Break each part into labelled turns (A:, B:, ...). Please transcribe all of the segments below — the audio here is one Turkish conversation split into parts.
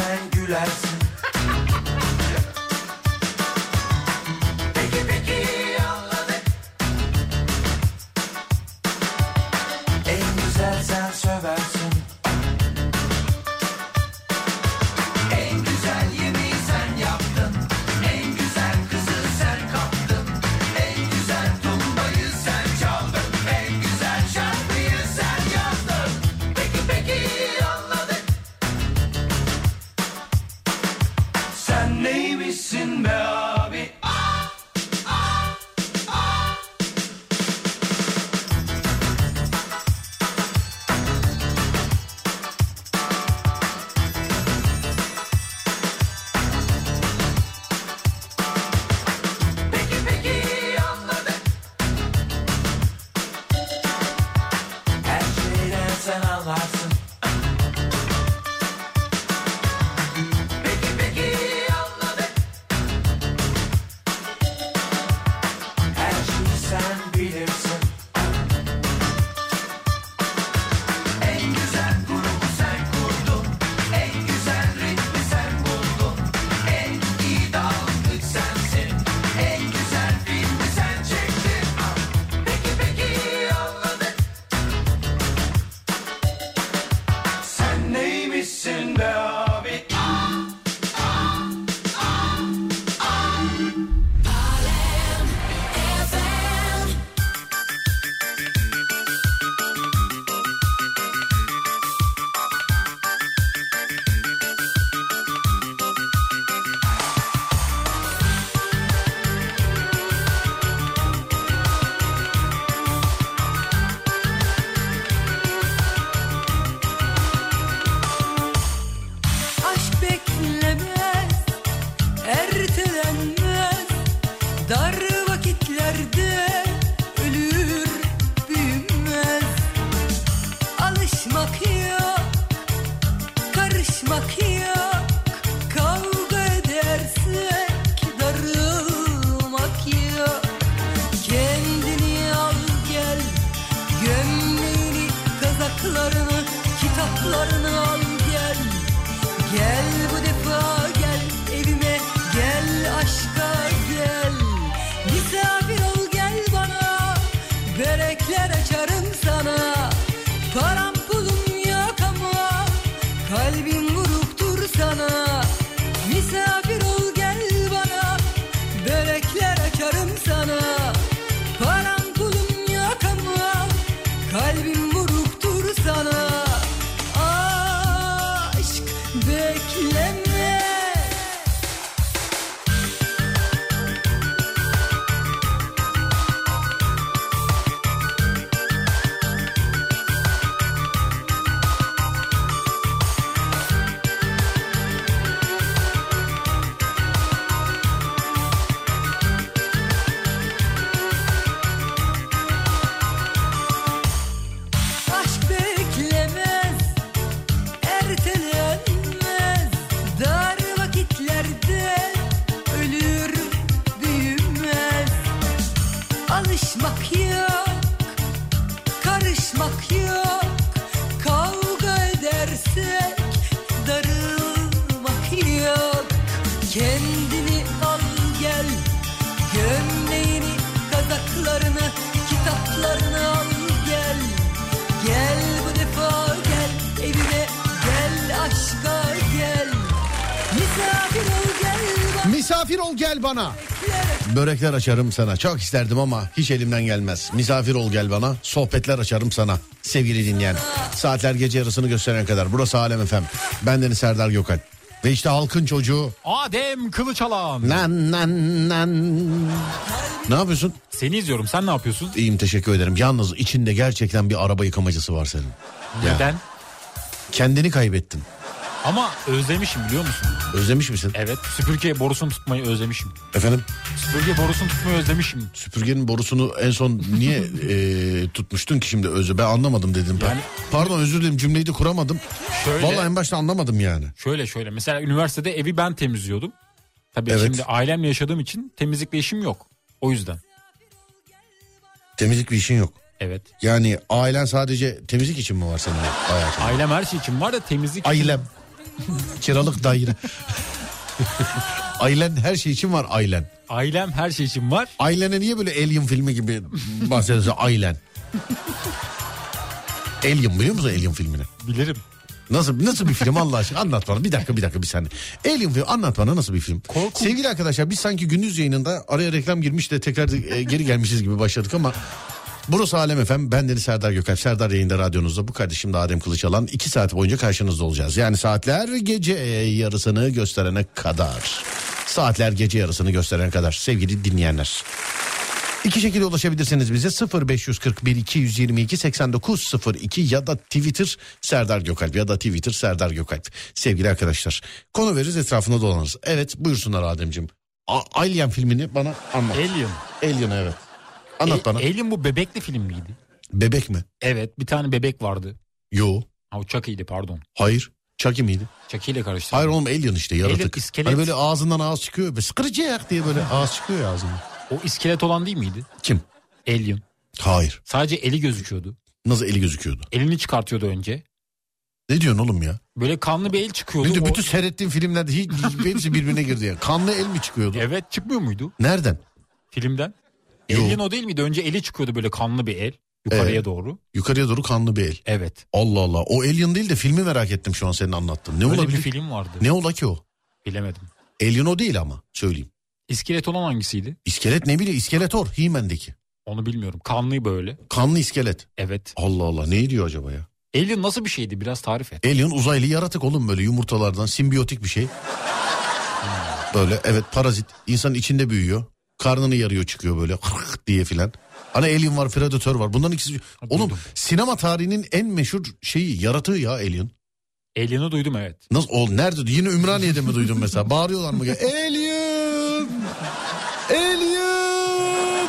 A: Ah, gülersin. Peki peki anladık. En güzel sen söversin. En güzel yemeği sen yaptın. En güzel kızı sen kaptın. En güzel tumbayı sen çaldın. En güzel şarkıyı sen yazdın. Peki peki anladık. Sen neymişsin be abi? Peki peki anladık. Her şeyden sen anlarsın. Peki peki anladık. Her şeyi sen bilirsin. En güzel grubu sen kurdun. En güzel ritmi sen buldun. En iyi dağınık sensin. En güzel filmi sen çektin. Ah, Peki peki anladık. Sen neymişsin be abi?
B: Aşk beklemez, ertelenmez Dar vakitlerde ölür büyümez Alışmak yok, karışmak yok Kavga edersek darılmak yok Kendini al gel Gömleğini, kazaklarını, kitaplarını al gel Gel bu defa gel evime Gel aşka gel Misafir ol gel bana Börekler açarım sana Param pulum yok ama Kalbim vurup dur sana Misafir ol gel bana Börekler açarım sana Param pulum yok ama Kalbim vurup dur sana Aşk bekleme Aşk beklemez ertelenmez Dar vakitlerde ölür büyümez Alışmak yok, karışmak yok Kavga edersek darılmak yok Kendini al gel, gömleğini, kazaklarını, kitaplarını al gel Gel bu defa gel evime, gel aşka gel Misafir ol gel bak
C: Misafir ol gel bana. Börekler açarım sana. Çok isterdim ama hiç elimden gelmez. Misafir ol gel bana. Sohbetler açarım sana. Sevgili dinleyen. Saatler gece yarısını gösterene kadar. Burası Alem Efem. Ben Deniz Serdar Gökal. Ve işte halkın çocuğu.
D: Adem Kılıçalan.
C: Nan nan nan. Ne yapıyorsun?
D: Seni izliyorum. Sen ne yapıyorsun?
C: İyiyim teşekkür ederim. Yalnız içinde gerçekten bir araba yıkamacısı var senin. Ya,
D: Neden?
C: Kendini kaybettin.
D: Ama özlemişim biliyor musun?
C: Özlemiş misin?
D: Evet. Süpürge borusunu tutmayı özlemişim.
C: Efendim?
D: Süpürge borusunu tutmayı özlemişim.
C: Süpürgenin borusunu en son niye e, tutmuştun ki şimdi özü? Ben anlamadım dedim.
D: Yani-
C: Pardon özür dilerim cümleyi de kuramadım.
D: Şöyle-
C: Vallahi en başta anlamadım yani.
D: Şöyle şöyle. Mesela üniversitede evi ben temizliyordum. Tabii
C: Evet.
D: şimdi ailemle yaşadığım için temizlikle işim yok. O yüzden.
C: Temizlik bir işin yok.
D: Evet.
C: Yani ailen sadece temizlik için mi var senin hayatında?
D: Ailem her şey için var da temizlik için-
C: Ailem. Kiralık daire. Ailen her şey için var ailen.
D: Ailem her şey için var.
C: Ailene niye böyle Alien filmi gibi bahsediyorsun ailen? Alien biliyor musun Alien filmini?
D: Bilirim.
C: Nasıl nasıl bir film Allah aşkına anlat bana. Bir dakika bir dakika bir saniye. Alien film anlat bana nasıl bir film.
D: Korku.
C: Sevgili arkadaşlar biz sanki gündüz yayınında araya reklam girmiş de tekrar e, geri gelmişiz gibi başladık ama Burası Alem Efem, ben Deniz Serdar Gökalp. Serdar yayında radyonuzda bu kardeşim de Adem Kılıçalan. iki saat boyunca karşınızda olacağız. Yani saatler gece yarısını gösterene kadar. Saatler gece yarısını gösterene kadar sevgili dinleyenler. İki şekilde ulaşabilirsiniz bize 0541 222 8902 ya da Twitter Serdar Gökalp ya da Twitter Serdar Gökalp. Sevgili arkadaşlar konu veririz etrafında dolanırız. Evet buyursunlar Ademciğim. A- Alien filmini bana anlat.
D: Alien.
C: Alien evet. Anlat
D: E-
C: bana.
D: Alien bu bebekli film miydi?
C: Bebek mi?
D: Evet bir tane bebek vardı.
C: Yo.
D: Ha o Chucky'ydi pardon.
C: Hayır. Chucky miydi?
D: Chucky ile karıştırdım.
C: Hayır oğlum Alien işte yaratık.
D: Alien, iskelet.
C: Hani böyle ağzından ağız çıkıyor. Böyle sıkıracak diye böyle ağız çıkıyor ya ağzından.
D: O iskelet olan değil miydi?
C: Kim?
D: Alien.
C: Hayır.
D: Sadece eli gözüküyordu.
C: Nasıl eli gözüküyordu?
D: Elini çıkartıyordu önce.
C: Ne diyorsun oğlum ya?
D: Böyle kanlı bir el çıkıyordu.
C: Bir de
D: O-
C: bütün seyrettiğim filmlerde hiç, hepsi birbirine girdi ya. Kanlı el mi çıkıyordu?
D: Evet çıkmıyor muydu
C: Nereden?
D: filmden?
C: Yo.
D: Alien o değil miydi? Önce eli çıkıyordu böyle kanlı bir el. Yukarıya
C: Evet.
D: doğru.
C: Yukarıya doğru kanlı bir el.
D: Evet.
C: Allah Allah. O Alien değil de filmi merak ettim şu an senin anlattığın. Ne
D: Öyle
C: olabilir?
D: bir film vardı.
C: Ne ola ki o?
D: Bilemedim.
C: Alien o değil ama söyleyeyim.
D: İskelet olan hangisiydi?
C: İskelet ne bileyim iskeletor He-Man'deki.
D: Onu bilmiyorum. Kanlı böyle.
C: Kanlı iskelet.
D: Evet.
C: Allah Allah ne diyor acaba ya?
D: Alien nasıl bir şeydi? Biraz tarif et.
C: Alien uzaylı yaratık oğlum böyle yumurtalardan simbiyotik bir şey. Böyle evet parazit insanın içinde büyüyor. Karnını yarıyor çıkıyor böyle hırk diye filan. Hani Alien var Predator var bunların ikisi. Oğlum
D: duydum.
C: sinema tarihinin en meşhur şeyi yaratığı ya Alien.
D: Alien'i duydum evet.
C: Nasıl ol nerede yine Ümraniye'de mi duydun mesela bağırıyorlar mı? Alien! Alien!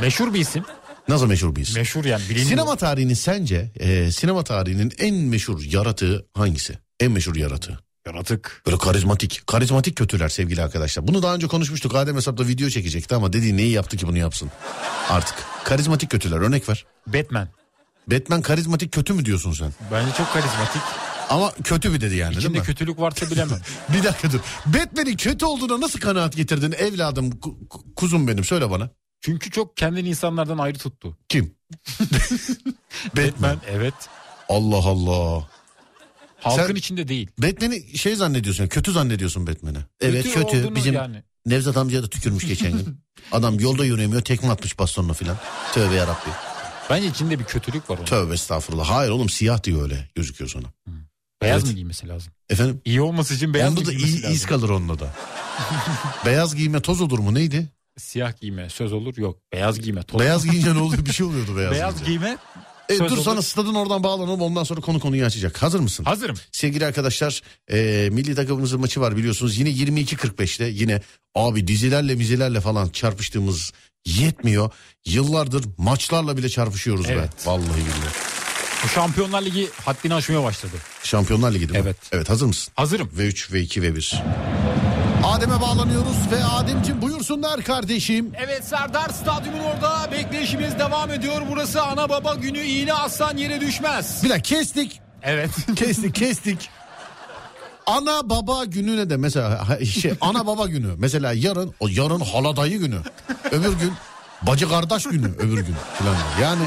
D: Meşhur bir isim.
C: Nasıl meşhur bir isim?
D: Meşhur yani bilinmiyor.
C: Sinema tarihinin sence e, sinema tarihinin en meşhur yaratığı hangisi? En meşhur yaratığı.
D: Yaratık.
C: Böyle karizmatik. Karizmatik kötüler sevgili arkadaşlar. Bunu daha önce konuşmuştuk. Adem hesapta video çekecekti ama dedi neyi yaptı ki bunu yapsın? Artık. Karizmatik kötüler örnek ver.
D: Batman.
C: Batman karizmatik kötü mü diyorsun sen?
D: Bence çok karizmatik.
C: Ama kötü bir dedi yani
D: İçinde
C: değil mi?
D: kötülük varsa bilemem.
C: Bir dakika dur. Batman'in kötü olduğuna nasıl kanaat getirdin evladım ku- ku- kuzum benim söyle bana.
D: Çünkü çok kendini insanlardan ayrı tuttu.
C: Kim? Batman.
D: Batman evet.
C: Allah Allah.
D: Halkın
C: Sen-
D: içinde değil.
C: Batman'i şey zannediyorsun kötü zannediyorsun Batman'i. Evet kötü,
D: olduğunu
C: bizim
D: yani.
C: Nevzat amca da tükürmüş geçen gün. Adam yolda yürüyemiyor tekme atmış bastonla filan. Tövbe yarabbim.
D: Bence içinde bir kötülük var onun.
C: Tövbe estağfurullah. Hayır oğlum siyah diyor öyle gözüküyor sana.
D: Beyaz
C: Evet.
D: mı giymesi lazım?
C: Efendim?
D: İyi olması için beyaz
C: onda
D: mı
C: da
D: giymesi
C: iz,
D: lazım?
C: iz kalır onda da. Beyaz giyme toz olur mu neydi?
D: Siyah giyme söz olur yok. Beyaz giyme toz.
C: Beyaz giyince ne oluyor bir şey oluyordu beyaz,
D: Beyaz
C: giyince.
D: giyme
C: E,
D: söz
C: dur
D: olur.
C: sana stadın oradan bağlanalım ondan sonra konu konuyu açacak. Hazır mısın?
D: hazırım.
C: Sevgili arkadaşlar e, milli takımımızın maçı var biliyorsunuz yine 22.45'te yine abi dizilerle mizilerle falan çarpıştığımız yetmiyor. Yıllardır maçlarla bile çarpışıyoruz be.
D: Evet.
C: Vallahi billahi.
D: Bu Şampiyonlar Ligi haddini aşmaya başladı.
C: Şampiyonlar Ligi değil mi?
D: Evet.
C: Evet hazır mısın?
D: Hazırım.
C: V3, V2, V1. Adem'e bağlanıyoruz ve Adem'cim buyursunlar kardeşim.
D: Evet Serdar Stadyum'un orada bekleyişimiz devam ediyor. Burası ana baba günü iğne aslan yere düşmez.
C: Bir dakika kestik.
D: Evet.
C: Kestik kestik. Ana baba günü ne de mesela ha- şey ana baba günü mesela yarın o yarın hala dayı günü. Öbür gün bacı kardeş günü öbür gün falan. Yani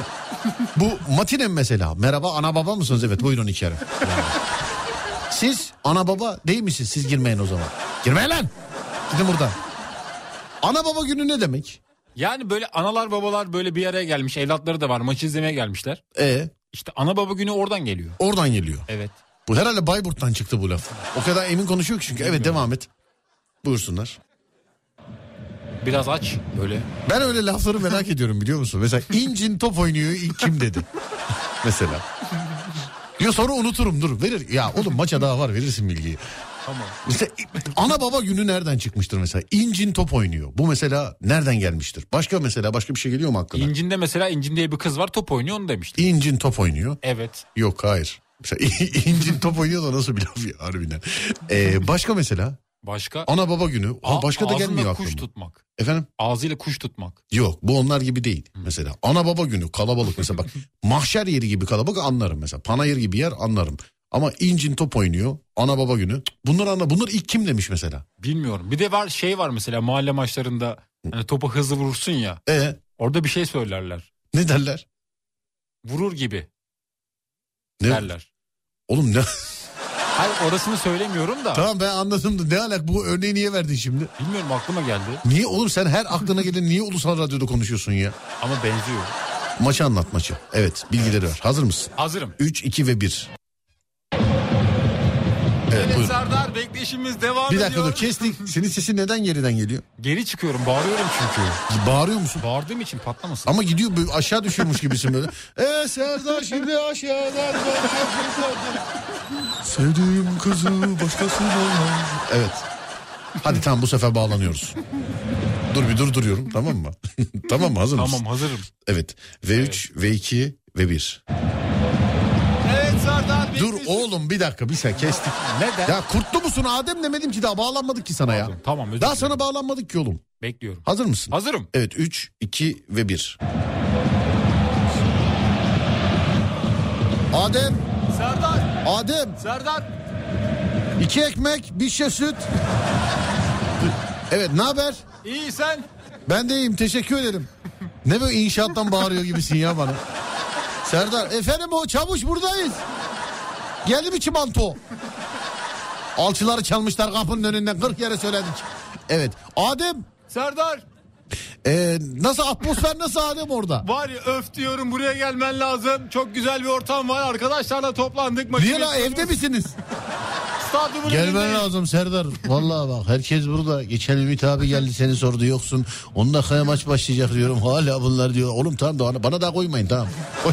C: bu matinem mesela merhaba ana baba mısınız evet buyurun içeri. Yani. Siz ana baba değil misiniz siz girmeyin o zaman. Girmeyin lan gidin buradan. Ana baba günü ne demek?
D: Yani böyle analar babalar böyle bir araya gelmiş. Evlatları da var. Maçı izlemeye gelmişler.
C: E
D: İşte ana baba günü oradan geliyor.
C: oradan geliyor.
D: Evet.
C: Bu herhalde Bayburt'tan çıktı bu laf. O kadar emin konuşuyor ki çünkü. Evet devam et. Buyursunlar.
D: Biraz aç böyle.
C: Ben öyle lafları merak ediyorum biliyor musun? Mesela incin top oynuyor ilk kim dedi? Mesela. Ya sonra unuturum dur verir. Ya oğlum maça daha var verirsin bilgiyi.
D: Tamam.
C: Mesela ana baba günü nereden çıkmıştır mesela? İncin top oynuyor. Bu mesela nereden gelmiştir? Başka mesela başka bir şey geliyor mu aklına?
D: İncin'de mesela İncin diye bir kız var top oynuyor onu demiştim.
C: İncin top oynuyor.
D: Evet.
C: Yok hayır. Mesela incin top oynuyor da nasıl bir laf ya harbiden. Ee, başka mesela
D: Başka?
C: ana baba günü. Ha,
D: A-
C: başka da
D: ağzında
C: gelmiyor
D: kuş
C: aklıma.
D: tutmak.
C: Efendim?
D: Ağzıyla kuş tutmak.
C: Yok bu onlar gibi değil. Mesela ana baba günü kalabalık mesela bak mahşer yeri gibi kalabalık anlarım mesela. Panayır gibi yer anlarım. Ama incin top oynuyor. Ana baba günü. Bunlar ana bunlar ilk kim demiş mesela?
D: Bilmiyorum. Bir de var şey var mesela mahalle maçlarında hani topa hızlı vurursun ya.
C: E
D: Orada bir şey söylerler.
C: ne derler?
D: Vurur gibi
C: Ne?
D: derler.
C: Oğlum ne?
D: Hayır orasını söylemiyorum da.
C: tamam ben anladım da ne alak bu örneği niye verdin şimdi?
D: Bilmiyorum aklıma geldi
C: Niye oğlum sen her aklına gelen niye ulusal radyoda konuşuyorsun ya?
D: ama benziyor.
C: Maçı anlat maçı. Evet bilgileri ver. Hazır mısın?
D: Hazırım.
C: 3, 2 ve 1. Evet
D: Evet
C: buyurun.
D: Serdar bekleyişimiz devam
C: Bir
D: ediyor.
C: dakika dur kestik. Senin sesin neden geriden geliyor?
D: Geri çıkıyorum bağırıyorum çünkü.
C: Bağırıyor musun?
D: Bağırdığım için patlamasın.
C: Ama gidiyor böyle aşağı düşüyormuş gibisin böyle.
D: E,
C: Eee Serdar şimdi aşağıdan. Sevdiğim kızı başkasına. Evet. Hadi tamam bu sefer bağlanıyoruz. Dur bir dur duruyorum tamam mı? tamam mı hazır mısın?
D: Tamam hazırım.
C: Evet. V3, V2, V1.
D: Evet Serdar
C: Dur oğlum bir dakika bir sen kestik.
D: Neden?
C: Ya kurtlu musun Adem demedim ki daha bağlanmadık ki sana ya.
D: Pardon, tamam, özür
C: Daha
D: dilerim.
C: sana bağlanmadık ki oğlum.
D: Bekliyorum.
C: Hazır mısın?
D: Hazırım.
C: Evet 3, 2 ve 1. Adem,
D: Serdar,
C: Adem
D: Serdar.
C: iki ekmek, bir şişe süt. Evet ne haber?
D: İyi sen.
C: Ben de iyiyim teşekkür ederim. Ne böyle inşaattan bağırıyor gibisin ya bana. Serdar efendim o çavuş buradayız. Geldi mi çimento? Alçıları çalmışlar kapının önünden 40 yere söyledik. Evet Adem
D: Serdar
C: ee, nasıl atmosfer nasıl Adem orada?
D: var ya öf diyorum buraya gelmen lazım. Çok güzel bir ortam var. Arkadaşlarla toplandık. Maçı
C: Niye la
D: bekliyoruz.
C: evde misiniz?
D: Stadyumun
C: Gelmen
D: önündeyiz.
C: lazım Serdar. Vallahi bak herkes burada. Geçen Ümit abi geldi seni sordu yoksun. 10 dakikaya maç başlayacak diyorum. Hala bunlar diyor. Oğlum tamam da bana daha koymayın tamam.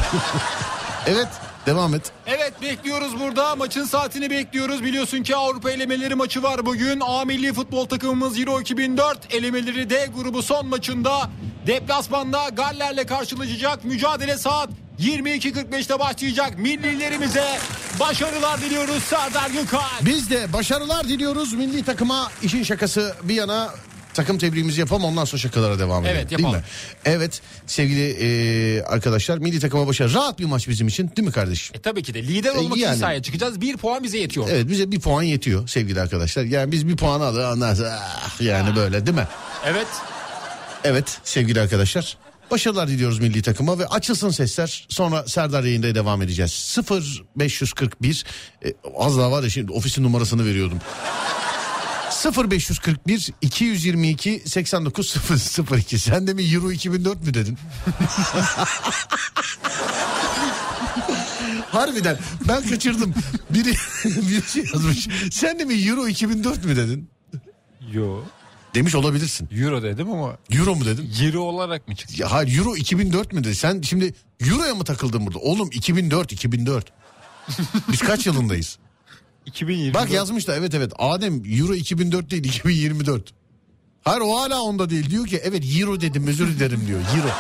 C: evet devam et.
D: Evet bekliyoruz burada. Maçın saatini bekliyoruz. Biliyorsun ki Avrupa elemeleri maçı var bugün. A milli futbol takımımız Euro 2004 elemeleri D grubu son maçında deplasmanda Galler'le karşılaşacak. Mücadele saat 22.45'te başlayacak. Millilerimize başarılar diliyoruz Serdar Gökalp.
C: Biz de başarılar diliyoruz milli takıma. işin şakası bir yana takım tebriğimizi yapalım ondan sonra şakalara devam edelim.
D: Evet,
C: Değil
D: yapalım.
C: mi? Evet sevgili e, arkadaşlar milli takıma başarı. Rahat bir maç bizim için değil mi kardeşim?
D: E tabii ki de lider
C: E,
D: olmak
C: yani.
D: için sahaya çıkacağız. Bir puan bize yetiyor.
C: Evet bize bir puan yetiyor sevgili arkadaşlar. Yani biz bir puan alır ondan sonra ah, yani böyle değil mi?
D: Evet.
C: Evet sevgili arkadaşlar. Başarılar diliyoruz milli takıma ve açılsın sesler. Sonra Serdar yayında devam edeceğiz. 0 541 e, az daha var ya şimdi ofisin numarasını veriyordum. 0 541 222 89 002. Sen de mi Euro 2004 mü dedin? Harbiden ben kaçırdım. Biri, biri şey yazmış. Sen de mi Euro 2004 mü dedin?
D: Yo.
C: Demiş olabilirsin.
D: Euro dedim ama
C: Euro mu dedin?
D: Euro olarak mı çıktı?
C: Ya hayır Euro 2004 mü dedi? Sen şimdi Euro'ya mı takıldın burada? Oğlum 2004 2004. Biz kaç yılındayız?
D: 2020.
C: Bak yazmış da evet evet Adem Euro 2004 değil 2024. Hayır o hala onda değil. Diyor ki evet Euro dedim özür dilerim diyor. Euro.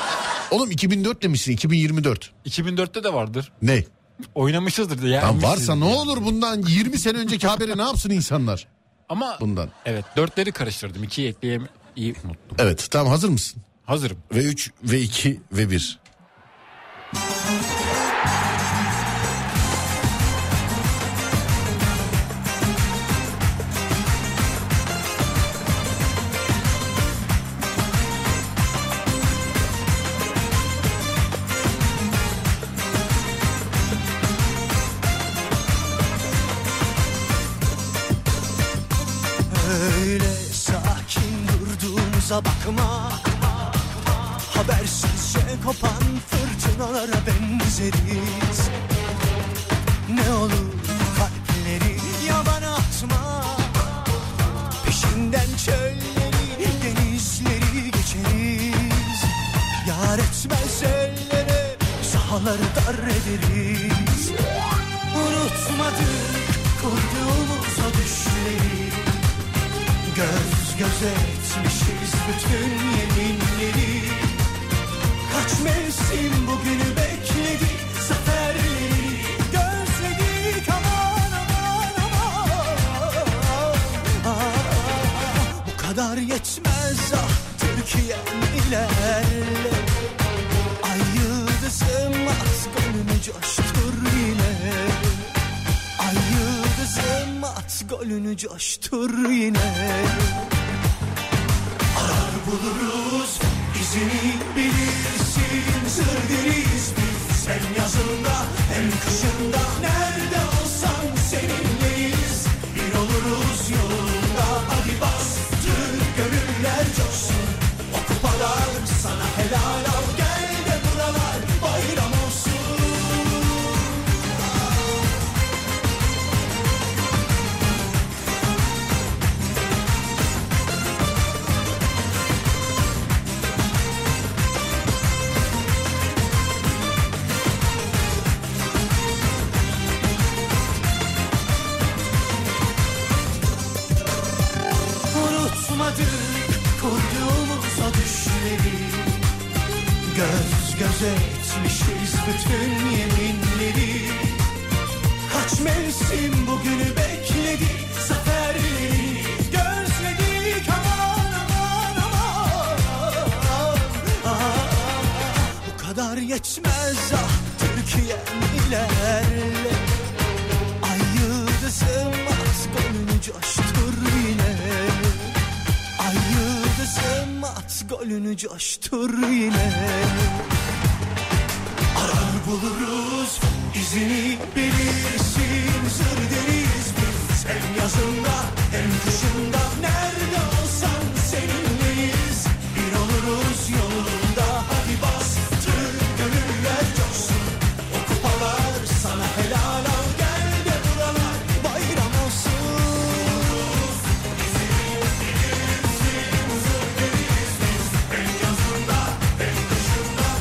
C: Oğlum 2004 demişsin 2024.
D: 2004'te de vardır.
C: Ne?
D: Oynamışızdır da.
C: Lan varsa ne olur bundan 20 sene önceki haberi ne yapsın insanlar?
D: Ama
C: Bundan.
D: evet dörtleri karıştırdım. İkiyi ekleyem iyi unuttum.
C: Evet tamam hazır mısın?
D: Hazırım.
C: Ve 3 ve 2 ve 1.
E: Öyle sakin durduğumuza bakma Habersizce kopan fırtınalara benzeriz Ne olur kalpleri yabana atma Peşinden çölleri denizleri geçeriz Yar etmez ellere sahaları dar ederiz Unutmadık kurduğumuz o düşleri Göz göze etmişiz bütün yeminleri Kaç mevsim bugünü bekledi Zaferleri gözledik aman aman aman Aa, Bu kadar yetmez ah Türkiye'm ilerle Ay yıldızım at gönlümü coştur yine Ay halünü coştur yine Arar buluruz izini bilirsin Sır deriz biz hem yazında hem kışında Nerede olsan seninleyiz Bir oluruz yolunda hadi bas Türk gönüller coşsun O kupalar sana helal al Gel de buralar bayram olsun Unutmadık kurduğumuz o düşleri Göz göze etmişiz bütün yeminleri Kaç mevsim bugünü bekledi Zaferleri gözledik aman aman aman Ah, ah, ah. Bu kadar yetmez ah Türkiye'm ilerle Ay yıldızım at golünü coştur yine Ay yıldızım at golünü coştur yine Arar buluruz izini bilirsin Zır deriz biz hem yazında hem kışında Nerede olsan seninleyiz Bir oluruz yolunda hadi bas Türk gönüller coşsun O kupalar sana helal al Gel de buralar bayram olsun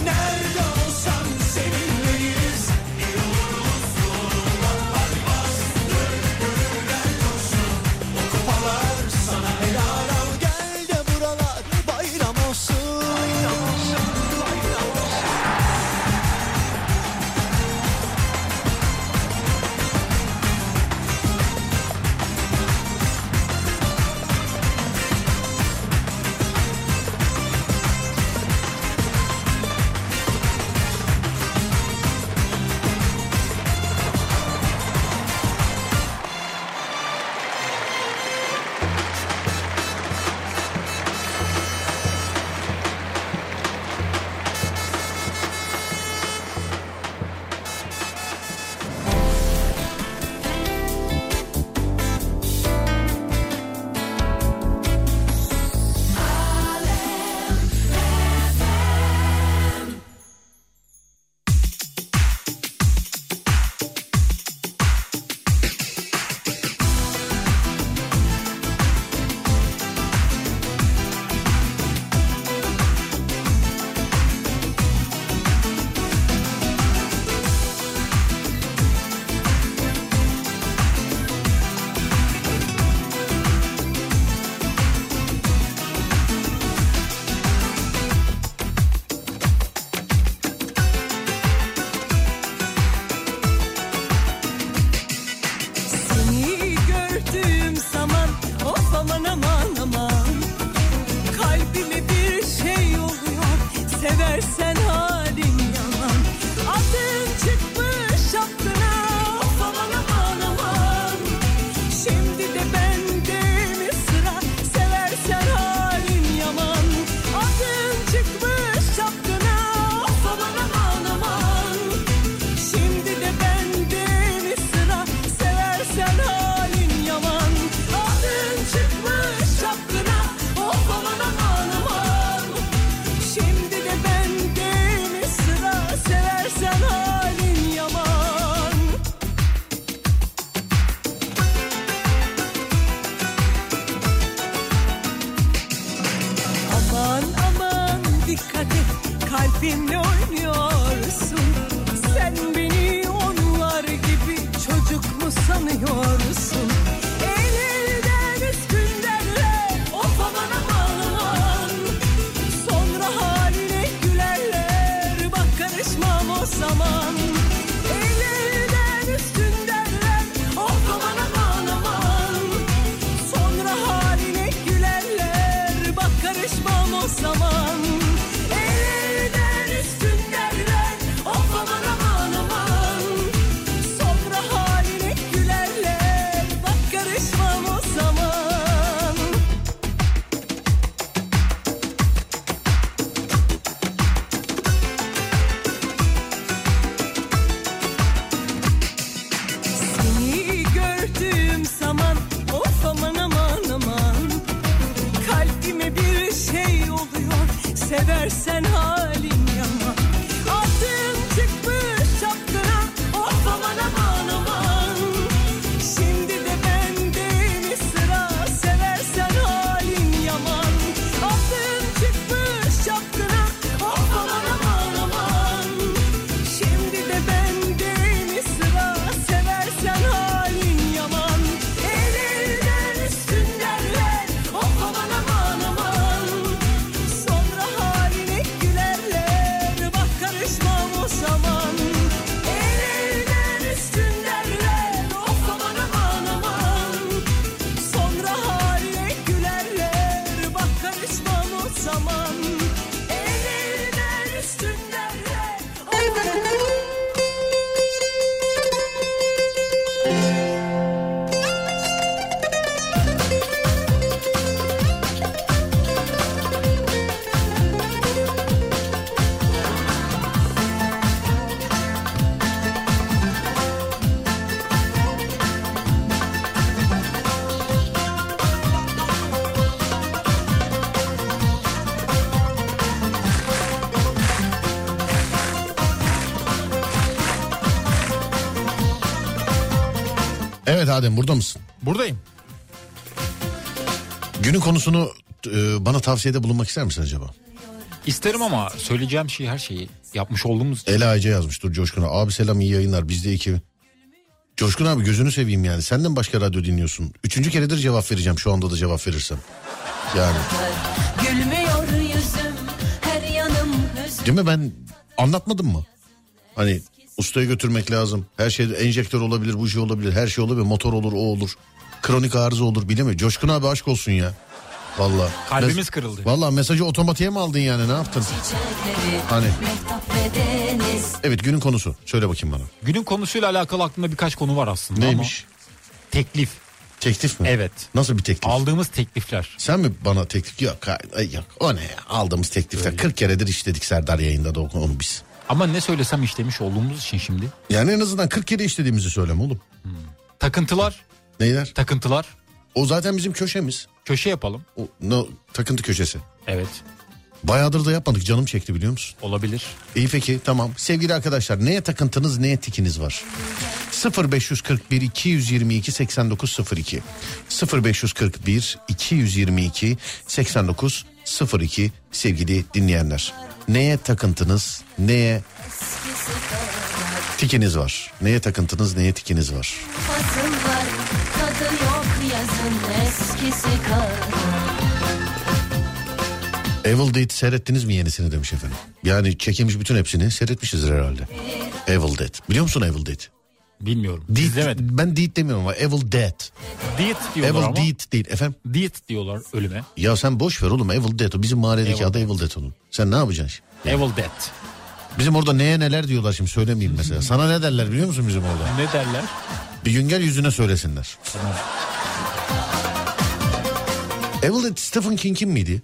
E: Nerede olsan seninleyiz Kupalar sana helal al Gel de buralar bayram olsun Bayram olsun, bayram olsun
B: Seni gördüğüm zaman o zaman aman aman Kalbime bir şey oluyor seversen halin yalan Adın çıkmış aklına of aman aman aman Şimdi de bende mi sıra seversen halin yaman Adın çıkmış aklına of aman aman aman Şimdi de bende mi sıra seversen halin yaman Adın çıkmış aklına of aman aman aman Şimdi de bende mi sıra seversen halin yaman Aman aman dikkat et kalbimle oynuyorsun Sen beni onlar gibi çocuk mu sanıyorsun El elden üskünlerle of aman aman aman Sonra haline gülerler bak karışmam o zaman El elden üskünlerle of aman aman aman Sonra haline gülerler Bak karışmam o zaman Ellerden üstün derler Of aman aman aman Sonra haline gülerler Bak karışmam şey
C: Evet Adem burada mısın?
D: Buradayım.
C: Günün konusunu e, bana tavsiyede bulunmak ister misin acaba?
D: İsterim ama söyleyeceğim şey her şeyi yapmış olduğumuz için.
C: Ela Ece yazmış dur Coşkun'a. Abi selam iyi yayınlar bizde iki. Coşkun abi gözünü seveyim yani. Senden başka radyo dinliyorsun. Üçüncü keredir cevap vereceğim şu anda da cevap verirsem. Yani
F: Gülmüyor yüzüm her yanım hüzün
C: değil mi ben anlatmadım mı? Hani ustaya götürmek lazım. Her şey enjektör olabilir, bu şey olabilir, her şey olabilir. Motor olur, o olur. Kronik arıza olur bilemiyorum. Coşkun abi aşk olsun ya. Valla.
D: Kalbimiz kırıldı.
C: Valla mesajı otomatiğe mi aldın yani ne yaptın?
F: çiçekleri
C: Hani
F: Mehtap ve deniz
C: evet günün konusu. Söyle bakayım bana.
D: Günün konusuyla alakalı aklımda birkaç konu var aslında
C: Neymiş?
D: ama teklif.
C: Teklif mi?
D: Evet.
C: Nasıl bir teklif?
D: Aldığımız teklifler.
C: Sen mi bana teklif yok ay- ay yok o ne ya? aldığımız teklifler 40 keredir işledik Serdar yayında da onu onu biz.
D: Ama ne söylesem işlemiş olduğumuz için şimdi.
C: Yani en azından 40 kere işlediğimizi söyleme oğlum.
D: Takıntılar,
C: Neyler?
D: takıntılar.
C: O zaten bizim köşemiz.
D: Köşe yapalım.
C: O, no, takıntı köşesi.
D: Evet,
C: Bayağıdır da yapmadık canım çekti biliyor musun?
D: olabilir.
C: İyi peki tamam. Sevgili arkadaşlar neye takıntınız neye tikiniz var? 0541 222 8902 0541 222 8902 sevgili dinleyenler. Neye takıntınız neye tikiniz var? Neye takıntınız neye tikiniz var?
F: Fasıllar tadı yok yazın eskisi kalır
C: Evil Dead seyrettiniz mi yenisini demiş efendim. Yani çekilmiş bütün hepsini seyretmişizdir herhalde. Evil Dead. Biliyor musun Evil Dead?
D: Bilmiyorum.
C: Deed-
D: İzlemedim.
C: Ben Deed demiyorum ama Evil Dead.
D: Diyet diyorlar
C: Evil
D: ama.
C: Deed değil efendim.
D: Diyet diyorlar ölüme.
C: Ya sen boş ver oğlum Evil Dead o bizim mahalledeki
D: Evil
C: adı Evil Dead onun. Sen ne yapacaksın şimdi?
D: Evil Dead.
C: Bizim orada neye neler diyorlar şimdi söylemeyeyim mesela. Sana ne derler biliyor musun bizim orada?
D: Ne derler?
C: Bir gün gel yüzüne söylesinler.
D: Tamam.
C: Evil Dead Stephen King'in miydi?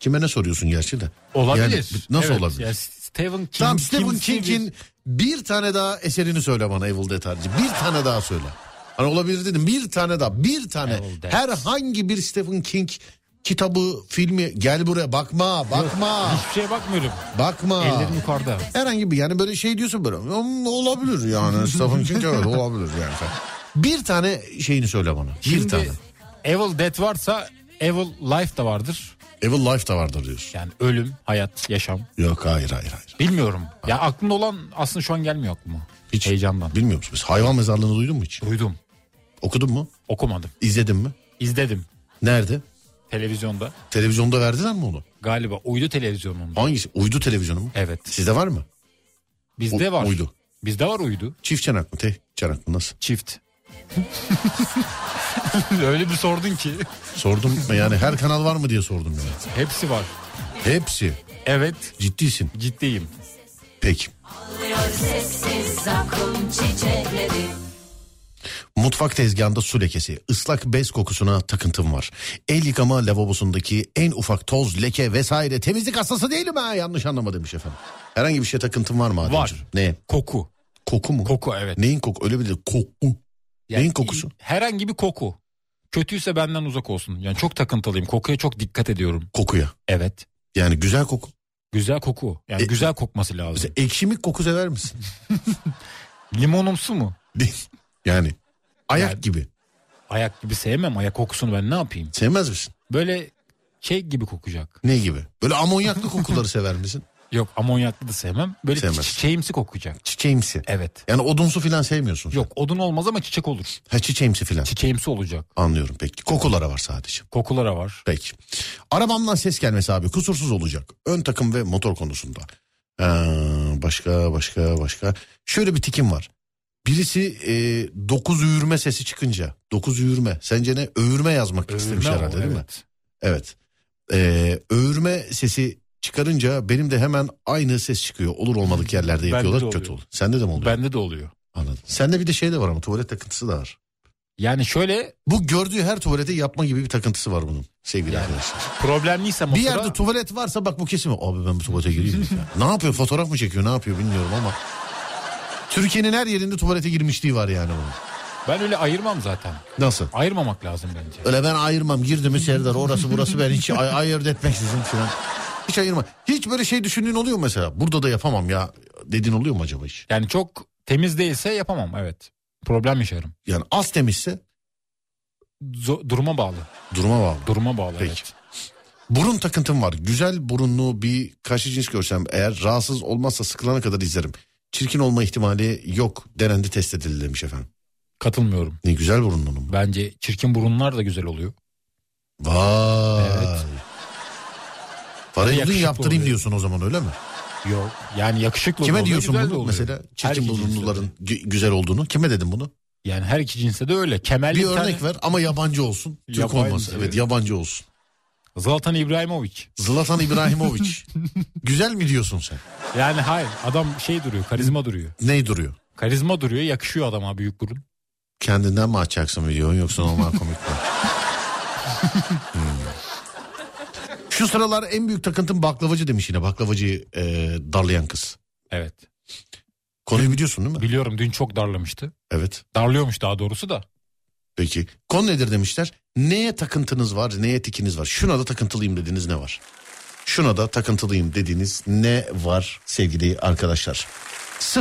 C: Kime ne soruyorsun gerçi de.
D: Olabilir.
C: Yani nasıl
D: Evet,
C: olabilir?
D: yani Stephen King.
C: Tamam Stephen
D: kimsi bir-
C: King'in bir tane daha eserini söyle bana Evil Dead harici. Bir tane daha söyle. Hani olabilir dedim bir tane daha bir tane.
D: Evil Dead.
C: Herhangi bir Stephen King kitabı, filmi gel buraya bakma bakma
D: Hiçbir şeye bakmıyorum.
C: bakma.
D: Ellerim yukarıda.
C: Herhangi bir yani böyle şey diyorsun böyle "Hmm, olabilir yani Stephen King evet olabilir yani. falan. Bir tane şeyini söyle bana. Bir
D: Şimdi
C: tane.
D: Evil Dead varsa Evil Life da vardır.
C: Evil Life da vardır diyorsun.
D: Yani ölüm, hayat, yaşam.
C: Yok hayır hayır hayır.
D: Bilmiyorum. Ya aklımda olan aslında şu an gelmiyor aklıma. Hiç. Heyecandan.
C: Bilmiyor musun? Biz hayvan mezarlığını duydun mu hiç?
D: Duydum.
C: Okudun mu?
D: Okumadım.
C: İzledin mi?
D: İzledim.
C: Nerede?
D: Televizyonda.
C: Televizyonda verdiler mi onu?
D: Galiba uydu televizyonunda.
C: Hangisi? Uydu televizyonu mu?
D: Evet.
C: Sizde var mı?
D: Bizde
C: U-
D: var.
C: Uydu.
D: Bizde var uydu.
C: Çift çanak mı? Tek çanak mı? Nasıl?
D: Çift. Öyle bir sordun ki.
C: Sordum yani her kanal var mı diye sordum yani.
D: Hepsi var.
C: Hepsi.
D: Evet.
C: Ciddisin.
D: Ciddiyim.
C: Peki.
F: Alıyor sessiz zakkum çiçekleri
C: Mutfak tezgahında su lekesi, ıslak bez kokusuna takıntım var. El yıkama lavabosundaki en ufak toz, leke vesaire temizlik hastası değilim ha yanlış anlama demiş efendim. Herhangi bir şeye takıntım var mı Ademciğim?
D: Var.
C: Ne?
D: Koku.
C: Koku mu?
D: Koku evet.
C: Neyin koku? Öyle bir de koku.
D: Yani
C: Neyin kokusu?
D: Herhangi bir koku. Kötüyse benden uzak olsun. Yani çok takıntılıyım. Kokuya çok dikkat ediyorum.
C: Kokuya.
D: Evet.
C: Yani güzel koku.
D: Güzel koku. Yani
C: E-
D: güzel kokması lazım.
C: Mesela ekşimik koku sever misin?
D: Limonumsu mu?
C: Değil. yani ayak
D: Yani-
C: gibi.
D: Ayak gibi sevmem. Ayak kokusunu ben ne yapayım?
C: Sevmez misin?
D: Böyle şey gibi kokacak.
C: Ne gibi? Böyle amonyaklı kokuları sever misin?
D: Yok amonyaklı da sevmem. Böyle
C: Sevmez.
D: çi- çiçeğimsi kokacak.
C: Çiçeğimsi.
D: Evet.
C: Yani odunsu filan sevmiyorsun. sen.
D: Yok odun olmaz ama çiçek olur.
C: Ha çiçeğimsi filan.
D: Çiçeğimsi olacak.
C: Anlıyorum peki. Kokulara var sadece.
D: Kokulara var.
C: Peki. Arabamdan ses gelmesi abi kusursuz olacak. Ön takım ve motor konusunda. Ee, başka başka başka. Şöyle bir tikim var. Birisi e, dokuz üğürme sesi çıkınca. Dokuz üğürme. Sence ne? Öğürme yazmak istemiş
D: Öğürme o,
C: herhalde değil mi?
D: Ee, evet.
C: Evet. Ee, öğürme sesi çıkarınca benim de hemen aynı ses çıkıyor. Olur olmadık yerlerde
D: Bende Hmm. de
C: yapıyorlar
D: oluyor.
C: kötü olur. Sende de mi oluyor?
D: Bende de oluyor.
C: Anladım. Sende bir de şey de var ama tuvalet takıntısı da var.
D: Yani şöyle
C: Bu gördüğü her tuvalete yapma gibi bir takıntısı var bunun sevgili arkadaşlar.
D: problemliyse
C: Bir
D: motora
C: yerde tuvalet varsa bak bu kesin. Abi ben bu tuvalete gireyim. ya. ne yapıyor fotoğraf mı çekiyor ne yapıyor bilmiyorum ama. Türkiye'nin her yerinde tuvalete girmişliği var yani bunun.
D: ben öyle ayırmam zaten.
C: Nasıl?
D: Ayırmamak lazım bence.
C: Öyle ben ayırmam girdi mi Serdar orası burası ben hiç ay- ayırt etmeksizin falan. Hiç ayırma. Hiç böyle şey düşündüğün oluyor mu mesela? Burada da yapamam ya dediğin oluyor mu acaba hiç?
D: Yani çok temiz değilse yapamam evet. Problem yaşarım.
C: Yani az temizse
D: Zo- duruma bağlı.
C: duruma bağlı.
D: Duruma bağlı
C: Peki.
D: evet.
C: Burun takıntım var. Güzel burunlu bir karşı cins görsem eğer rahatsız olmazsa sıkılana kadar izlerim. Çirkin olma ihtimali yok denendi test edildi demiş efendim.
D: Katılmıyorum.
C: Ne güzel burunlunum.
D: Bence çirkin burunlar da güzel oluyor.
C: Vay.
D: Evet.
C: Parayı
D: Yakışıklı
C: uzun yaptırayım
D: oluyor.
C: diyorsun o zaman öyle mi?
D: Yok. Yani yakışıklı
C: Kime
D: oluyor,
C: diyorsun
D: güzel de
C: bunu
D: oluyor.
C: mesela?
D: Her şey iki
C: Çirkin
D: cinste de.
C: burunluların gü- güzel olduğunu. Kime dedin bunu?
D: Yani her iki cinste de öyle. Kemal
C: Bir örnek ver ama yabancı olsun. Türk
D: Yabancı,
C: olmasın. Evet
D: evet.
C: yabancı olsun.
D: Zlatan İbrahimovic.
C: Zlatan İbrahimovic. güzel mi diyorsun sen?
D: Yani hayır adam şey duruyor karizma duruyor.
C: Ney duruyor?
D: Karizma duruyor yakışıyor adama büyük burun.
C: Kendinden mi açacaksın videonu yoksa normal komik mi? Hmm. Şu sıralar en büyük takıntım baklavacı demiş yine. Baklavacıyı e, darlayan kız.
D: Evet.
C: Konuyu biliyorsun değil mi?
D: Biliyorum dün çok darlamıştı.
C: Evet.
D: Darlıyormuş daha doğrusu da.
C: Peki. Konu nedir demişler. Neye takıntınız var, neye tikiniz var? Şuna da takıntılıyım dediğiniz ne var? Şuna da takıntılıyım dediğiniz ne var sevgili arkadaşlar?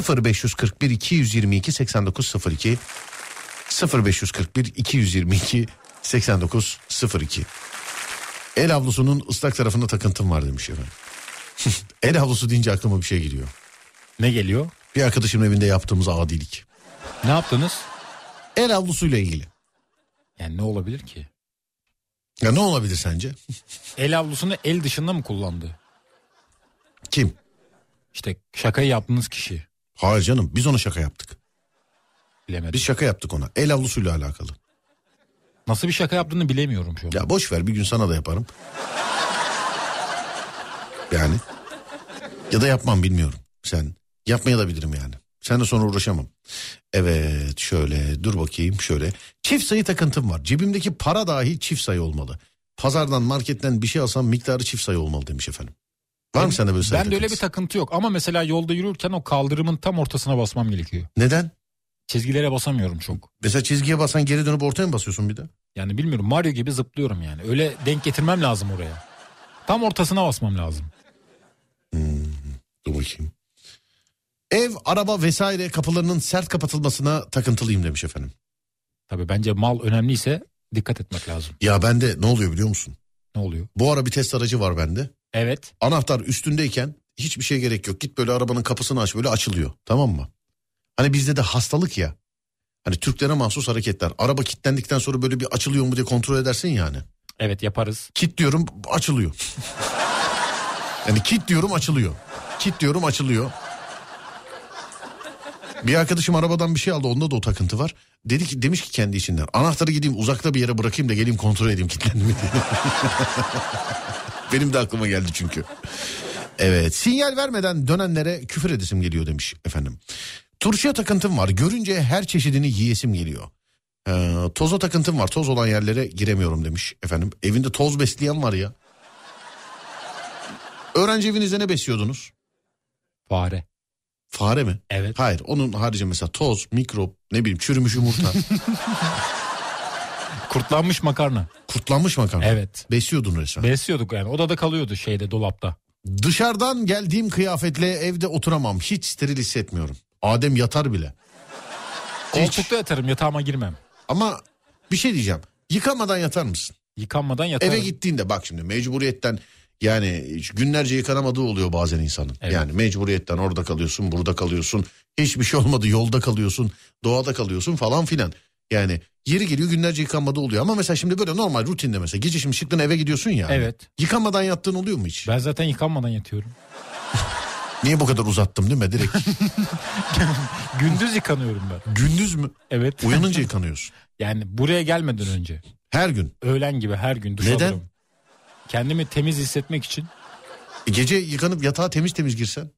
C: 0541 222 8902 0541 222 8902 El havlusunun ıslak tarafında takıntım var demiş efendim. El havlusu deyince aklıma bir şey geliyor.
D: Ne geliyor?
C: Bir arkadaşımın evinde yaptığımız adilik.
D: Ne yaptınız?
C: El havlusuyla ilgili.
D: Yani ne olabilir ki?
C: Ya ne olabilir sence?
D: El avlusunu el dışında mı kullandı?
C: Kim?
D: İşte şakayı yaptığınız kişi.
C: Hayır canım biz ona şaka yaptık.
D: Bilemedim.
C: Biz şaka yaptık ona. El avlusuyla alakalı.
D: Nasıl bir şaka yaptığını bilemiyorum şu an.
C: Ya boş ver bir gün sana da yaparım. Yani. Ya da yapmam bilmiyorum. Sen yapmaya da bilirim yani. Sen de sonra uğraşamam. Evet şöyle dur bakayım şöyle. Çift sayı takıntım var. Cebimdeki para dahi çift sayı olmalı. Pazardan marketten bir şey alsam miktarı çift sayı olmalı demiş efendim. Var mı sende böyle sayı
D: ben de öyle bir
C: takıntısı?
D: takıntı yok ama mesela yolda yürürken o kaldırımın tam ortasına basmam gerekiyor.
C: Neden?
D: Çizgilere basamıyorum çok.
C: Mesela çizgiye basan geri dönüp ortaya mı basıyorsun bir de?
D: Yani bilmiyorum Mario gibi zıplıyorum yani. Öyle denk getirmem lazım oraya. Tam ortasına basmam lazım.
C: Dur bakayım. Ev, araba vesaire kapılarının sert kapatılmasına takıntılıyım demiş efendim.
D: Tabii bence mal önemliyse dikkat etmek lazım.
C: Ya bende ne oluyor biliyor musun?
D: Ne oluyor?
C: Bu ara bir test aracı var bende.
D: Evet.
C: Anahtar üstündeyken hiçbir şey gerek yok. Git böyle arabanın kapısını aç böyle açılıyor. Tamam mı? Hani bizde de hastalık ya. Hani Türklere mahsus hareketler. Araba kilitlendikten sonra böyle bir açılıyor mu diye kontrol edersin yani.
D: Evet yaparız.
C: Kit diyorum açılıyor. yani kit diyorum açılıyor. Kit diyorum açılıyor. Bir arkadaşım arabadan bir şey aldı onda da o takıntı var. Dedi ki demiş ki kendi içinden anahtarı gideyim uzakta bir yere bırakayım da geleyim kontrol edeyim kilitlendi mi diye. Benim de aklıma geldi çünkü. Evet sinyal vermeden dönenlere küfür edesim geliyor demiş efendim. Turşuya takıntım var görünce her çeşidini yiyesim geliyor. Ee, toza takıntım var. Toz olan yerlere giremiyorum demiş efendim. Evinde toz besleyen var ya. Öğrenci evinizde ne besliyordunuz?
D: Fare.
C: Fare mi?
D: Evet.
C: Hayır onun harici mesela toz, mikrop, ne bileyim çürümüş yumurta,
D: Kurtlanmış makarna.
C: kurtlanmış makarna.
D: Evet.
C: Besliyordun resmen.
D: Besliyorduk yani. Odada kalıyordu şeyde dolapta.
C: Dışarıdan geldiğim kıyafetle evde oturamam. Hiç steril hissetmiyorum. Adem yatar bile. Hiç.
D: Koltukta yatarım yatağıma girmem.
C: Ama bir şey diyeceğim. Yıkamadan yatar mısın?
D: Yıkanmadan yatarım.
C: Eve gittiğinde bak şimdi mecburiyetten yani günlerce yıkanamadığı oluyor bazen insanın.
D: Evet.
C: Yani mecburiyetten orada kalıyorsun, burada kalıyorsun. Hiçbir şey olmadı, yolda kalıyorsun, doğada kalıyorsun falan filan. Yani yeri geliyor günlerce yıkanmadığı oluyor. Ama mesela şimdi böyle normal rutinde mesela gece şimdi çıktın eve gidiyorsun ya.
D: Evet.
C: Yıkamadan yattığın oluyor mu hiç?
D: Ben zaten yıkanmadan yatıyorum.
C: Niye bu kadar uzattım değil mi direkt?
D: Gündüz yıkanıyorum ben.
C: Gündüz mü?
D: Evet.
C: Uyanınca yıkanıyorsun.
D: Yani buraya gelmeden önce.
C: Her gün.
D: Öğlen gibi her gün duş
C: Neden?
D: alırım. Kendimi temiz hissetmek için
C: E, Gece yıkanıp yatağa temiz temiz girsen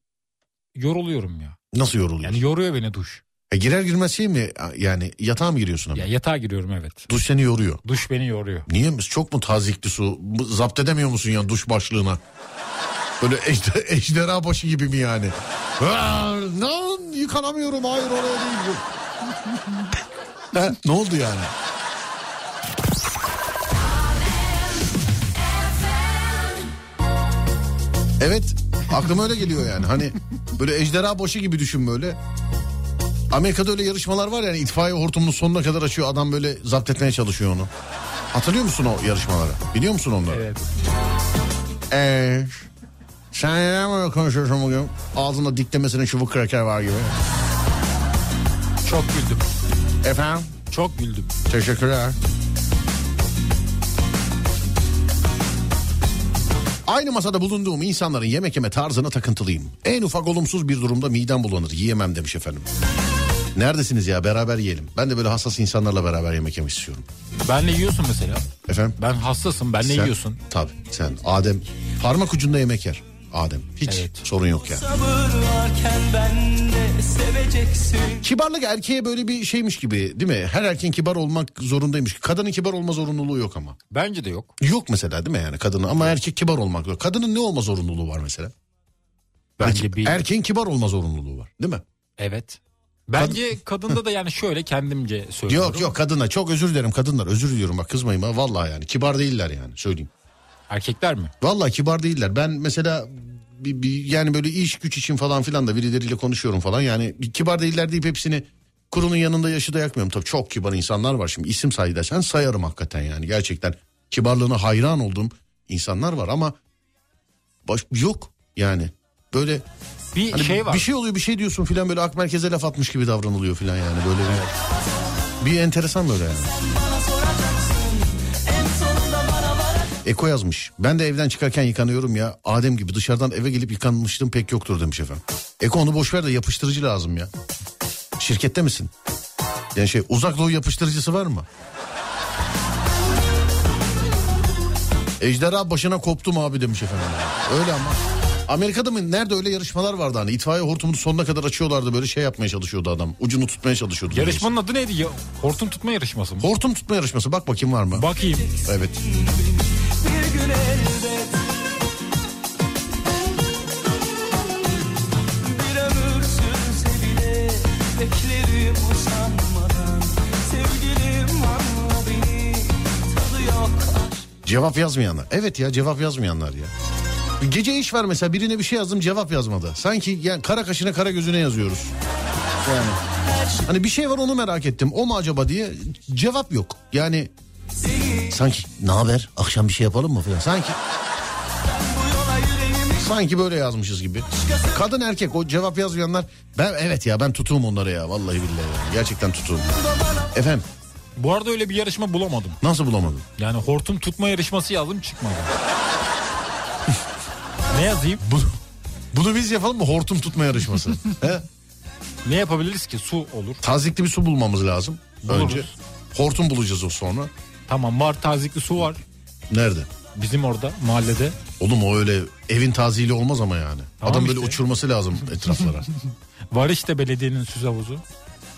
D: yoruluyorum ya.
C: nasıl yoruluyorsun?
D: Yani yoruyor beni duş.
C: E, girer girmez şey mi yani yatağa mı giriyorsun ama?
D: Ya yatağa giriyorum evet.
C: Duş seni yoruyor.
D: Duş beni yoruyor.
C: Niye mis- çok mu tazikli su? Bu- Zapt edemiyor musun ya duş başlığına? Böyle ejder, ejderha başı gibi mi yani? Aa, Lan yıkanamıyorum hayır oraya değil. bu. Ha, ne oldu yani? Evet aklıma öyle geliyor yani. Hani böyle ejderha başı gibi düşün böyle. Amerika'da öyle yarışmalar var yani itfaiye hortumunu sonuna kadar açıyor adam böyle zapt etmeye çalışıyor onu. Hatırlıyor musun o yarışmaları? Biliyor musun onları?
D: Evet.
C: Eee sen neden böyle konuşuyorsun bugün? Ağzında diklemesinin çubuk kraker var gibi.
D: Çok güldüm.
C: Efendim?
D: Çok güldüm.
C: Teşekkürler. Aynı masada bulunduğum insanların yemek yeme tarzına takıntılıyım. En ufak olumsuz bir durumda midem bulanır. Yiyemem demiş efendim. Neredesiniz ya beraber yiyelim. Ben de böyle hassas insanlarla beraber yemek yemek istiyorum.
D: Benle yiyorsun mesela.
C: Efendim?
D: Ben hassasım. Benle
C: sen,
D: yiyorsun.
C: Tabii sen Adem parmak ucunda yemek yer. Adem hiç
D: Evet.
C: sorun yok ya.
E: Sabır varken bende seveceksin
C: Kibarlık erkeğe böyle bir şeymiş gibi değil mi? Her erkeğin kibar olmak zorundaymış. Kadının kibar olma zorunluluğu yok ama.
D: Bence de yok.
C: Yok mesela değil mi yani kadının ama erkek kibar olmak zorunda. Kadının ne olma zorunluluğu var mesela?
D: Bence
C: Erke-
D: bir...
C: Erkeğin kibar olma zorunluluğu var değil mi?
D: Evet. Bence kadında da yani şöyle kendimce söylüyorum.
C: Yok yok kadına çok özür dilerim kadınlar özür diliyorum bak kızmayın bana vallahi yani kibar değiller yani söyleyeyim.
D: Erkekler mi?
C: Vallahi kibar değiller ben mesela bir, bir- yani böyle iş güç için falan filan da birileriyle konuşuyorum falan yani bir kibar değiller deyip hepsini kurunun yanında yaşı da yakmıyorum. Tabii çok kibar insanlar var şimdi isim say desen sayarım hakikaten yani gerçekten kibarlığına hayran olduğum insanlar var ama baş, yok yani böyle
D: Bir
C: Hani
D: şey var.
C: Bir şey oluyor bir şey diyorsun filan böyle ak merkeze laf atmış gibi davranılıyor filan yani böyle bir, bir enteresan böyle yani. Eko yazmış. Ben de evden çıkarken yıkanıyorum ya. Adem gibi dışarıdan eve gelip yıkanmıştım pek yoktur demiş efendim. Eko onu boş ver de yapıştırıcı lazım ya. Şirkette misin? Yani şey uzak doğu yapıştırıcısı var mı? Ejderha başına koptum abi demiş efendim. Öyle ama. Amerika'da mı nerede öyle yarışmalar vardı hani itfaiye hortumunu sonuna kadar açıyorlardı böyle şey yapmaya çalışıyordu adam. Ucunu tutmaya çalışıyordu.
D: Yarışmanın adı neydi? Ya, hortum tutma yarışması mı?
C: Hortum tutma yarışması bak bakayım var mı?
D: Bakayım.
C: Evet.
E: bir gün elbet Bir ömür sürse bile beklerim usanmadan Sevgilim anla beni tadı yok
C: Cevap yazmayanlar. Evet ya cevap yazmayanlar ya. Gece iş var mesela birine bir şey yazdım cevap yazmadı. Sanki yani kara kaşına kara gözüne yazıyoruz. Yani. Hani bir şey var onu merak ettim. O mu acaba diye cevap yok. Yani sanki ne haber akşam bir şey yapalım mı falan. Sanki sanki böyle yazmışız gibi. Kadın erkek o cevap yazmayanlar ben evet ya ben tutuğum onlara ya vallahi billahi ya. gerçekten tutuğum. Efendim
D: Bu arada öyle bir yarışma bulamadım.
C: nasıl bulamadın?
D: Yani hortum tutma yarışması yazdım çıkmadı. ne yazayım?
C: Bunu, bunu biz yapalım mı hortum tutma yarışması? He?
D: Ne yapabiliriz ki? Su olur.
C: Tazikli bir su bulmamız lazım.
D: Buluruz.
C: Önce hortum bulacağız o sonra.
D: Tamam var tazikli su var.
C: Nerede?
D: Bizim orada mahallede.
C: Oğlum o öyle evin taziyle olmaz ama yani.
D: Tamam
C: Adam böyle
D: işte.
C: uçurması lazım etraflara.
D: Var işte belediyenin süz havuzu.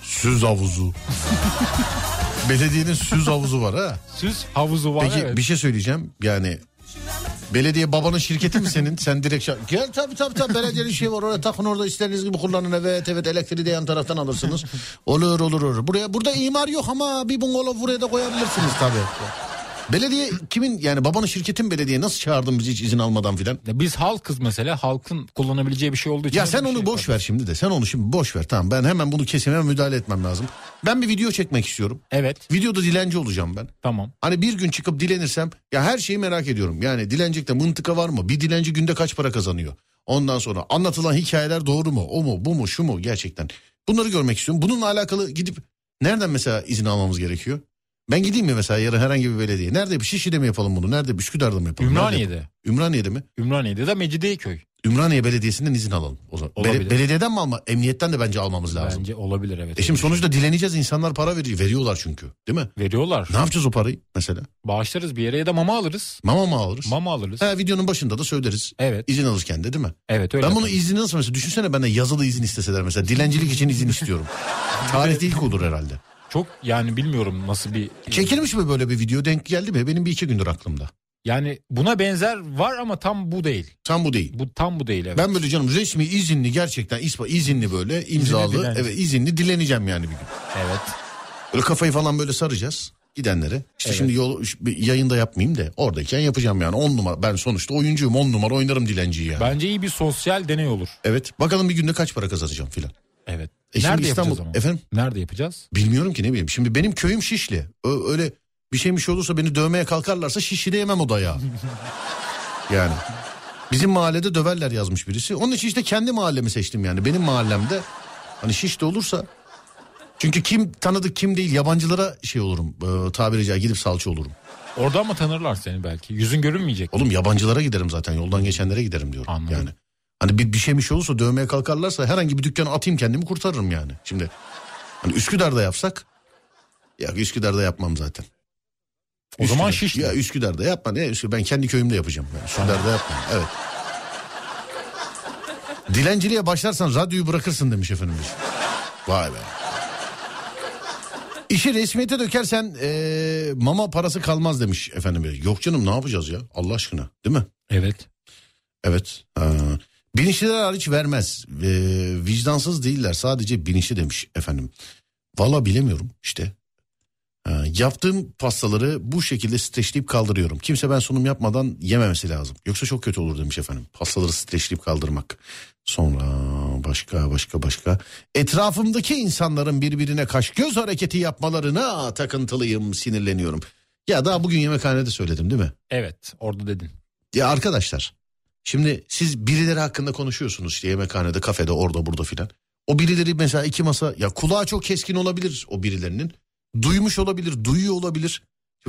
C: süz havuzu. Belediyenin süz havuzu var ha.
D: Süz havuzu var
C: Peki
D: evet.
C: bir şey söyleyeceğim. Yani belediye babanın şirketi mi senin? Sen direkt şa- gel tabii tabii tabii belediyenin şeyi var oraya takın orada istediğiniz gibi kullanın evet evet elektriği de yan taraftan alırsınız. Olur olur olur. Buraya burada imar yok ama bir bungalov buraya da koyabilirsiniz tabii. Belediye kimin yani babanın şirketin belediye nasıl çağırdın bizi hiç izin almadan filan?
D: Ya Biz halkız mesela halkın kullanabileceği bir şey olduğu için.
C: Ya
D: öyle
C: sen
D: bir
C: onu
D: şey
C: boş ver şimdi de. Sen onu şimdi boş ver. Tamam ben hemen bunu kesime müdahale etmem lazım. Ben bir video çekmek istiyorum.
D: Evet
C: Videoda dilenci olacağım ben.
D: tamam.
C: Hani bir gün çıkıp dilenirsem ya her şeyi merak ediyorum. Yani dilencekte mıntıka var mı? Bir dilenci günde kaç para kazanıyor? Ondan sonra anlatılan hikayeler doğru mu? O mu? Bu mu? Şu mu? Gerçekten. Bunları görmek istiyorum. Bununla alakalı gidip nereden mesela izin almamız gerekiyor? Ben gideyim mi mesela yarın herhangi bir belediye? Nerede bir Şişli'de mi yapalım bunu? Nerede Üsküdar'da mı yapalım? Nerede yapalım?
D: Ümraniye'de.
C: Ümraniye'de mi?
D: Ümraniye'de de Mecidiyeköy.
C: Ümraniye Belediyesi'nden izin alalım. O zaman. Bele-
D: Olabilir.
C: belediyeden mi alma? Emniyetten de bence almamız lazım.
D: Bence olabilir evet.
C: E şimdi sonuçta dileneceğiz insanlar para veriyor. Veriyorlar çünkü değil mi?
D: Veriyorlar.
C: Ne yapacağız o parayı mesela?
D: Bağışlarız bir yere ya da mama alırız.
C: Mama mı alırız?
D: Mama alırız.
C: Ha, videonun başında da söyleriz.
D: Evet.
C: İzin alırken de değil mi?
D: Evet öyle.
C: ben bunu izni nasıl mesela düşünsene benden yazılı izin isteseler mesela dilencilik için izin istiyorum. Tarihte ilk olur herhalde.
D: Çok yani bilmiyorum nasıl bir...
C: Çekilmiş mi böyle bir video denk geldi mi? Benim bir iki gündür aklımda.
D: Yani buna benzer var ama tam bu değil.
C: Tam bu değil.
D: Bu tam bu değil evet.
C: Ben böyle canım resmi izinli gerçekten ispa izinli böyle imzalı
D: dilenci.
C: evet izinli dileneceğim yani bir gün.
D: Evet.
C: Böyle kafayı falan böyle saracağız gidenlere. İşte şimdi yol şu- bir yayında yapmayayım da oradayken yapacağım yani on numara ben sonuçta oyuncuyum on numara oynarım dilenciyi yani.
D: Bence iyi bir sosyal deney olur.
C: Evet bakalım bir günde kaç para kazanacağım filan.
D: Evet.
C: E şimdi
D: Nerede
C: İstanbul-
D: yapacağız ama?
C: Efendim?
D: Nerede yapacağız?
C: Bilmiyorum ki ne bileyim. Şimdi benim köyüm Şişli. Ö- öyle bir şey bir şey olursa beni dövmeye kalkarlarsa Şişli'de yemem o dayağı. yani. Bizim mahallede döverler yazmış birisi. Onun için işte kendi mahallemi seçtim yani. Benim mahallemde hani Şişli olursa. Çünkü kim tanıdık kim değil yabancılara şey olurum. E, tabiri caizse gidip salça olurum.
D: Oradan mı tanırlar seni belki? Yüzün görünmeyecek.
C: Oğlum yabancılara giderim zaten yoldan geçenlere giderim diyorum.
D: Anladım.
C: Yani. Hani bir, bir şey bir şey olursa dövmeye kalkarlarsa herhangi bir dükkana atayım kendimi kurtarırım yani. Şimdi hani Üsküdar'da yapsak ya Üsküdar'da yapmam zaten.
D: O zaman
C: Üsküdar-
D: Şişli.
C: Ya Üsküdar'da yapma. Ne Üsküdar? Ben kendi köyümde yapacağım. Yani Üsküdar'da yapma. Evet. Dilenciliğe başlarsan radyoyu bırakırsın demiş efendim. Vay be. İşi resmiyete dökersen eee, mama parası kalmaz demiş efendim. Yok canım ne yapacağız ya Allah aşkına değil mi?
D: Evet.
C: Evet. Ha. Binişliler hariç vermez. Ee, vicdansız değiller sadece binişi demiş efendim. Valla bilemiyorum işte. Ha, yaptığım pastaları bu şekilde streçleyip kaldırıyorum. Kimse ben sunum yapmadan yememesi lazım. Yoksa çok kötü olur demiş efendim. Pastaları streçleyip kaldırmak. Sonra başka başka başka. Etrafımdaki insanların birbirine kaş göz hareketi yapmalarına takıntılıyım, sinirleniyorum. Ya daha bugün yemekhanede söyledim değil mi?
D: Evet. Orada dedin.
C: Ya arkadaşlar şimdi siz birileri hakkında konuşuyorsunuz işte yemekhanede, kafede, orada, burada filan. O birileri mesela iki masa ya kulağı çok keskin olabilir o birilerinin. Duymuş olabilir, duyuyor olabilir.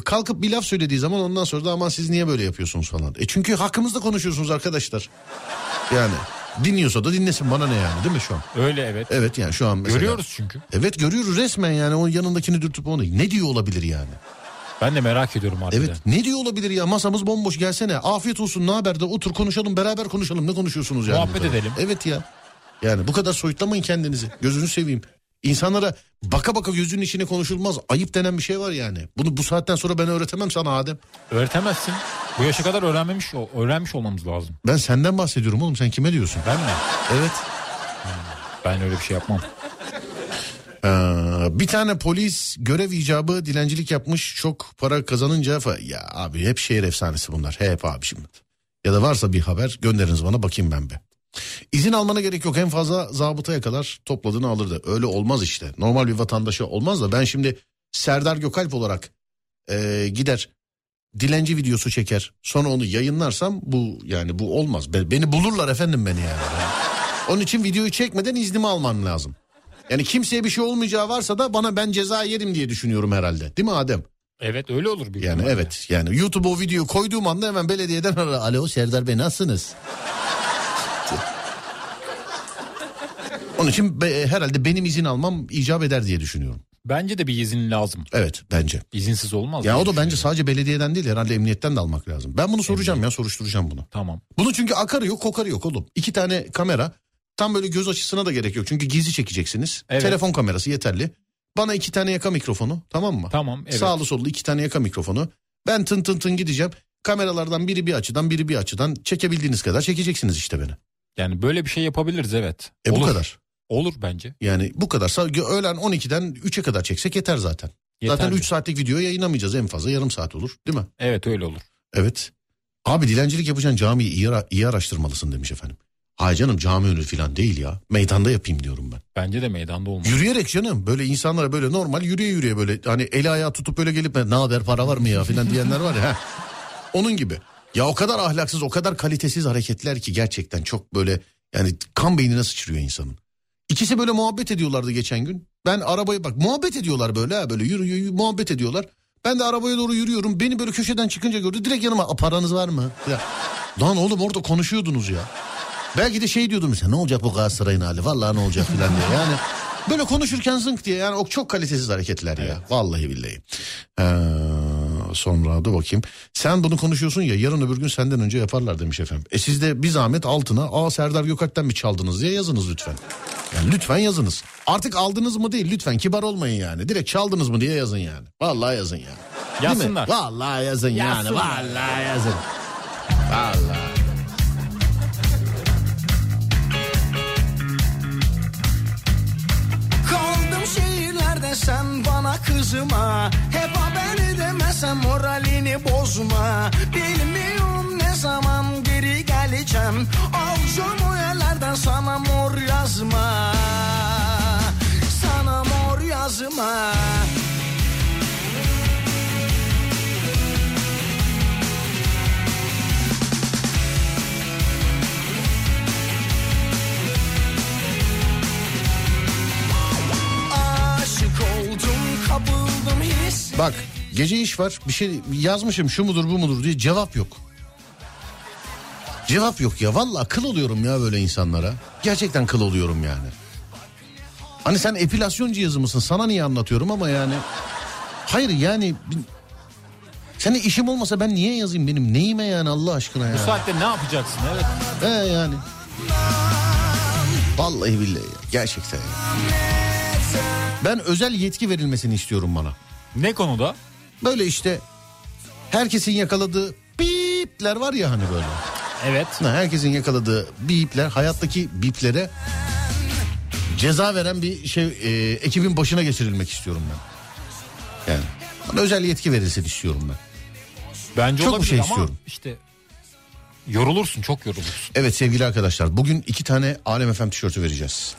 C: Kalkıp bir laf söylediği zaman ondan sonra da aman siz niye böyle yapıyorsunuz falan. E çünkü hakkımızda konuşuyorsunuz arkadaşlar. Yani dinliyorsa da dinlesin bana ne yani değil mi şu an?
D: Öyle evet.
C: Evet yani şu an mesela.
D: Görüyoruz çünkü.
C: Evet görüyoruz resmen yani o yanındakini dürtüp onu. Ne diyor olabilir yani?
D: Ben de merak ediyorum harbiden.
C: Evet ne diyor olabilir ya masamız bomboş gelsene afiyet olsun ne haber de otur konuşalım beraber konuşalım ne konuşuyorsunuz yani. bu
D: Muhabbet
C: kadar?
D: edelim.
C: Evet ya yani bu kadar soyutlamayın kendinizi gözünü seveyim. İnsanlara baka baka gözünün içine konuşulmaz ayıp denen bir şey var yani. Bunu bu saatten sonra ben öğretemem sana Adem.
D: Öğretemezsin. Bu yaşa kadar öğrenmemiş öğrenmiş olmamız lazım.
C: Ben senden bahsediyorum oğlum sen kime diyorsun?
D: Ben mi?
C: Evet.
D: Ben öyle bir şey yapmam.
C: Ee, bir tane polis görev icabı dilencilik yapmış çok para kazanınca fa- ya abi hep şehir efsanesi bunlar hep abi şimdi. Ya da varsa bir haber gönderiniz bana bakayım ben be. İzin almana gerek yok en fazla zabıtaya kadar topladığını alır da öyle olmaz işte. Normal bir vatandaşı olmaz da ben şimdi Serdar Gökalp olarak ee, gider dilenci videosu çeker sonra onu yayınlarsam bu yani bu olmaz. Be- beni bulurlar efendim beni yani. Onun için videoyu çekmeden iznimi almam lazım. Yani kimseye bir şey olmayacağı varsa da bana ben ceza yerim diye düşünüyorum herhalde. Değil mi Adem?
D: Evet öyle olur. büyük
C: Yani
D: ihtimalle.
C: evet. Yani YouTube o videoyu koyduğum anda hemen belediyeden ara. Alo Serdar Bey nasılsınız? Onun için be- e, herhalde benim izin almam icap eder diye düşünüyorum.
D: Bence de bir izin lazım.
C: Evet bence.
D: İzinsiz olmaz.
C: Ya
D: diye
C: o da bence
D: düşünüyorum.
C: sadece belediyeden değil herhalde emniyetten de almak lazım. Ben bunu soracağım ya soruşturacağım bunu.
D: Tamam.
C: Bunun çünkü akarı yok kokarı yok oğlum. İki tane kamera tam böyle göz açısına da gerek yok. Çünkü gizli çekeceksiniz.
D: Evet.
C: Telefon kamerası yeterli. Bana iki tane yaka mikrofonu tamam mı?
D: Tamam. Evet.
C: Sağlı sollu iki tane yaka mikrofonu. Ben tın tın tın gideceğim. Kameralardan biri bir açıdan biri bir açıdan çekebildiğiniz kadar çekeceksiniz işte beni.
D: Yani böyle bir şey yapabiliriz evet.
C: E
D: olur.
C: bu kadar.
D: Olur bence.
C: Yani bu kadar. Sa- Öğlen 12'den 3'e kadar çeksek yeter zaten.
D: Yeterli.
C: Zaten 3 saatlik video yayınlamayacağız en fazla yarım saat olur değil mi?
D: Evet öyle olur.
C: Evet. Abi dilencilik yapacağın camiyi iyi, ara- iyi araştırmalısın demiş efendim. Hay canım cami önü falan değil ya. Meydanda yapayım diyorum ben.
D: Bence de meydanda olmaz.
C: Yürüyerek canım böyle insanlara böyle normal yürüye yürüye böyle hani eli ayağı tutup böyle gelip ne haber para var mı ya falan diyenler var ya. heh. Onun gibi. Ya o kadar ahlaksız o kadar kalitesiz hareketler ki gerçekten çok böyle yani kan beynine sıçrıyor insanın. İkisi böyle muhabbet ediyorlardı geçen gün. Ben arabaya bak muhabbet ediyorlar böyle ha böyle yürü yürü yürü, muhabbet ediyorlar. Ben de arabaya doğru yürüyorum. Beni böyle köşeden çıkınca gördü. Direkt yanıma "A, paranız var mı? Ya, lan oğlum orada konuşuyordunuz ya. Belki de şey diyordum mesela ne olacak bu Galatasaray'ın hali vallahi ne olacak filan diye. Yani böyle konuşurken zınk diye yani o çok kalitesiz hareketler ya. Vallahi billahi. Ee, sonra da bakayım. Sen bunu konuşuyorsun ya yarın öbür gün senden önce yaparlar demiş efendim. E siz de bir zahmet altına aa Serdar Gökalp'ten mi çaldınız diye yazınız lütfen. Yani lütfen yazınız. Artık aldınız mı değil lütfen kibar olmayın yani. Direkt çaldınız mı diye yazın yani. Vallahi yazın yani. Değil mi?
D: Yazsınlar.
C: Vallahi yazın yani.
D: Yazsınlar.
C: Vallahi yazın. Vallahi.
E: Kaldım şehirlerde sen bana kızma Hep haber edemezsem moralini bozma Bilmiyorum ne zaman geri geleceğim Alacağım o yerlerden sana mor yazma
C: Bak gece iş var bir şey yazmışım şu mudur bu mudur diye cevap yok. Cevap yok ya valla kıl oluyorum ya böyle insanlara. Gerçekten kıl oluyorum yani. Hani sen epilasyon cihazı mısın sana niye anlatıyorum ama yani. Hayır yani senin işim olmasa ben niye yazayım benim neyime yani Allah aşkına ya.
D: Bu saatte ne yapacaksın? Evet.
C: He yani. Vallahi billahi ya, gerçekten ya. Ben özel yetki verilmesini istiyorum bana.
D: Ne konuda?
C: Böyle işte herkesin yakaladığı bipler var ya hani böyle.
D: Evet.
C: Aslında herkesin yakaladığı bipler hayattaki biplere ceza veren bir şey e, ekibin başına geçirilmek istiyorum ben. Yani bana özel yetki verilsin istiyorum ben.
D: Bence
C: Çok bir
D: olabilir
C: şey
D: ama
C: istiyorum.
D: işte yorulursun çok yorulursun.
C: Evet sevgili arkadaşlar bugün iki tane Alem FM tişörtü vereceğiz.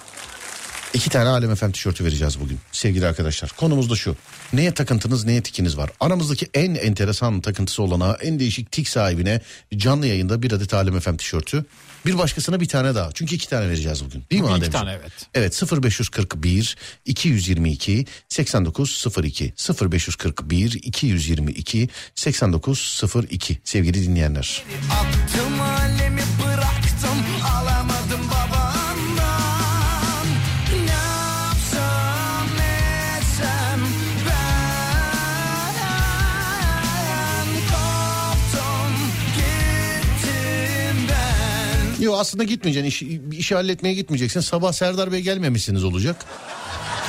C: İki tane Alem FM tişörtü vereceğiz bugün sevgili arkadaşlar. Konumuz da şu. Neye takıntınız neye tikiniz var? Aramızdaki en enteresan takıntısı olana en değişik tik sahibine canlı yayında bir adet Alem FM tişörtü. Bir başkasına bir tane daha. Çünkü iki tane vereceğiz bugün. Değil mi
D: Bugün iki
C: Ademciğim?
D: tane, evet.
C: Evet 0541 222 8902 0541 222 8902 sevgili dinleyenler.
E: Attım alemi bıraktım alamadım babamdan Ne yapsam etsem ben Koptum gittim ben
C: Yo aslında gitmeyeceksin. İşi, işi halletmeye gitmeyeceksin. Sabah Serdar Bey gelmemişsiniz olacak.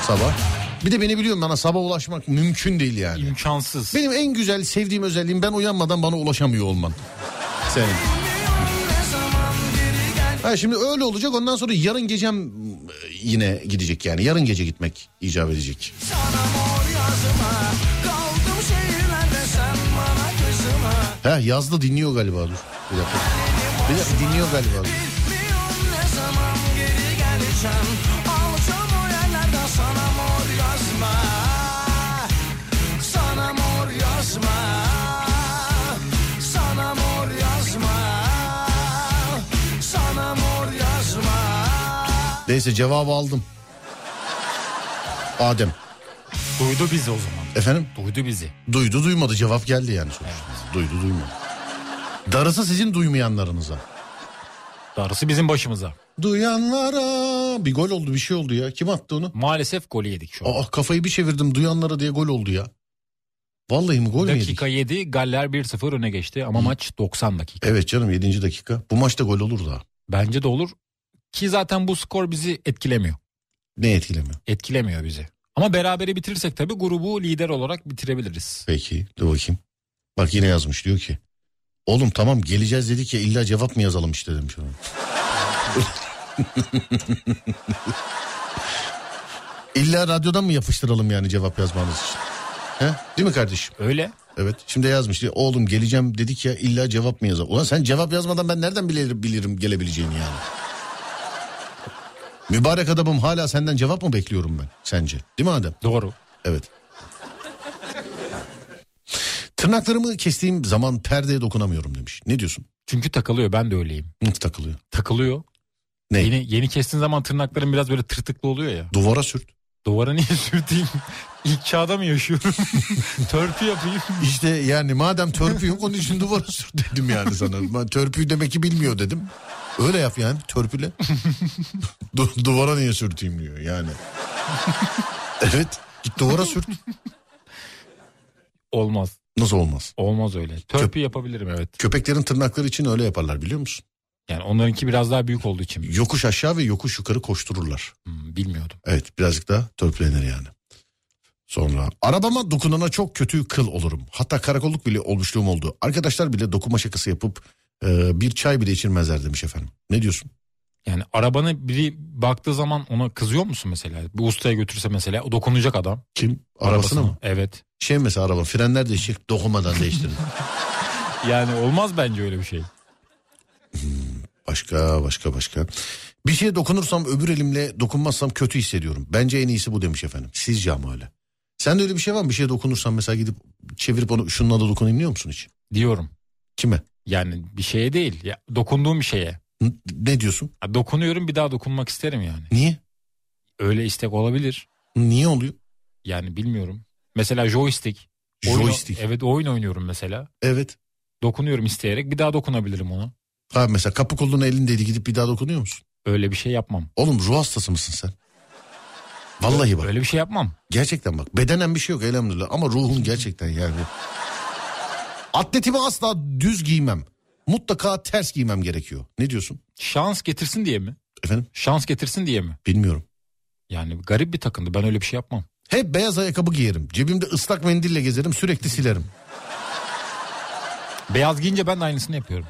C: Sabah. Bir de beni biliyorum bana sabah ulaşmak mümkün değil yani.
D: İmkansız.
C: Benim en güzel sevdiğim özelliğim ben uyanmadan bana ulaşamıyor olman. Senin. Ha şimdi öyle olacak ondan sonra yarın gecem e, yine gidecek yani. Yarın gece gitmek icap edecek.
E: Sana mor yazıma Kaldım şehirlerde sen bana kızıma
C: Ha yazdı dinliyor galiba dur. Bir dakika. Bir dakika dinliyor galiba dur.
E: Bilmiyorum ne zaman geri geleceğim Alacağım o yerlerden sana mor yazma Sana mor yazma Sana mor yazma Sana mor yazma
C: Neyse cevabı aldım. Adem.
D: Duydu bizi o zaman.
C: Efendim?
D: Duydu bizi.
C: Duydu duymadı cevap geldi yani sonuçta. Duydu duymadı. Darısı sizin duymayanlarınıza.
D: Darısı bizim başımıza.
C: Duyanlara bir gol oldu bir şey oldu ya. Kim attı onu?
D: Maalesef golü yedik şu an.
C: Aa kafayı bir çevirdim duyanlara diye gol oldu ya. Vallahi mi gol mü yedik?
D: Dakika 7 Galler 1-0 öne geçti ama maç 90 dakika.
C: Evet canım 7. dakika. Bu maçta gol olur da.
D: Bence de olur ki zaten bu skor bizi etkilemiyor.
C: Ne etkilemiyor?
D: Etkilemiyor bizi. Ama berabere bitirirsek tabii grubu lider olarak bitirebiliriz.
C: Peki dur bakayım. Bak yine yazmış diyor ki. Oğlum tamam geleceğiz dedik ya illa cevap mı yazalım işte demiş ona. illa radyodan mı yapıştıralım yani cevap yazmanız için? He? Değil mi kardeşim?
D: Öyle.
C: Evet. Şimdi yazmış diyor. Oğlum geleceğim dedik ya illa cevap mı yazalım? Ulan sen cevap yazmadan ben nereden bilirim, bilirim gelebileceğini yani? Mübarek adamım hala senden cevap mı bekliyorum ben sence? Değil mi Adem?
D: Doğru.
C: Evet. Tırnaklarımı kestiğim zaman perdeye dokunamıyorum demiş. Ne diyorsun?
D: Çünkü takılıyor ben de öyleyim.
C: Nasıl takılıyor?
D: Takılıyor.
C: Ne?
D: Yeni, yeni kestiğin zaman tırnakların biraz böyle tırtıklı oluyor ya.
C: Duvara sürt.
D: Duvara niye sürteyim? İlk çağda mı yaşıyorum? Törpü yapayım.
C: İşte yani madem törpü yok onun için duvara sürt dedim yani sana. Ben törpüyü demek ki bilmiyor dedim. Öyle yap yani törpüle. Du- duvara niye sürteyim diyor yani. evet git duvara sürt.
D: Olmaz.
C: Nasıl olmaz?
D: Olmaz öyle. Törpü yapabilirim evet.
C: Köpeklerin tırnakları için öyle yaparlar biliyor musun?
D: Yani onlarınki biraz daha büyük olduğu için.
C: Yokuş aşağı ve yokuş yukarı koştururlar.
D: Hmm, bilmiyordum.
C: Evet birazcık daha törpülenir yani. Sonra arabama dokunana çok kötü kıl olurum. Hatta karakolluk bile olmuşluğum oldu. Arkadaşlar bile dokunma şakası yapıp e, bir çay bile içirmezler demiş efendim. Ne diyorsun?
D: Yani arabana biri baktığı zaman ona kızıyor musun mesela? Bir ustaya götürse mesela o dokunacak adam.
C: Kim? Arabasına mı?
D: Evet.
C: Şey mesela araba frenler değişik dokunmadan değiştirin.
D: Yani olmaz bence öyle bir şey.
C: başka başka başka. Bir şeye dokunursam öbür elimle dokunmazsam kötü hissediyorum. Bence en iyisi bu demiş efendim. Sizce ama öyle. Sende öyle bir şey var mı? Bir şeye dokunursan mesela gidip çevirip onu şununla da dokunayım diyor musun hiç?
D: Diyorum.
C: Kime?
D: Yani bir şeye değil. Ya, dokunduğum bir şeye.
C: N- Ne diyorsun?
D: Ya dokunuyorum bir daha dokunmak isterim yani.
C: Niye?
D: Öyle istek olabilir.
C: Niye oluyor?
D: Yani bilmiyorum. Mesela joystick. Oyun-
C: Joystick.
D: Evet oyun oynuyorum mesela.
C: Evet.
D: Dokunuyorum isteyerek bir daha dokunabilirim ona.
C: Abi mesela kapı kolunun elindeydi gidip bir daha dokunuyor musun?
D: Öyle bir şey yapmam.
C: Oğlum ruh hastası mısın sen? Vallahi bak.
D: Öyle bir şey yapmam.
C: Gerçekten bak. Bedenen bir şey yok elhamdülillah ama ruhun gerçekten yani. Atletimi asla düz giymem. Mutlaka ters giymem gerekiyor. Ne diyorsun?
D: Şans getirsin diye mi?
C: Efendim?
D: Şans getirsin diye mi?
C: Bilmiyorum.
D: Yani garip bir takımdı. Ben öyle bir şey yapmam.
C: Hep beyaz ayakkabı giyerim. Cebimde ıslak mendille gezerim sürekli silerim.
D: Beyaz giyince ben de aynısını yapıyorum.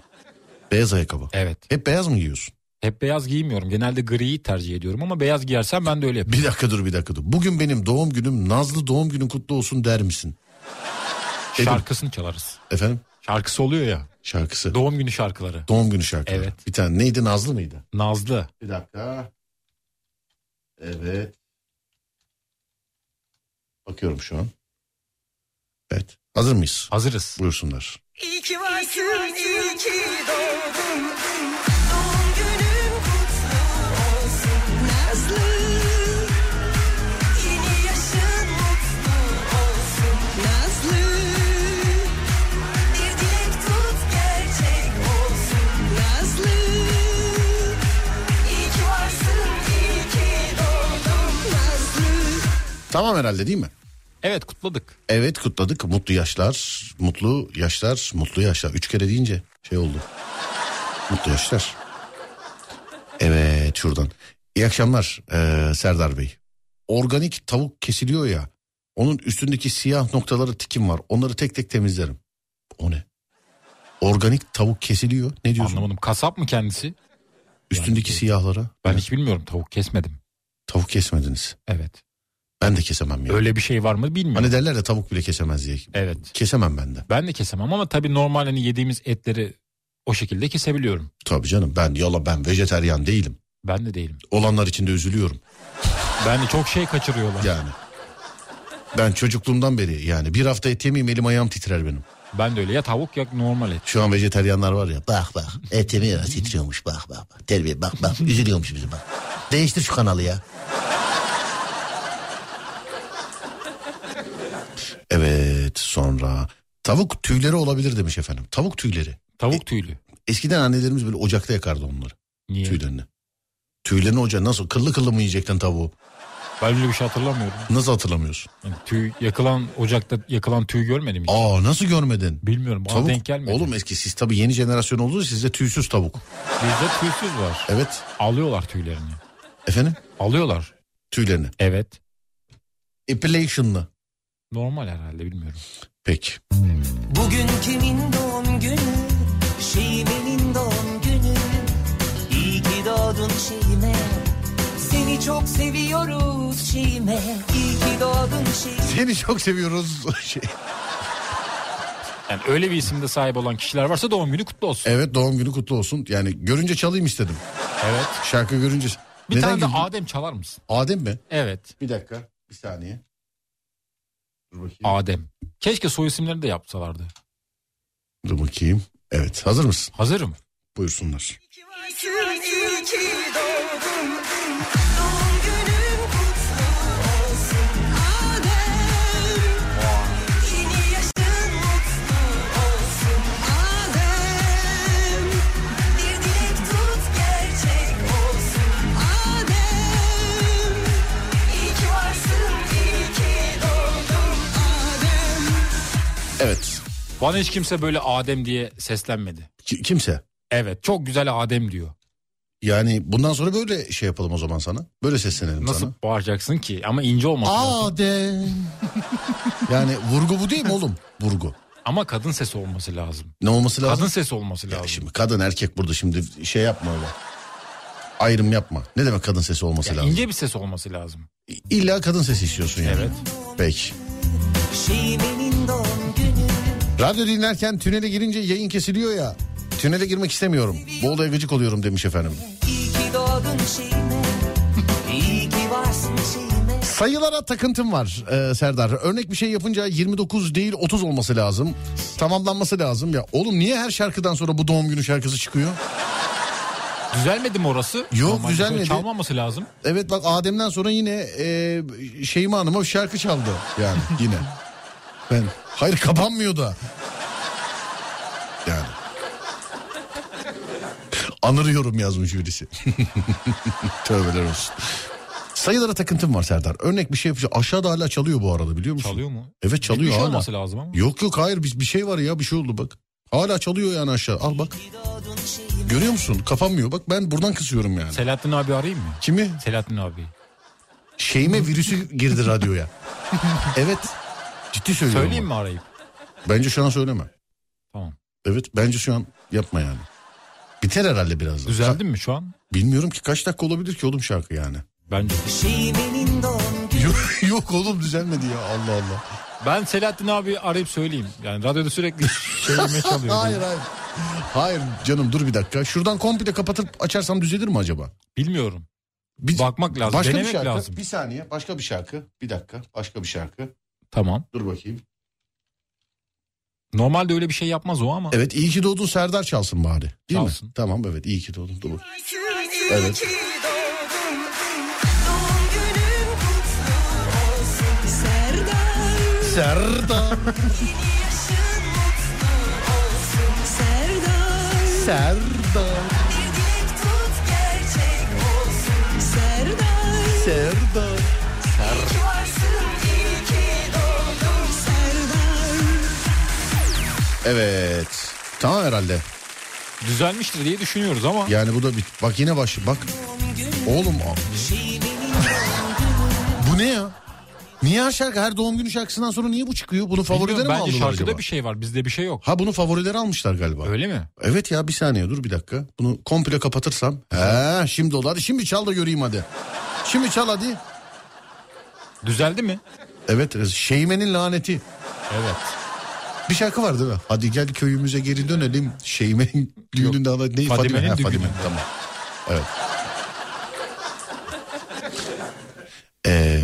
C: Beyaz ayakkabı.
D: Evet.
C: Hep beyaz mı giyiyorsun?
D: Hep beyaz giymiyorum. Genelde griyi tercih ediyorum ama beyaz giyersem ben de öyle yapıyorum.
C: Bir dakika dur bir dakika dur. Bugün benim doğum günüm Nazlı doğum günün kutlu olsun der misin? dedim.
D: Şarkısını çalarız.
C: Efendim?
D: Şarkısı oluyor ya.
C: Şarkısı.
D: Doğum günü şarkıları.
C: doğum günü şarkıları.
D: Evet.
C: Bir tane neydi Nazlı mıydı?
D: Nazlı.
C: Bir dakika. Evet. Bakıyorum şu an. Evet. Hazır mıyız?
D: Hazırız.
C: Buyursunlar.
G: İyi ki varsın, iyi ki doğdun. Doğum günün kutlu olsun Nazlı. Yeni yaşın mutlu olsun Nazlı. Bir dilek tut gerçek olsun Nazlı. İyi ki varsın, iyi ki doğdun Nazlı.
C: Tamam herhalde değil mi?
D: Evet kutladık.
C: Evet kutladık. Mutlu yaşlar, mutlu yaşlar, mutlu yaşlar. Üç kere deyince şey oldu. mutlu yaşlar. Evet şuradan. İyi akşamlar ee, Serdar Bey. Organik tavuk kesiliyor ya. Onun üstündeki siyah noktaları tikim var. Onları tek tek temizlerim. O ne? Organik tavuk kesiliyor. Ne diyorsun?
D: Anlamadım. Kasap mı kendisi?
C: Üstündeki
D: Yani-
C: siyahlara.
D: Ben
C: Evet,
D: hiç bilmiyorum. Tavuk kesmedim.
C: Tavuk kesmediniz.
D: Evet.
C: Ben de kesemem ya.
D: Öyle bir şey var mı bilmiyorum.
C: Hani derler ya tavuk bile kesemez diye.
D: Evet.
C: Kesemem ben de.
D: Ben de kesemem ama tabii normal hani yediğimiz etleri o şekilde kesebiliyorum.
C: Tabii canım ben yala ben vejeteryan değilim.
D: Ben de değilim.
C: olanlar için de üzülüyorum
D: Ben de çok şey kaçırıyorlar.
C: yani. Ben çocukluğumdan beri yani bir hafta et yemeyeyim elim ayağım titrer benim.
D: Ben de öyle. Ya tavuk ya normal et.
C: Şu an vejeteryanlar var ya bak bak et yemiyor titriyormuş bak bak bak terbiye bak bak üzülüyormuş bizi bak. Değiştir şu kanalı ya. Evet sonra tavuk tüyleri olabilir demiş efendim. Tavuk tüyleri.
D: Tavuk tüylü.
C: Eskiden annelerimiz böyle ocakta yakardı onları
D: Niye?
C: tüylerini. Tüylerini ocağa nasıl kıllı kıllı mı yiyecektin tavuğu?
D: Ben öyle bir şey hatırlamıyorum.
C: Nasıl hatırlamıyorsun?
D: Yani tüy yakılan ocakta yakılan tüy görmedim hiç.
C: Aa nasıl görmedin?
D: Bilmiyorum. Bana
C: Tavuk.
D: denk gelmedi.
C: Oğlum eski siz tabii yeni jenerasyon olduğunuz için sizde tüysüz tavuk.
D: Bizde tüysüz var.
C: Evet.
D: Alıyorlar tüylerini.
C: Efendim?
D: Alıyorlar.
C: Tüylerini.
D: Evet.
C: Epilation'lı.
D: Normal herhalde bilmiyorum.
C: Peki.
B: Bugün kimin doğum günü? Şive'nin doğum günü. İyi ki doğdun Şive. Seni çok seviyoruz Şive. İyi ki doğdun Şive.
C: Seni çok seviyoruz. Şey-
D: Yani öyle bir isimde sahip olan kişiler varsa doğum günü kutlu olsun.
C: evet doğum günü kutlu olsun. Yani görünce çalayım istedim.
D: Evet.
C: Şarkı görünce.
D: Bir tane de
C: güldün?
D: Adem çalar mısın?
C: Adem mi?
D: Evet.
C: Bir dakika. Bir saniye. Dur bakayım.
D: Adem. Keşke soy isimlerini de yapsalardı.
C: Dur bakayım. Evet hazır mısın?
D: Hazırım.
C: Buyursunlar.
G: Varsın iyi ki doğdun. Doğum günün kutlu olsun Adem. Yeni yaşın mutlu olsun Adem. Bir dilek tut gerçek olsun Adem. İyi ki varsın, iyi ki doğdun Adem.
C: Evet.
D: Bana hiç kimse böyle Adem diye seslenmedi.
C: Ki- kimse.
D: Evet çok güzel Adem diyor.
C: Yani bundan sonra böyle şey yapalım o zaman sana. Böyle seslenelim
D: Nasıl
C: sana.
D: bağıracaksın ki? Ama ince olması lazım.
C: Adem. yani vurgu bu değil mi oğlum? Vurgu.
D: Ama kadın sesi olması lazım.
C: Ne olması lazım?
D: Kadın sesi olması lazım.
C: Ya şimdi kadın erkek burada şimdi şey yapma öyle. Ayrım yapma. Ne demek kadın sesi olması
D: Ya
C: lazım?
D: ince bir ses olması lazım.
C: İlla kadın sesi istiyorsun yani.
D: Evet.
C: Peki.
B: Şive'nin Şey doğum günü.
C: Radyo dinlerken tünele girince yayın kesiliyor ya. Tünele girmek istemiyorum. Bu olaya gıcık oluyorum demiş efendim.
B: İyi ki doğdun Şive. İyi ki varsın Şive.
C: Sayılara takıntım var e, Serdar. Örnek bir şey yapınca 29 değil 30 olması lazım. Tamamlanması lazım ya. Oğlum niye her şarkıdan sonra bu doğum günü şarkısı çıkıyor?
D: Düzelmedi mi orası? Normalde
C: düzelmedi.
D: şöyle Çalmaması lazım.
C: Evet bak Adem'den sonra yine e, Şeyma Hanım'a şarkı çaldı yani yine. Ben hayır kapanmıyor da. Yani. Anırıyorum yazmış birisi. Tövbeler olsun. Sayılara takıntım var Serdar. Örnek bir şey yapacağım. Aşağıda hala çalıyor bu arada biliyor musun?
D: Çalıyor mu?
C: Evet çalıyor
D: Bir şey
C: hala.
D: olması lazım ama.
C: Yok yok hayır bir, bir şey var ya bir şey oldu bak. Hala çalıyor yani aşağı. Al bak. Görüyor musun? Kapanmıyor. Bak ben buradan kısıyorum yani.
D: Selahattin abi arayayım mı?
C: Kimi?
D: Selahattin abi.
C: Şeyime virüsü girdi radyoya. evet. Ciddi söylüyorum.
D: Söyleyeyim
C: bak.
D: mi arayıp?
C: Bence şu an söyleme.
D: Tamam.
C: Evet bence şu an yapma yani. Biter herhalde birazdan. Ka-
D: Düzeldin mi şu an?
C: Bilmiyorum ki kaç dakika olabilir ki oğlum şarkı yani.
D: Bence.
E: Şeymenin doğum günü
C: Yok, yok oğlum düzelmedi ya Allah Allah.
D: Ben Selahattin abi arayıp söyleyeyim. Yani radyoda sürekli şeyime çalıyor.
C: Hayır hayır. Hayır canım dur bir dakika. Şuradan komple kapatıp açarsam düzelir mi acaba?
D: Bilmiyorum.
C: Bir-
D: Bakmak lazım.
C: Başka
D: denemek
C: bir şarkı.
D: lazım.
C: Bir saniye. Başka bir şarkı. Bir dakika. Başka bir şarkı.
D: Tamam.
C: Dur bakayım.
D: Normalde öyle bir şey yapmaz o ama.
C: Evet iyi ki doğdun Serdar çalsın bari. Değil
D: Çalsın.
C: mi? Tamam evet iyi ki doğdun. Dur bakayım.
B: İyi ki doğdun. Doğum günün kutlu olsun Serdar.
C: Serdar.
B: Yeni yaşın mutlu olsun Serdar.
C: Serdar.
B: Bir dilek tut gerçek olsun Serdar.
C: Serdar.
B: İyi ki varsın, iyi ki doğdun Serdar.
C: Evet. Tamam herhalde.
D: Düzelmiştir diye düşünüyoruz ama.
C: Yani bu da bir... Bak yine baş... Bak. Oğlum. Bu ne ya? Niye her şarkı her doğum günü şarkısından sonra niye bu çıkıyor? Bunu favorileri
D: Bilmiyorum,
C: mi
D: bence
C: aldılar
D: şarkıda
C: acaba?
D: bir şey var. Bizde bir şey yok.
C: Ha bunu favorileri almışlar galiba.
D: Öyle mi?
C: Evet ya bir saniye dur bir dakika. Bunu komple kapatırsam. He şimdi olur. Hadi şimdi çal da göreyim hadi. Şimdi çal hadi.
D: Düzeldi mi?
C: Evet Şeyme'nin laneti.
D: Evet.
C: Bir şarkı var değil mi? Hadi gel köyümüze geri dönelim. Şeyme'nin düğünün daha ne? Fadime'nin
D: Fadime'nin
C: ha,
D: düğünü.
C: Fadime, Tamam. Evet. Ee,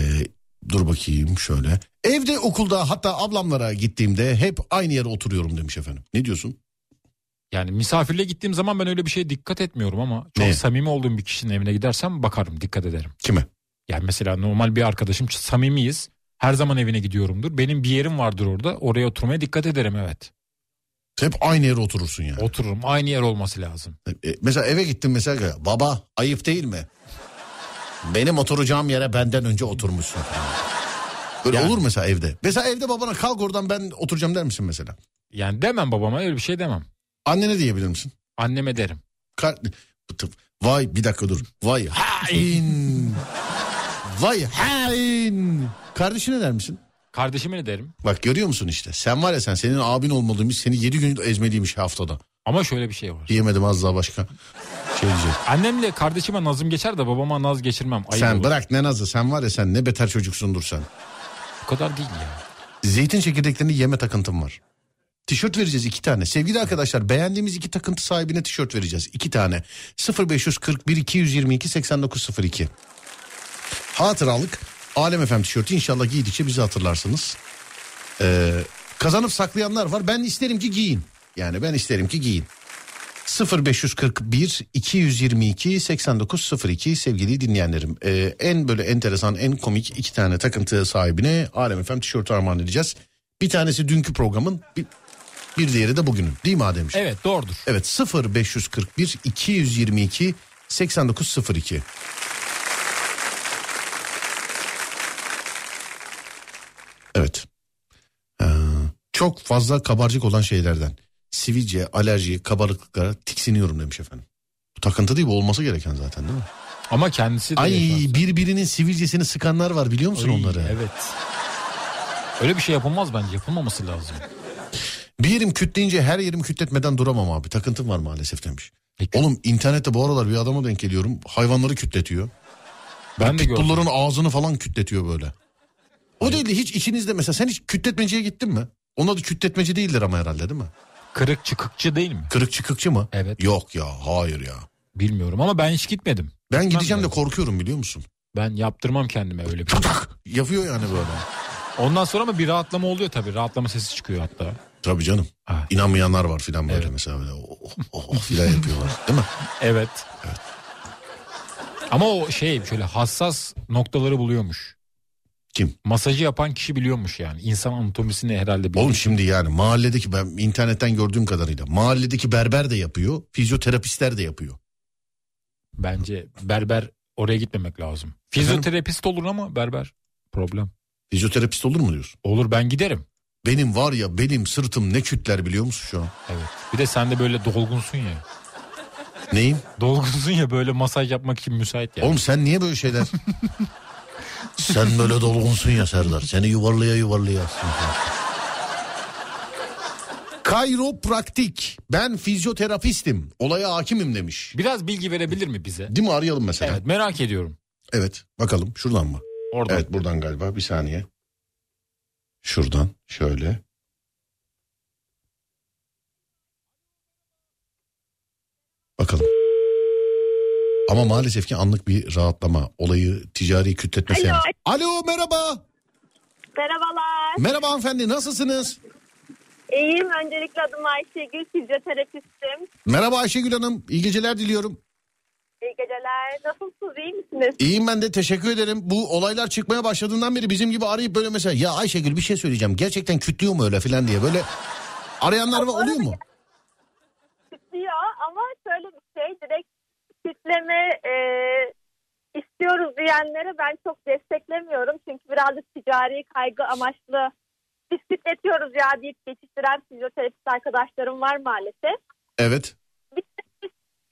C: dur bakayım şöyle. Evde okulda hatta ablamlara gittiğimde hep aynı yere oturuyorum demiş efendim. Ne diyorsun?
D: Yani misafirle gittiğim zaman ben öyle bir şeye dikkat etmiyorum ama çok
C: Ne?
D: samimi olduğum bir kişinin evine gidersem bakarım, dikkat ederim.
C: Kime?
D: Yani mesela normal bir arkadaşım samimiyiz. Her zaman evine gidiyorumdur. Benim bir yerim vardır orada. Oraya oturmaya dikkat ederim evet.
C: Hep aynı yere oturursun yani.
D: Otururum. Aynı yer olması lazım.
C: E, Mesela eve gittim mesela baba ayıp değil mi? Benim oturacağım yere benden önce oturmuşsun. Böyle olur mesela evde. Mesela evde babana kalk oradan ben oturacağım der misin mesela?
D: Yani demem babama öyle bir şey demem.
C: Annene diyebilir misin?
D: Anneme derim.
C: Kar- Vay bir dakika dur. Vay hain. Vay hain. Kardeşine der misin?
D: Kardeşime ne derim?
C: Bak görüyor musun işte. Sen var ya sen senin abin olmalıymış. Seni 7 gün ezmeliymiş haftada.
D: Ama şöyle bir şey var.
C: Diyemedim az daha başka. Şey diyecek.
D: Annemle kardeşime nazım geçer de babama naz geçirmem. Ayıp
C: Sen
D: olur.
C: bırak ne nazı sen var ya sen ne beter çocuksundur sen.
D: Bu kadar değil ya.
C: Zeytin çekirdeklerini yeme takıntım var. Tişört vereceğiz iki tane. Sevgili arkadaşlar beğendiğimiz iki takıntı sahibine tişört vereceğiz. iki tane. 0541 222 8902. Hatıralık Alem Efem tişörtü inşallah giydikçe bizi hatırlarsınız. Ee, kazanıp saklayanlar var. Ben isterim ki giyin. Yani ben isterim ki giyin. 0541 222 8902 sevgili dinleyenlerim. Ee, en böyle enteresan, en komik iki tane takıntı sahibine Alem Efem tişörtü armağan edeceğiz. Bir tanesi dünkü programın, bir, bir diğeri de bugünün. Değil mi Ademciğim?
D: Evet doğrudur.
C: Evet 0 541 222 8902. Evet. Ee, çok fazla kabarcık olan şeylerden. Sivilce, alerji, kabarıklıklara tiksiniyorum demiş efendim. Bu takıntı değil bu olması gereken zaten değil mi?
D: Ama kendisi de...
C: Ay
D: yaşar.
C: birbirinin sivilcesini sıkanlar var biliyor musun
D: Ay,
C: onları?
D: Evet. Öyle bir şey yapılmaz bence. Yapılmaması lazım.
C: Bir yerim kütleyince her yerimi kütletmeden duramam abi. Takıntım var maalesef demiş.
D: Peki.
C: Oğlum internette bu aralar bir adama denk geliyorum. Hayvanları kütletiyor.
D: ben de gördüm.
C: Pitbullların ağzını falan kütletiyor böyle. O değil de hiç içinizde mesela sen hiç kütletmeciye gittin mi? Onun adı kütletmeci değildir ama herhalde değil mi?
D: Kırık çıkıkçı değil mi?
C: Kırık çıkıkçı mı?
D: Evet.
C: Yok ya hayır ya.
D: Bilmiyorum ama ben hiç gitmedim.
C: Ben gideceğim de
D: lazım.
C: korkuyorum biliyor musun?
D: Ben yaptırmam kendime öyle bir şey.
C: Patak yapıyor yani böyle.
D: Ondan sonra ama bir rahatlama oluyor tabii. Rahatlama sesi çıkıyor hatta.
C: Tabii canım.
D: Evet.
C: İnanmayanlar var filan böyle
D: Evet.
C: mesela. Böyle, oh, oh, oh filan yapıyorlar değil mi?
D: Evet. Ama o şey şöyle hassas noktaları buluyormuş.
C: Kim?
D: Masajı yapan kişi biliyormuş yani. İnsan anatomisini herhalde biliyor.
C: Oğlum şimdi yani mahalledeki ben internetten gördüğüm kadarıyla mahalledeki berber de yapıyor, fizyoterapistler de yapıyor.
D: Bence berber oraya gitmemek lazım. Fizyoterapist olur ama berber problem.
C: Fizyoterapist olur mu diyorsun?
D: Olur ben giderim.
C: Benim var ya benim sırtım ne kütler biliyor musun şu an?
D: Evet. Bir de sen de böyle dolgunsun ya.
C: Neyim?
D: Dolgunsun ya böyle masaj yapmak için müsait yani.
C: Oğlum sen niye böyle şeyler? sen böyle dolgunsun ya Serdar. Seni yuvarlaya yuvarlaya. Kayropraktik. Ben fizyoterapistim. Olaya hakimim demiş.
D: Biraz bilgi verebilir mi bize?
C: Değil mi arayalım mesela?
D: Evet merak ediyorum.
C: Evet. Bakalım şuradan mı?
D: Orada.
C: Evet buradan galiba bir saniye. Şuradan şöyle. Bakalım. Ama maalesef ki anlık bir rahatlama olayı ticari kütletme seansı. Alo merhaba.
H: Merhabalar.
C: Merhaba hanımefendi nasılsınız?
H: İyiyim. Öncelikle adım Ayşegül. Fizyoterapistim.
C: Merhaba Ayşegül Hanım. İyi geceler diliyorum.
H: İyi geceler. Nasılsınız? iyi misiniz?
C: İyiyim ben de teşekkür ederim. Bu olaylar çıkmaya başladığından beri bizim gibi arayıp böyle mesela ya Ayşegül bir şey söyleyeceğim. Gerçekten kütlüyor mu öyle filan diye böyle arayanlar var oluyor mu?
H: Kütlüyor ama şöyle bir şey. Direkt kütleme e, istiyoruz diyenlere ben çok desteklemiyorum. Çünkü birazcık ticari kaygı amaçlı biz kütletiyoruz ya deyip geçiştiren fizyoterapist arkadaşlarım var maalesef.
C: Evet.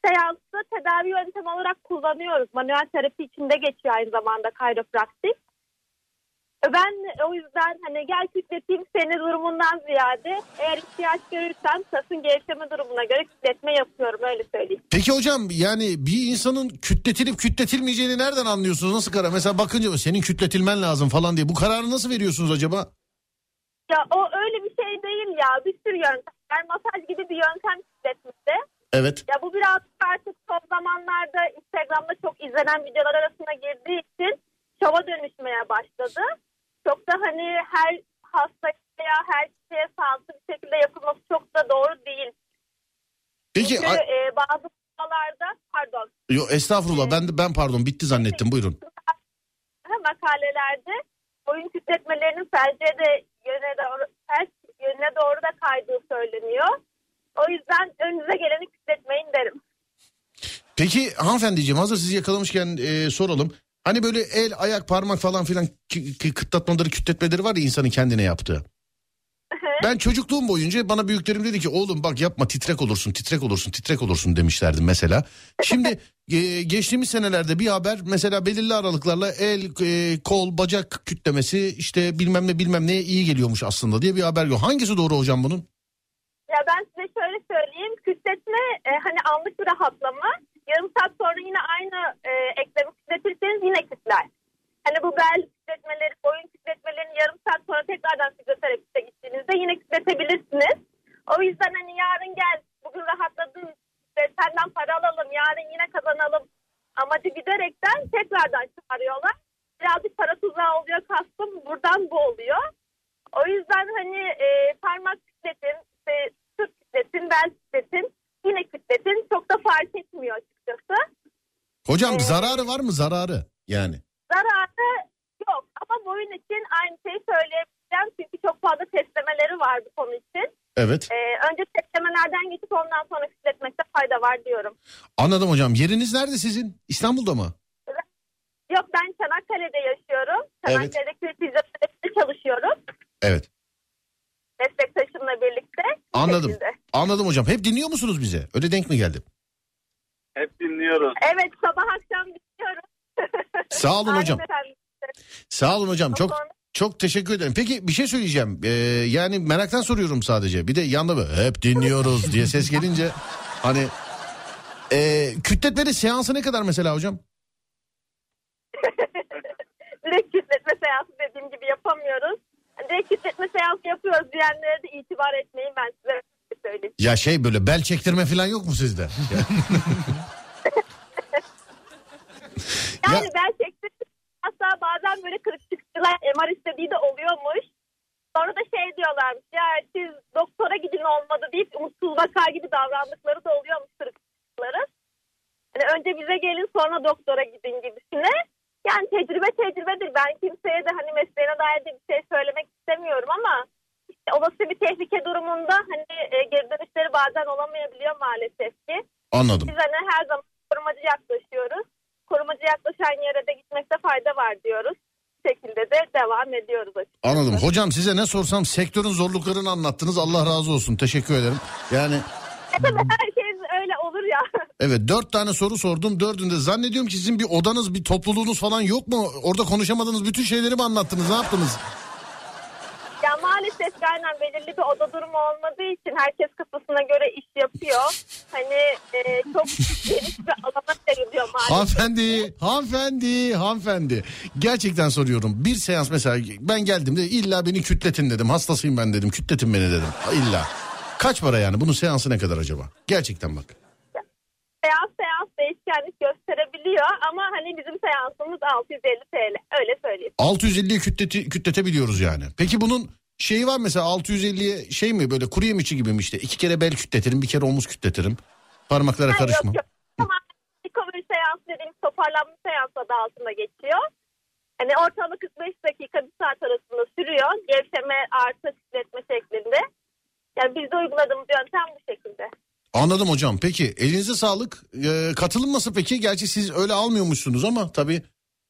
H: Seansı tedavi yöntemi olarak kullanıyoruz. Manuel terapi içinde geçiyor aynı zamanda kayropraktik. Ben o yüzden hani gel kütleteyim seni durumundan ziyade eğer ihtiyaç görürsem sasın gevşeme durumuna göre kütletme yapıyorum öyle söyleyeyim.
C: Peki hocam yani bir insanın kütletilip kütletilmeyeceğini nereden anlıyorsunuz? Nasıl karar? Mesela bakınca senin kütletilmen lazım falan diye. Bu kararı nasıl veriyorsunuz acaba?
H: Ya o öyle bir şey değil ya bir sürü yöntem. Yani masaj gibi bir yöntem kütletmede.
C: Evet.
H: Ya bu biraz artık son zamanlarda Instagram'da çok izlenen videolar arasına girdiği için şova dönüşmeye başladı. Çok da hani her hastaya veya her kişiye sağlıklı bir şekilde yapılması çok da doğru değil.
C: Peki
H: Çünkü
C: ay-
H: e, bazı konularda pardon
C: yo, estağfurullah ben de ben pardon bitti zannettim buyurun.
H: makalelerde oyun kütletmelerinin felce de yöne doğru, felç yönüne doğru da kaydığı söyleniyor. O yüzden önünüze geleni kütletmeyin derim.
C: Peki hanımefendiciğim hazır sizi yakalamışken e, soralım. Hani böyle el ayak parmak falan filan kı- kı- kıtlatmaları kütletmeleri var ya insanın kendine yaptığı. Ben çocukluğum boyunca bana büyüklerim dedi ki oğlum bak yapma titrek olursun titrek olursun titrek olursun demişlerdi mesela. Şimdi e, geçtiğimiz senelerde bir haber mesela belirli aralıklarla el e, kol bacak kütlemesi işte bilmem ne bilmem neye iyi geliyormuş aslında diye bir haber yok. Hangisi doğru hocam bunun?
H: Ya ben size şöyle söyleyeyim. Kütletme e, hani anlık bir rahatlama. Yarım saat sonra yine aynı e, eklemi kütletirseniz yine kütler. Hani bu bel kütletmeleri, boyun kütletmelerini yarım saat sonra tekrardan fizyoterapiste gittiğinizde yine kütletebilirsiniz. O yüzden hani yarın gel, bugün rahatladın, işte senden para alalım, yarın yine kazanalım amacı giderekten tekrardan çağırıyorlar. Birazcık para tuzağı oluyor kastım, buradan bu oluyor. O yüzden hani e, parmak kütletin, işte sırt kütletin, bel kütletin, yine kütletin çok da fark etmiyor açıkçası.
C: Hocam zararı var mı zararı yani?
H: Zararı yok ama boyun için aynı şeyi söyleyebileceğim çünkü çok fazla testlemeleri var bu konu için.
C: Evet.
H: E, önce testlemelerden geçip ondan sonra kütletmekte fayda var diyorum.
C: Anladım hocam yeriniz nerede sizin? İstanbul'da mı?
H: Yok ben Çanakkale'de yaşıyorum.
C: Evet.
H: Çanakkale'deki fizyoterapide çalışıyorum.
C: Evet.
H: Meslektaşımla birlikte. Bu
C: Anladım.
H: şekilde.
C: Anladım hocam. Hep dinliyor musunuz bize? Öyle denk mi geldim?
I: Hep dinliyoruz.
H: Evet sabah akşam dinliyorum.
C: Sağ olun
H: Aynen
C: hocam.
H: efendim.
C: Sağ olun hocam. Çok
H: Tamam.
C: çok teşekkür ederim. Peki bir şey söyleyeceğim. Ee, yani meraktan soruyorum sadece. Bir de yanında böyle hep dinliyoruz diye ses gelince hani e, kütletmeli seansı ne kadar mesela hocam?
H: direkt kütletme seansı dediğim gibi yapamıyoruz. Direkt kütletme seansı yapıyoruz diyenlere de itibar etmeyin ben size söyleyeyim.
C: Ya şey böyle bel çektirme falan yok mu sizde?
H: Yani
C: Ya-
H: ben çektim. Hatta bazen böyle kırık çıkışçılar MR istediği de oluyormuş. Sonra da şey diyorlarmış ya siz doktora gidin olmadı deyip umutsuz vaka gibi davrandıkları da oluyormuş kırık çıkışçıların. Hani önce bize gelin sonra doktora gidin gibisine. Yani tecrübe tecrübedir. Ben kimseye de hani mesleğine dair de bir şey söylemek istemiyorum ama işte olası bir tehlike durumunda hani e, geri dönüşleri bazen olamayabiliyor maalesef ki.
C: Anladım.
H: Biz hani her zaman korumacı yaklaşıyoruz. Korumacı yaklaşan yere de gitmekte fayda var diyoruz. Bu şekilde de devam ediyoruz açıkçası.
C: Anladım. Hocam size ne sorsam sektörün zorluklarını anlattınız. Allah razı olsun. Teşekkür ederim. Yani
H: E tabii herkes öyle olur ya.
C: evet dört tane soru sordum. Dördünde zannediyorum ki sizin bir odanız, bir topluluğunuz falan yok mu? Orada konuşamadığınız bütün şeyleri mi anlattınız? Ne yaptınız?
H: ya maalesef ki aynen belirli bir oda durumu olmadığı için herkes kafasına göre iş yapıyor. Hani e, çok geniş bir alana sayılıyor maalesef.
C: Hanımefendi, hanımefendi, hanımefendi. Gerçekten soruyorum. Bir seans mesela ben geldim de illa beni kütletin dedim. Hastasıyım ben dedim. Kütletin beni dedim. İlla. Kaç para yani? Bunun seansı ne kadar acaba? Gerçekten bak.
H: Seans seans değişkenlik gösterebiliyor ama hani bizim seansımız 650 TL öyle söyleyeyim.
C: 650'ye kütleti, kütletebiliyoruz yani. Peki bunun şeyi var mesela 650'ye şey mi böyle kuru yemişçi gibi mi işte? İki kere bel kütletirim, bir kere omuz kütletirim. Parmaklara
H: Ha,
C: karışma.
H: Yok, yok. Ama recovery seansı dediğimiz toparlanma seansı adı altında geçiyor. Hani ortalama 45 dakika bir saat arasında sürüyor. Gevşeme artı titretme şeklinde. Yani bizde uyguladığımız yöntem bu şekilde.
C: Anladım hocam. Peki elinize sağlık. Ee, katılım nasıl peki? Gerçi siz öyle almıyormuşsunuz ama tabii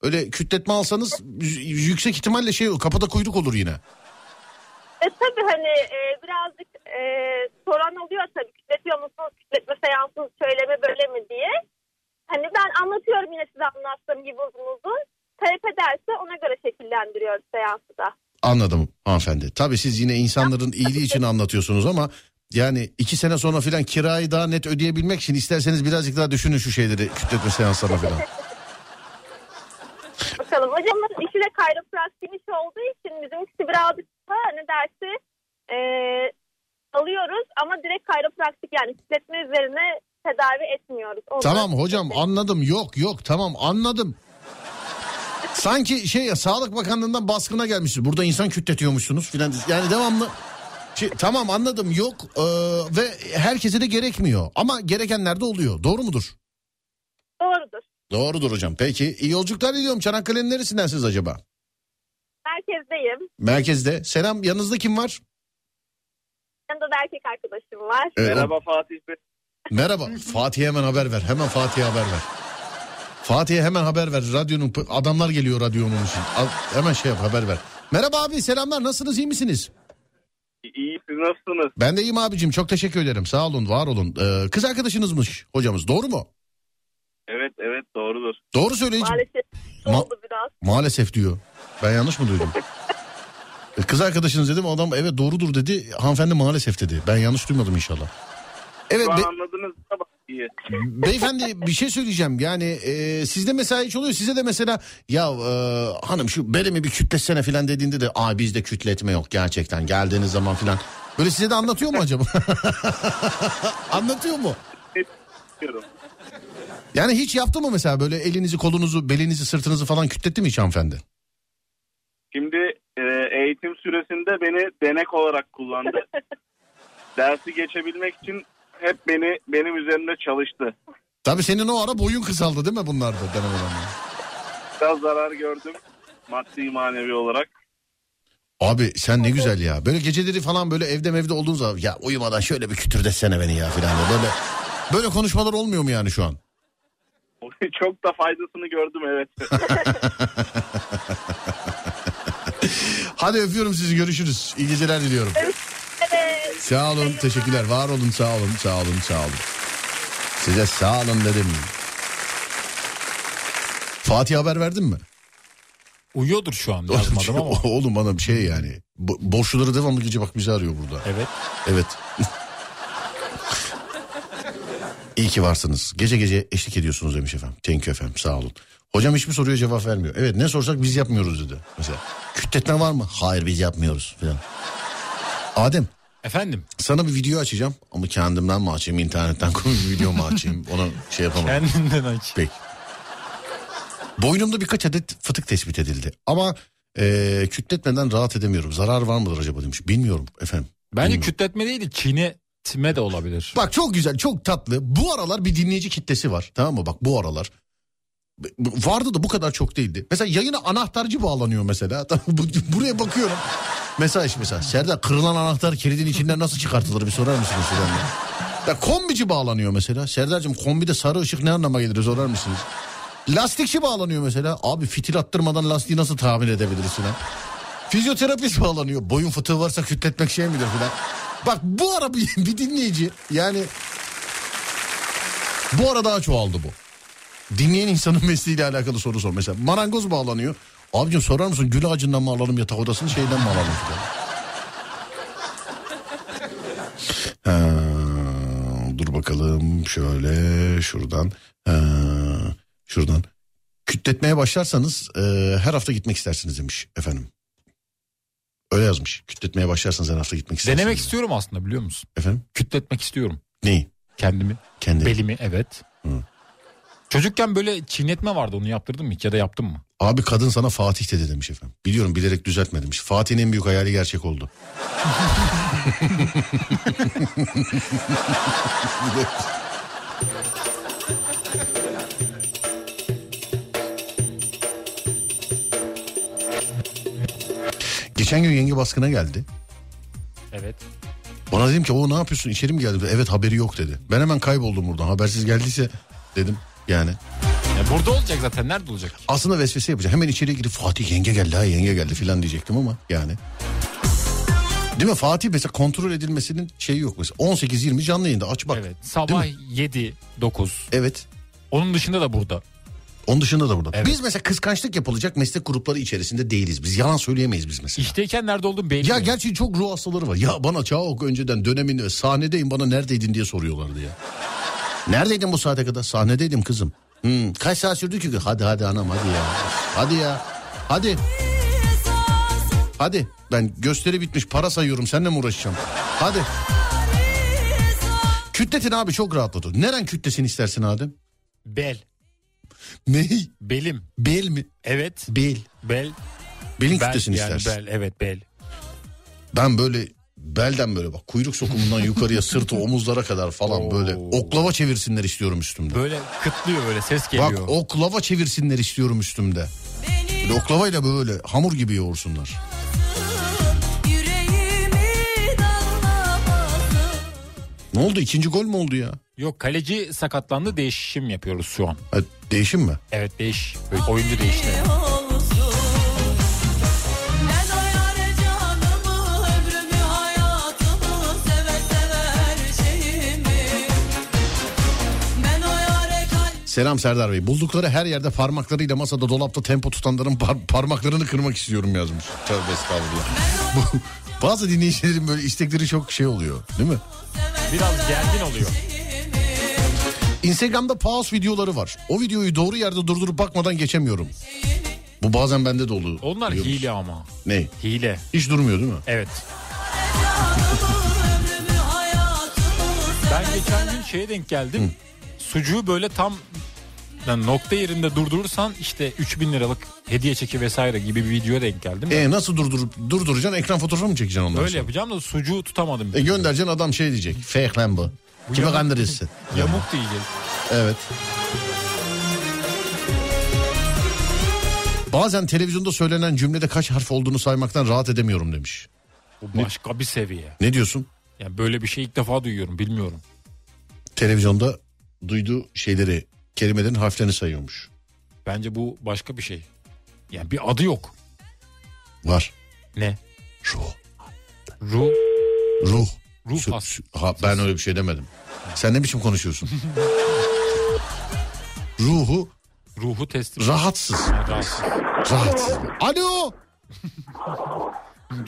C: öyle kütletme alsanız y- yüksek ihtimalle şey kapıda kuyruk olur yine.
H: E tabii hani e, birazcık e, soran oluyor tabii kütletiyor musunuz, kütletme seansınız şöyle mi böyle mi diye. Hani ben anlatıyorum yine size anlattığım gibi uzun uzun. Talep ederse ona göre şekillendiriyoruz seansı da.
C: Anladım hanımefendi. Tabii siz yine insanların iyiliği için anlatıyorsunuz ama yani iki sene sonra filan kirayı daha net ödeyebilmek için isterseniz birazcık daha düşünün şu şeyleri kütletme seanslarına filan.
H: Bakalım hocamın işi de kayropraktik iş olduğu için bizimkisi birazcık da hani dersi e, alıyoruz ama direkt kayropraktik yani kütletme üzerine tedavi etmiyoruz. Onlar-
C: Tamam hocam anladım yok yok tamam anladım. Sanki şey ya Sağlık Bakanlığı'ndan baskına gelmişiz. Burada insan kütletiyormuşsunuz filan. Yani devamlı şey, tamam anladım yok ee, ve herkese de gerekmiyor. Ama gerekenler de oluyor. Doğru mudur?
H: Doğrudur.
C: Doğrudur hocam. Peki iyi yolculuklar diliyorum. Çanakkale'nin neresinden siz acaba?
H: Merkezdeyim.
C: Merkezde. Selam yanınızda kim var?
H: Yanında da erkek arkadaşım var.
C: Ee,
I: Merhaba Fatih Bey.
C: Merhaba. Fatih'e hemen haber ver. Hemen Fatih'e haber ver. Fatih'e hemen haber ver. Radyonun adamlar geliyor radyonun için. Al- hemen şey yap haber ver. Merhaba abi selamlar nasılsınız iyi misiniz?
I: İyi siz nasılsınız?
C: Ben de iyiyim abicim çok teşekkür ederim sağ olun var olun. Ee, kız arkadaşınızmış hocamız doğru mu?
I: Evet evet doğrudur.
C: Doğru söyleyeceğim.
H: Maalesef
C: Ma-
H: oldu biraz.
C: Maalesef diyor. Ben yanlış mı duydum? E, Kız arkadaşınız dedim adam evet doğrudur dedi. Hanımefendi maalesef dedi. Ben yanlış duymadım inşallah. Evet
I: Şu an
C: be-
I: anladınız da bak iyi.
C: Beyefendi bir şey söyleyeceğim. Yani e, sizde mesela hiç oluyor. Size de mesela ya e, hanım şu belimi bir kütletsene falan dediğinde de aa bizde kütletme yok gerçekten geldiğiniz zaman falan. Böyle size de anlatıyor mu acaba? anlatıyor mu?
I: Diyorum.
C: Yani hiç yaptı mı mesela böyle elinizi kolunuzu belinizi sırtınızı falan kütletti mi hiç hanımefendi?
I: Şimdi e, eğitim süresinde beni denek olarak kullandı. Dersi geçebilmek için hep beni benim üzerinde çalıştı.
C: Tabii senin o ara boyun kısaldı değil mi bunlarda denemeden?
I: Biraz zarar gördüm maddi manevi olarak.
C: Abi sen ne güzel ya. Böyle geceleri falan böyle evde mevde olduğun zaman ya uyumadan şöyle bir kütürdetsene beni ya falan. diye. Böyle böyle konuşmalar olmuyor mu yani şu an?
I: Çok da faydasını gördüm evet.
C: Hadi öpüyorum sizi görüşürüz. İyi geceler diliyorum.
H: Evet.
C: Sağ olun teşekkürler var olun sağ olun sağ olun sağ olun. Size sağ olun dedim. Fatih haber verdin mi?
D: Uyuyordur şu an yazmadım ama.
C: Oğlum bana bir şey yani. Bo- borçluları devamlı gece bak bizi arıyor burada.
D: Evet.
C: Evet. İyi ki varsınız. Gece gece eşlik ediyorsunuz demiş efendim. Thank you efendim sağ olun. Hocam hiçbir soruya cevap vermiyor. Evet ne sorsak biz yapmıyoruz dedi. Mesela kütletme var mı? Hayır biz yapmıyoruz falan. Adem
D: Efendim
C: sana bir video açacağım. Ama kendimden mi açayım internetten komik bir video mu açayım? Ona şey yapamam.
D: kendinden aç.
C: Peki. Boynumda birkaç adet fıtık tespit edildi. Ama eee kütletmeden rahat edemiyorum. Zarar var mıdır acaba demiş. Bilmiyorum efendim.
D: Bence
C: Bilmiyorum.
D: kütletme değil çiğnetme de olabilir.
C: Bak çok güzel çok tatlı. Bu aralar bir dinleyici kitlesi var. Tamam mı? Bak bu aralar. vardı da bu kadar çok değildi. Mesela yayına anahtarcı bağlanıyor mesela. Tamam, bu- Buraya bakıyorum. Mesaj mesela. Serdar kırılan anahtar kilidin içinden nasıl çıkartılır bir sorar mısınız? şuradan ya? Ya kombici bağlanıyor mesela. Serdar'cığım kombide sarı ışık ne anlama gelir sorar mısınız? Lastikçi bağlanıyor mesela. Abi fitil attırmadan lastiği nasıl tamir edebiliriz filan. Fizyoterapist bağlanıyor. Boyun fıtığı varsa kütletmek şey midir filan. Bak bu ara bir, bir dinleyici yani bu ara daha çoğaldı bu. Dinleyen insanın mesleğiyle alakalı soru sor. Mesela marangoz bağlanıyor. Abicim sorar mısın gül ağacından mı alalım yatak odasını şeyden mi alalım? Ha, dur bakalım şöyle şuradan ha, şuradan. Kütletmeye başlarsanız e, her hafta gitmek istersiniz demiş efendim. Öyle yazmış. Kütletmeye başlarsanız her hafta gitmek istersiniz.
D: Denemek istiyorum aslında biliyor musun?
C: Efendim?
D: Kütletmek istiyorum
C: Neyi?
D: kendimi.
C: Kendi.
D: Belimi evet.
C: Hı.
D: Çocukken böyle çiğnetme vardı onu yaptırdın mı hiç ya da yaptın mı?
C: Abi kadın sana Fatih dedi demiş efendim. Biliyorum bilerek düzeltme demiş. Fatih'in en büyük hayali gerçek oldu. Geçen gün yenge baskına geldi.
D: Evet.
C: Bana dedim ki o ne yapıyorsun içeri mi geldin? Evet haberi yok dedi. Ben hemen kayboldum buradan habersiz geldiyse dedim yani.
D: Ya burada olacak zaten nerede olacak?
C: Aslında vesvese yapacak. Hemen içeriye girip Fatih yenge geldi ha yenge geldi filan diyecektim ama yani. Değil mi Fatih mesela kontrol edilmesinin şeyi yok mesela. 18-20 canlı yayında aç bak. Evet.
D: evet. Sabah 7 9. Onun dışında da burada.
C: Onun dışında da burada.
D: Evet.
C: Biz mesela kıskançlık yapılacak meslek grupları içerisinde değiliz. Biz yalan söyleyemeyiz biz mesela.
D: İşteyken nerede olduğum belli.
C: Ya
D: değil.
C: gerçi çok ruh hastaları var. Ya bana Çağok önceden dönemini sahnedeyim bana neredeydin diye soruyorlardı ya. Neredeydin bu saate kadar? Sahnedeydim kızım. Hmm, kaç saat sürdü ki? Hadi hadi anam hadi ya. Hadi ya. Hadi. Hadi. Ben gösteri bitmiş para sayıyorum. Seninle mi uğraşacağım? Hadi. Kütletin abi çok rahatladı. Neren kütlesin istersin Adem?
D: Bel.
C: Ney?
D: Belim.
C: Bel mi?
D: Evet.
C: Bel.
D: Bel.
C: Belin
D: bel
C: kütlesin
D: yani
C: istersin.
D: bel. Evet bel.
C: Ben böyle belden böyle bak kuyruk sokumundan yukarıya sırtı omuzlara kadar falan
D: Oo.
C: böyle oklava çevirsinler istiyorum üstümde.
D: Böyle kıtlıyor böyle ses
C: Bak
D: geliyor.
C: oklava çevirsinler istiyorum üstümde. Böyle oklavayla böyle hamur gibi yoğursunlar.
B: Yüreğimi dağlamasın
C: Ne oldu ikinci gol mü oldu ya?
D: Yok kaleci sakatlandı değişim yapıyoruz şu an.
C: Ha, değişim mi?
D: Evet değiş. Böyle oyuncu değişti.
B: olsun Ne doyar canımı ömrümü hayatımı seve seve her şeyimi Ne doyar kalbimi
C: Selam Serdar Bey. Buldukları her yerde parmaklarıyla masada dolapta tempo tutanların par- parmaklarını kırmak istiyorum yazmış. Tövbe estağfurullah. Bu- Bazı dinleyicilerin böyle istekleri çok şey oluyor değil mi?
D: Biraz gergin oluyor.
C: Instagram'da pause videoları var. O videoyu doğru yerde durdurup bakmadan geçemiyorum. Bu bazen bende de oluyor.
D: Onlar
C: biliyor musun?
D: hile ama.
C: Ne?
D: Hile.
C: Hiç durmuyor değil mi?
D: Evet.
B: hayatımı
D: Ben geçen gün şeye denk geldim. Sucuğu böyle tam yani nokta yerinde durdurursan işte 3000 liralık hediye çeki vesaire gibi bir videoya denk geldim.
C: E nasıl durdurup durduracaksın? Ekran fotoğrafı mı çekeceksin ondan
D: Öyle
C: sonra?
D: yapacağım da sucuğu tutamadım.
C: E göndereceksin adam şey diyecek. Fake lan bu. Kime
D: yamuk-
C: kandırırsın?
D: Yamuk diyeceğiz.
C: Evet. Bazen televizyonda söylenen cümlede kaç harf olduğunu saymaktan rahat edemiyorum demiş.
D: Bu başka bir seviye.
C: Ne diyorsun?
D: Yani böyle bir şey ilk defa duyuyorum bilmiyorum.
C: Televizyonda duyduğu şeyleri, kelimelerin harflerini sayıyormuş.
D: Bence bu başka bir şey. Yani bir adı yok.
C: Var.
D: Ne?
C: Ruh.
D: Ru,
C: Ruh.
D: ruh
C: Sü-
D: has-
C: sü- ha, ben öyle bir şey demedim. Sen ne biçim konuşuyorsun? Ruhu
D: ruhu testi.
C: rahatsız.
D: Yani rahatsız.
C: Rahatsız. Alo.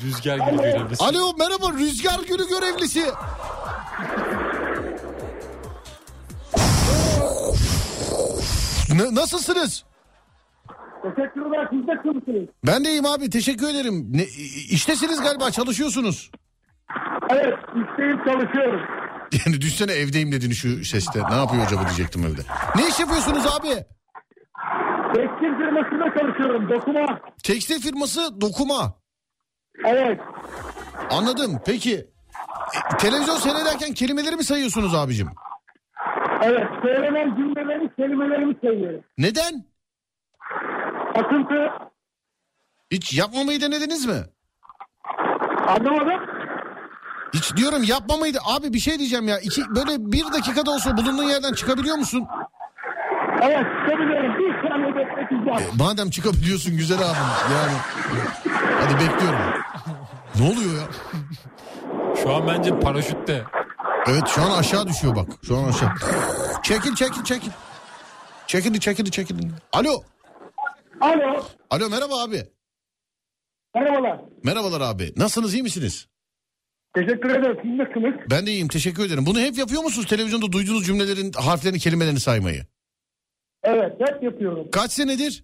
D: Rüzgar gibi görevlisi.
C: Alo merhaba Rüzgar Gülü görevlisi. Ne- nasılsınız?
J: Teşekkürler. Siz de kimsiniz?
C: Ben de iyiyim abi teşekkür ederim. Ne, iştesiniz galiba çalışıyorsunuz.
J: Evet. İsteyip çalışıyoruz.
C: Yani düşsene evdeyim dedin şu seste. Ne yapıyor acaba diyecektim evde. Ne iş yapıyorsunuz abi?
J: Tekstil firmasında çalışıyorum. Dokuma.
C: Tekstil firması dokuma.
J: Evet.
C: Anladım peki. E, televizyon seyrederken kelimeleri mi sayıyorsunuz abicim?
J: Evet. Söylenen cümleleri, kelimelerimi söylüyorum.
C: Neden?
J: Akıntı.
C: Hiç yapmamayı denediniz mi?
J: Anlamadım.
C: Hiç diyorum yapmamayı da... Abi bir şey diyeceğim ya. İki, böyle bir dakikada olsa bulunduğun yerden çıkabiliyor musun?
J: Evet çıkabiliyorum. Bir saniye bekleyeceğim.
C: E, Madem çıkabiliyorsun güzel abim. Yani. Hadi bekliyorum. Ne oluyor ya?
D: Şu an bence paraşütte.
C: Evet şu an aşağı düşüyor bak. Şu an aşağı. Çekil çekil çekil. Çekildi çekildi çekildi. Alo.
J: Alo.
C: Alo merhaba abi.
J: Merhabalar.
C: Merhabalar abi. Nasılsınız iyi misiniz?
J: Teşekkür ederim. Siz nasılsınız?
C: Ben de iyiyim teşekkür ederim. Bunu hep yapıyor musunuz? Televizyonda duyduğunuz cümlelerin harflerini kelimelerini saymayı.
J: Evet hep yapıyorum.
C: Kaç senedir?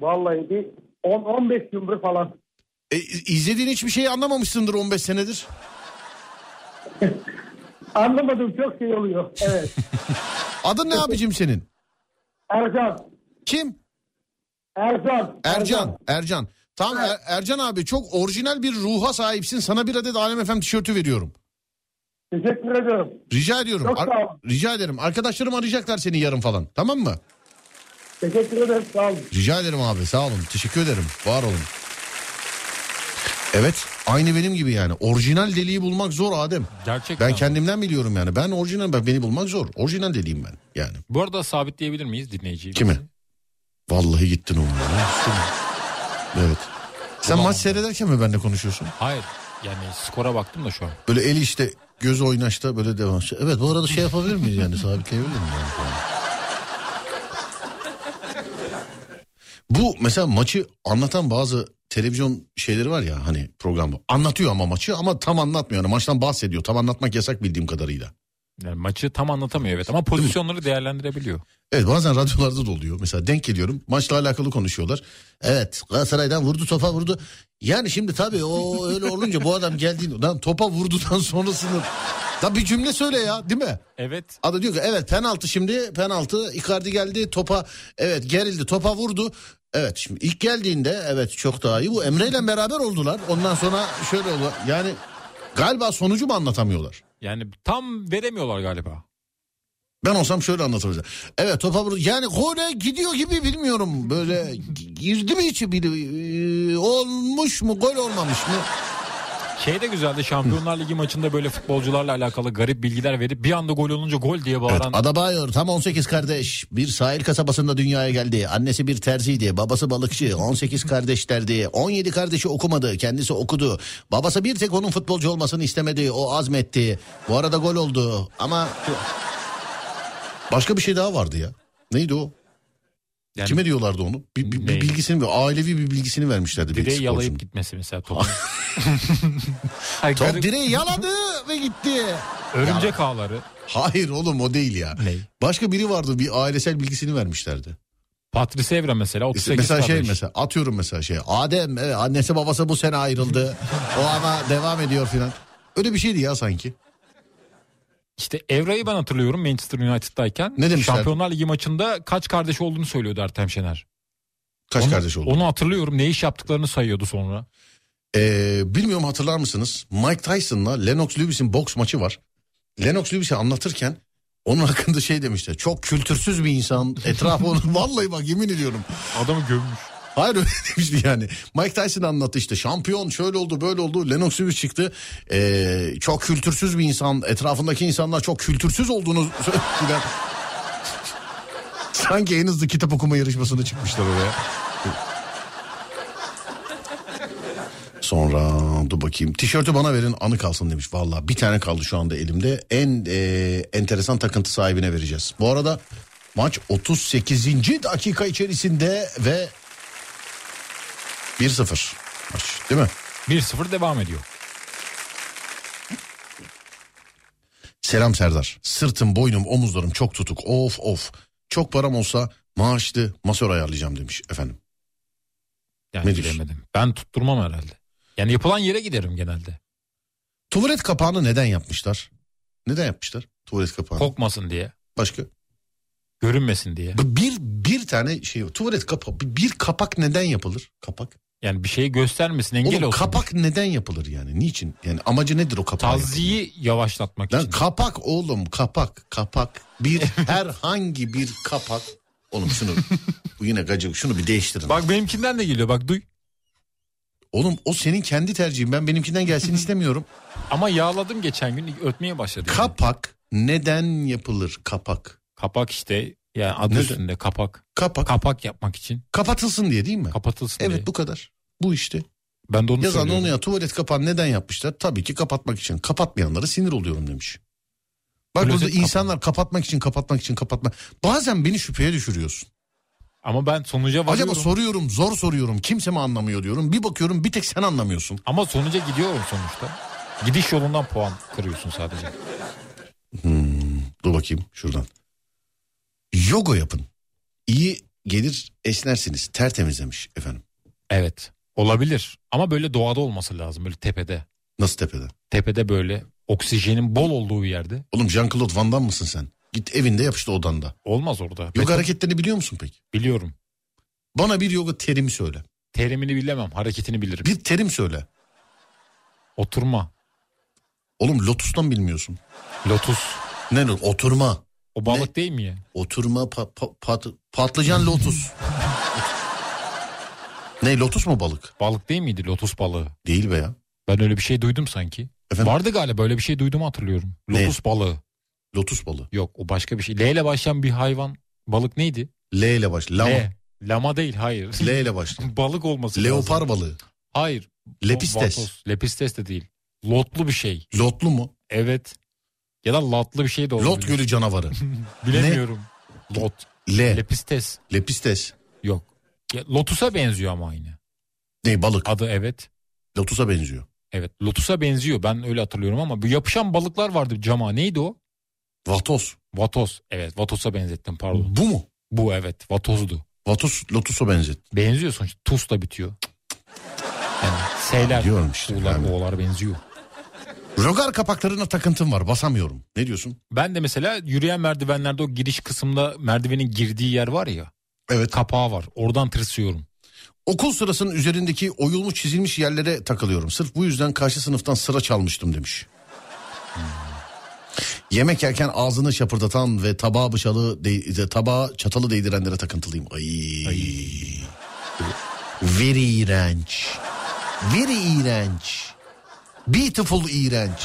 J: Vallahi bir 10-15 gündür falan.
C: E, izlediğin hiçbir şeyi anlamamışsındır 15 senedir.
J: Anlamadım çok şey oluyor. Evet.
C: Adın ne abicim senin?
J: Ercan.
C: Kim?
J: Ercan.
C: Ercan. Ercan. Tamam Er- Ercan abi çok orijinal bir ruha sahipsin. Sana bir adet Alem FM tişörtü veriyorum.
J: Teşekkür ederim.
C: Rica ediyorum.
J: Çok sağ ol.
C: rica ederim. Arkadaşlarım arayacaklar seni yarın falan. Tamam mı?
J: Teşekkür ederim. Sağ olun.
C: Rica ederim abi sağ olun teşekkür ederim var olun. Evet aynı benim gibi yani orijinal deliği bulmak zor Adem.
D: Gerçekten.
C: Ben kendimden biliyorum yani ben orijinal ben beni bulmak zor orijinal deliyim ben yani.
D: Bu arada sabitleyebilir miyiz dinleyiciyi?
C: Kimi? Vallahi gittin oğlum. ya. Evet. Sen maç seyrederken mi benimle konuşuyorsun?
D: Hayır. Yani skora baktım da şu an.
C: Böyle eli işte göz oynaşta böyle devam. Evet bu arada şey yapabilir miyiz yani sabitleyebilir miyiz? yani falan? bu mesela maçı anlatan bazı televizyon şeyleri var ya hani programda anlatıyor ama maçı ama tam anlatmıyor. Yani maçtan bahsediyor tam anlatmak yasak bildiğim kadarıyla.
D: Yani maçı tam anlatamıyor evet ama pozisyonları değerlendirebiliyor.
C: Evet bazen radyolarda da oluyor. Mesela denk geliyorum. Maçla alakalı konuşuyorlar. Evet Galatasaray'dan vurdu topa vurdu. Yani şimdi tabii o öyle olunca bu adam geldiğinde lan topa vurdudan sonrasını da bir cümle söyle ya değil mi?
D: Evet.
C: Adı diyor ki evet penaltı şimdi penaltı Icardi geldi topa evet gerildi topa vurdu. Evet şimdi ilk geldiğinde evet çok daha iyi bu Emre ile beraber oldular. Ondan sonra şöyle oldu yani galiba sonucu mu anlatamıyorlar?
D: Yani tam veremiyorlar galiba.
C: Ben olsam şöyle anlatırdım. Evet topa vurdu. Yani gole gidiyor gibi bilmiyorum. Böyle gi- girdi mi içi biri? Ee, olmuş mu gol olmamış mı?
D: Şey de güzeldi Şampiyonlar Ligi maçında böyle futbolcularla alakalı garip bilgiler verip bir anda gol olunca gol diye
C: Evet,
D: bağıran.
C: Adabayor tam 18 kardeş. Bir sahil kasabasında dünyaya geldi. Annesi bir terziydi. Babası balıkçı. 18 kardeşlerdi. 17 kardeşi okumadı. Kendisi okudu. Babası bir tek onun futbolcu olmasını istemedi. O azmetti. Bu arada gol oldu. Ama başka bir şey daha vardı ya. Neydi o?
D: Yani
C: Kime diyorlardı onu? Bir, bir- bir
D: Neyi?
C: bilgisini, ailevi bir bilgisini vermişlerdi. bir
D: direği
C: sporcunun.
D: yalayıp gitmesi mesela topu. Hayır,
C: Top
D: garip-
C: direği yaladı ve gitti.
D: örümcek ağları.
C: Hayır oğlum o değil ya.
D: Ney?
C: Başka biri vardı bir ailesel bilgisini vermişlerdi.
D: Patrice Evra mesela 38
C: mesela şey
D: kardeş.
C: mesela atıyorum mesela şey. Adem evet, annesi babası bu sene ayrıldı. o ama devam ediyor filan. Öyle bir şeydi ya sanki.
D: İşte Evra'yı ben hatırlıyorum Manchester United'dayken.
C: Ne demişler?
D: Şampiyonlar Ligi maçında kaç kardeş olduğunu söylüyordu Ertem Şener.
C: Kaç
D: onu,
C: kardeş oldu?
D: Onu hatırlıyorum. Ne iş yaptıklarını sayıyordu sonra.
C: Ee, bilmiyorum hatırlar mısınız? Mike Tyson'la Lennox Lewis'in boks maçı var. Lennox Lewis'i anlatırken onun hakkında şey demişler. Çok kültürsüz bir insan. Etrafı onu vallahi bak yemin ediyorum.
D: Adamı gömmüş.
C: Hayır öyle demişti yani. Mike Tyson anlattı işte şampiyon şöyle oldu böyle oldu. Lennox Lewis çıktı. Ee, çok kültürsüz bir insan. Etrafındaki insanlar çok kültürsüz olduğunu söylediler. Sanki en hızlı kitap okuma yarışmasına çıkmışlar oraya. Sonra dur bakayım. Tişörtü bana verin anı kalsın demiş. Valla bir tane kaldı şu anda elimde. En e, enteresan takıntı sahibine vereceğiz. Bu arada maç 38. dakika içerisinde ve 1-0 maç değil mi?
D: 1-0 devam ediyor.
C: Selam Serdar. Sırtım, boynum, omuzlarım çok tutuk. Of of. Çok param olsa maaşlı masör ayarlayacağım demiş efendim.
D: Yani
C: Ne diyorsun?
D: bilemedim. Ben tutturmam herhalde. Yani yapılan yere giderim genelde.
C: Tuvalet kapağını neden yapmışlar? Neden yapmışlar? Tuvalet kapağını.
D: Kokmasın diye.
C: Başka?
D: Görünmesin diye.
C: Bu Bir bir tane şey var. Tuvalet kapağı. bir- Bir kapak neden yapılır? Kapak.
D: Yani bir şeyi göstermesin engel
C: Oğlum
D: olsun.
C: kapak neden yapılır yani? Niçin? Yani amacı nedir o kapağın?
D: Taziyi yavaşlatmak
C: Lan
D: için.
C: kapak oğlum kapak kapak. Bir herhangi bir kapak. Oğlum şunu bu yine gacık şunu bir değiştirin.
D: Bak benimkinden de geliyor bak duy.
C: Oğlum o senin kendi tercihin ben benimkinden gelsin istemiyorum.
D: Ama yağladım geçen gün ötmeye başladı. yani.
C: Kapak neden yapılır kapak?
D: kapak işte yani adı
C: Ne-
D: üstünde kapak.
C: Kapak
D: Kapak yapmak için
C: kapatılsın diye değil mi?
D: kapatılsın diye.
C: evet bu kadar. Bu işte.
D: Ben de onu
C: Yazan da
D: söylüyorum.
C: onu ya tuvalet kapağını neden yapmışlar? Tabii ki kapatmak için. Kapatmayanlara sinir oluyorum demiş. Bak
D: Klozet
C: burada
D: kapağı.
C: insanlar kapatmak için kapatmak için kapatmak. Bazen beni şüpheye düşürüyorsun.
D: Ama ben sonuca varıyorum.
C: Acaba soruyorum zor soruyorum kimse mi anlamıyor diyorum. Bir bakıyorum bir tek sen anlamıyorsun.
D: Ama sonuca gidiyorum sonuçta. Gidiş yolundan puan kırıyorsun sadece.
C: Dur bakayım şuradan. Yoga yapın. İyi gelir esnersiniz tertemiz demiş efendim.
D: Evet. Olabilir. Ama böyle doğada olması lazım. Böyle tepede.
C: Nasıl tepede?
D: Tepede böyle oksijenin bol olduğu bir yerde.
C: Oğlum Jean-Claude Van Damme mısın sen? Git evinde yap işte odanda.
D: Olmaz orada.
C: Yoga
D: Beton-
C: hareketlerini biliyor musun peki?
D: Biliyorum.
C: Bana bir yoga terimi söyle.
D: Terimini bilemem. Hareketini bilirim.
C: Bir terim söyle.
D: Oturma.
C: Oğlum lotustan bilmiyorsun.
D: Lotus.
C: Ne lo- oturma.
D: O balık değil mi ya?
C: Oturma pa- pa- pat- patlıcan lotus. ne lotus mu balık?
D: Balık değil miydi lotus balığı?
C: Değil be ya.
D: Ben öyle bir şey duydum sanki.
C: Efendim?
D: Vardı galiba öyle bir şey duyduğumu hatırlıyorum.
C: Ne?
D: Lotus balığı.
C: Lotus balığı.
D: Yok o başka bir şey. L ile başlayan bir hayvan. Balık neydi?
C: L ile baş. Lama.
D: L. Lama değil hayır.
C: L ile baş.
D: balık olması lazım.
C: Leopar balığı.
D: Hayır.
C: Lepistes.
D: Vatoz. Lepistes de değil. Lotlu bir şey.
C: Lotlu mu?
D: Evet. Ya da latlı bir şey de olabilir.
C: Lot gölü canavarı.
D: Bilemiyorum. Lot.
C: L.
D: Lepistes.
C: Lepistes.
D: Yok. Ya, Lotus'a benziyor ama aynı.
C: Ne balık?
D: Adı evet.
C: Lotus'a benziyor.
D: Evet. Lotus'a benziyor. Ben öyle hatırlıyorum ama bu yapışan balıklar vardı cama. Neydi o?
C: Vatos.
D: Vatoz. Evet. Vatos'a benzettim pardon.
C: Bu mu?
D: Bu evet. Vatozdu.
C: Vatos Lotus'a benzet.
D: Benziyor sonuçta. Tus'la bitiyor. Yani S'ler.
C: Diyorum işte
D: U'lar,
C: yani.
D: O'lar benziyor.
C: Rogar kapaklarına takıntım var. Basamıyorum. Ne diyorsun?
D: Ben de mesela yürüyen merdivenlerde o giriş kısımda merdivenin girdiği yer var ya.
C: Evet.
D: Kapağı var. Oradan tırsıyorum.
C: Okul sırasının üzerindeki oyulmuş çizilmiş yerlere takılıyorum. Sırf bu yüzden karşı sınıftan sıra çalmıştım demiş. Hmm. Yemek yerken ağzını şapırdatan ve tabağa bıçalı de, de- tabağa çatalı değdirenlere takıntılıyım. Ay. Very iğrenç. Very iğrenç. Beautiful iğrenç.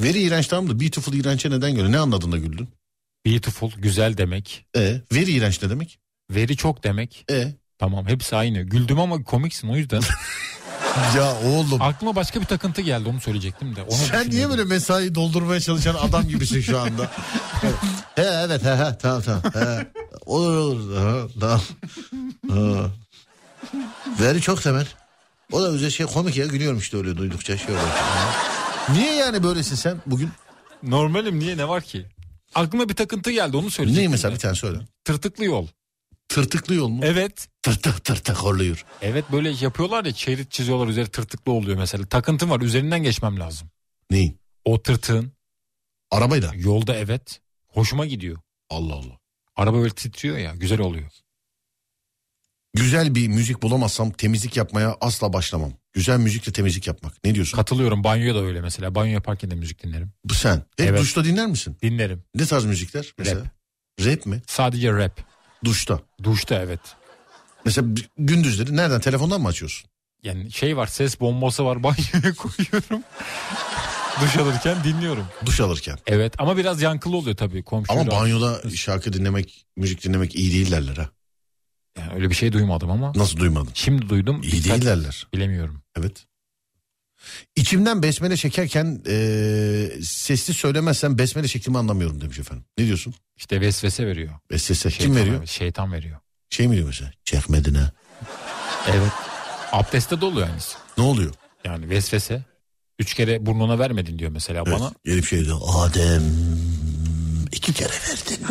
C: Very iğrenç tamam da beautiful iğrençe neden göre? Ne anladın da güldün?
D: Beautiful güzel demek.
C: E, very iğrenç ne demek?
D: Veri çok demek.
C: E,
D: Tamam hepsi aynı. Güldüm ama komiksin o yüzden.
C: ya oğlum.
D: Aklıma başka bir takıntı geldi onu söyleyecektim de. Onu
C: Sen niye
D: düşünüyordum.
C: böyle mesai doldurmaya çalışan adam gibisin şu anda? he evet he he tamam tamam. He. Olur olur ha, tamam. Ha. Veri çok sever. O da bize şey komik ya gülüyorum işte öyle duydukça şey oluyor. Niye yani böylesin sen bugün?
D: Normalim niye ne var ki? Aklıma bir takıntı geldi onu söyleyecektim.
C: Neyi mesela
D: de.
C: bir tane söyle.
D: Tırtıklı yol.
C: Tırtıklı yol mu?
D: Evet.
C: Tırtık tırtık horluyor.
D: Evet böyle yapıyorlar ya şerit çiziyorlar üzeri tırtıklı oluyor mesela. Takıntım var üzerinden geçmem lazım.
C: Neyin?
D: O tırtığın
C: Arabayla.
D: yolda evet hoşuma gidiyor.
C: Allah Allah.
D: Araba böyle titriyor ya güzel oluyor.
C: Güzel bir müzik bulamazsam temizlik yapmaya asla başlamam. Güzel müzikle temizlik yapmak. Ne diyorsun?
D: Katılıyorum banyoya da öyle mesela. Banyo yaparken de müzik dinlerim.
C: Bu sen. Hep
D: Evet.
C: duşta dinler misin?
D: Dinlerim.
C: Ne tarz müzikler? Mesela? Rap. mi?
D: Sadece rap.
C: Duşta.
D: Duşta evet.
C: Mesela b- gündüzleri nereden? Telefondan mı açıyorsun?
D: Yani şey var ses bombası var banyoya koyuyorum. Duş alırken dinliyorum.
C: Duş alırken.
D: Evet ama biraz yankılı oluyor tabii komşu.
C: Ama banyoda şarkı dinlemek, müzik dinlemek iyi değil derler ha.
D: Yani öyle bir şey duymadım ama.
C: Nasıl duymadın?
D: Şimdi duydum.
C: İyi
D: Dikkat-
C: değil derler.
D: Bilemiyorum.
C: Evet. İçimden besmele çekerken eee sesli söylemezsem besmele şeklimi anlamıyorum demiş efendim. Ne diyorsun?
D: İşte vesvese veriyor.
C: E, sesle kim
D: Şeytan
C: veriyor?
D: Şeytan veriyor.
C: Şey mi diyor mesela? Çekmedin ha.
D: Evet. Abdeste de oluyor aynısı.
C: Ne oluyor?
D: Yani vesvese. Üç kere burnuna vermedin diyor mesela
C: Evet,
D: bana.
C: gelip şey diyor. Adem iki kere verdin.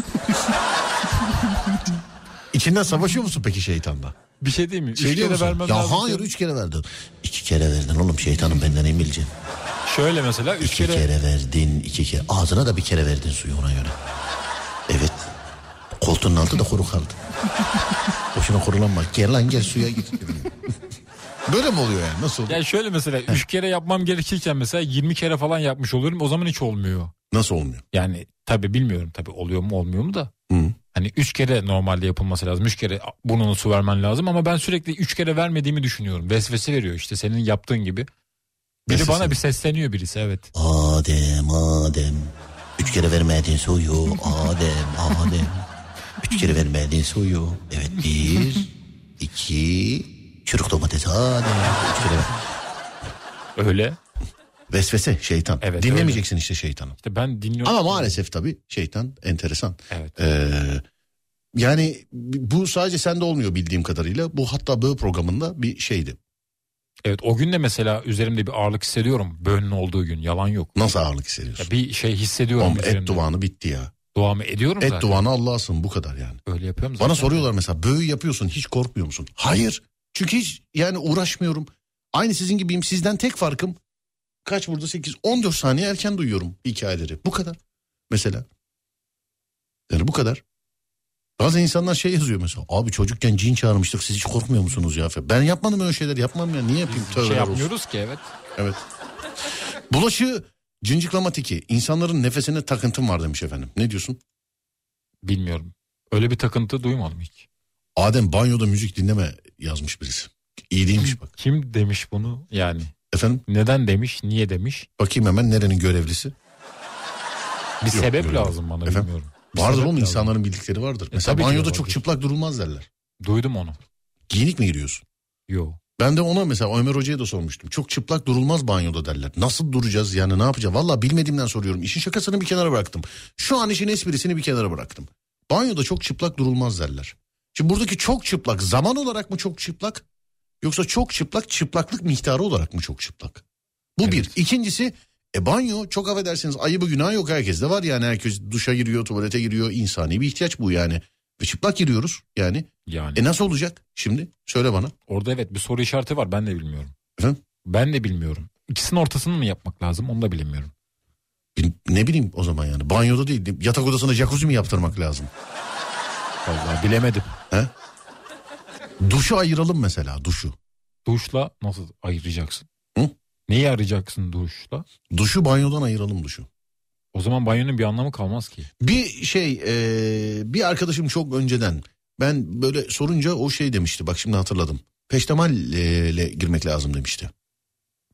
C: İçinden savaşıyor musun peki şeytanla?
D: Bir şey değil mi? Üç
C: Şey diyor
D: kere
C: musun?
D: vermem
C: ya
D: lazım.
C: hayır üç kere verdin. İki kere verdin oğlum şeytanım benden emin bileceksin.
D: Şöyle mesela üç
C: İki
D: kere.
C: kere... verdin iki kere. Ağzına da bir kere verdin suyu ona göre. Evet. Koltuğun altı da kuru kaldı. Boşuna kurulanma. Gel lan gel suya git. Böyle mi oluyor yani? Nasıl oluyor?
D: Ya şöyle mesela üç kere yapmam gerekirken mesela 20 kere falan yapmış oluyorum. O zaman hiç olmuyor.
C: Nasıl olmuyor?
D: Yani tabi bilmiyorum tabi oluyor mu olmuyor mu da.
C: Hı.
D: Hani üç kere normalde yapılması lazım. Üç kere burnunu su vermen lazım ama ben sürekli üç kere vermediğimi düşünüyorum. Vesvese veriyor işte senin yaptığın gibi. Biri
K: Vesvese
D: bana
K: mi?
D: bir sesleniyor birisi evet.
K: Adem Adem. Üç kere vermedin suyu Adem Adem. Üç kere vermedin suyu. Evet bir, iki, çürük domates Adem. Üç kere ver.
D: Öyle.
C: Vesvese şeytan.
D: Evet,
C: Dinlemeyeceksin işte şeytanı.
D: İşte ben dinliyorum.
C: Ama maalesef tabii şeytan enteresan.
D: Evet.
C: Ee, yani bu sadece sende olmuyor bildiğim kadarıyla. Bu hatta bu programında bir şeydi.
D: Evet o gün de mesela üzerimde bir ağırlık hissediyorum. Böğünün olduğu gün yalan yok.
C: Nasıl ağırlık hissediyorsun?
D: Ya bir şey hissediyorum
C: Oğlum et
D: üzerimde.
C: duvanı bitti ya.
D: Duamı ediyorum
C: Et
D: zaten.
C: duvanı Allah'sın bu kadar yani.
D: Öyle yapıyorum zaten.
C: Bana soruyorlar mesela böğü yapıyorsun hiç korkmuyor musun? Hayır. Çünkü hiç yani uğraşmıyorum. Aynı sizin gibiyim. Sizden tek farkım kaç burada 8 14 saniye erken duyuyorum hikayeleri. Bu kadar. Mesela. Yani bu kadar. Bazı insanlar şey yazıyor mesela. Abi çocukken cin çağırmıştık siz hiç korkmuyor musunuz ya? Ben yapmadım öyle şeyler yapmam ya. Niye yapayım?
D: Şey
C: Tövbeler olsun.
D: yapmıyoruz ki evet.
C: Evet. Bulaşı cinciklama tiki. İnsanların nefesine takıntım var demiş efendim. Ne diyorsun?
D: Bilmiyorum. Öyle bir takıntı duymadım hiç.
C: Adem banyoda müzik dinleme yazmış birisi. İyi değilmiş bak.
D: Kim demiş bunu yani?
C: Efendim?
D: Neden demiş? Niye demiş?
C: Bakayım hemen nerenin görevlisi?
D: Bir
C: Yok,
D: sebep
C: görmedim.
D: lazım bana
C: Efendim?
D: bilmiyorum. Bir
C: Vardır
D: sebep
C: oğlum
D: lazım.
C: insanların bildikleri vardır. Mesela
D: tabii ki
C: banyoda
D: vardır.
C: çok çıplak durulmaz derler.
D: Duydum onu.
C: Giyinik mi giriyorsun?
D: Yo.
C: Ben de ona mesela Ömer Hoca'ya da sormuştum. Çok çıplak durulmaz banyoda derler. Nasıl duracağız yani ne yapacağız? Valla bilmediğimden soruyorum. İşin şakasını bir kenara bıraktım. Şu an işin esprisini bir kenara bıraktım. Banyoda çok çıplak durulmaz derler. Şimdi buradaki çok çıplak zaman olarak mı çok çıplak? Yoksa çok çıplak çıplaklık miktarı olarak mı çok çıplak? Bu bir. İkincisi e banyo çok affedersiniz ayıbı günah yok herkeste var yani herkes duşa giriyor tuvalete giriyor insani bir ihtiyaç bu yani. Ve çıplak giriyoruz yani.
D: Yani
C: E nasıl olacak şimdi? Söyle bana.
D: orada evet bir soru işareti var ben de bilmiyorum.
C: Efendim?
D: Ben de bilmiyorum. İkisinin ortasını mı yapmak lazım onu da bilmiyorum.
C: Bil- Ne bileyim o zaman yani banyoda değil yatak odasına jacuzzi mi yaptırmak lazım?
D: Vallahi bilemedim.
C: Duşu ayıralım mesela duşu.
D: Duşla nasıl ayıracaksın?
C: Hı?
D: Neyi ayıracaksın duşla?
C: Duşu banyodan ayıralım duşu.
D: O zaman banyonun bir anlamı kalmaz ki.
C: Bir şey eee, bir arkadaşım çok önceden ben böyle sorunca o şey demişti bak şimdi hatırladım. Peştemalle girmek lazım demişti.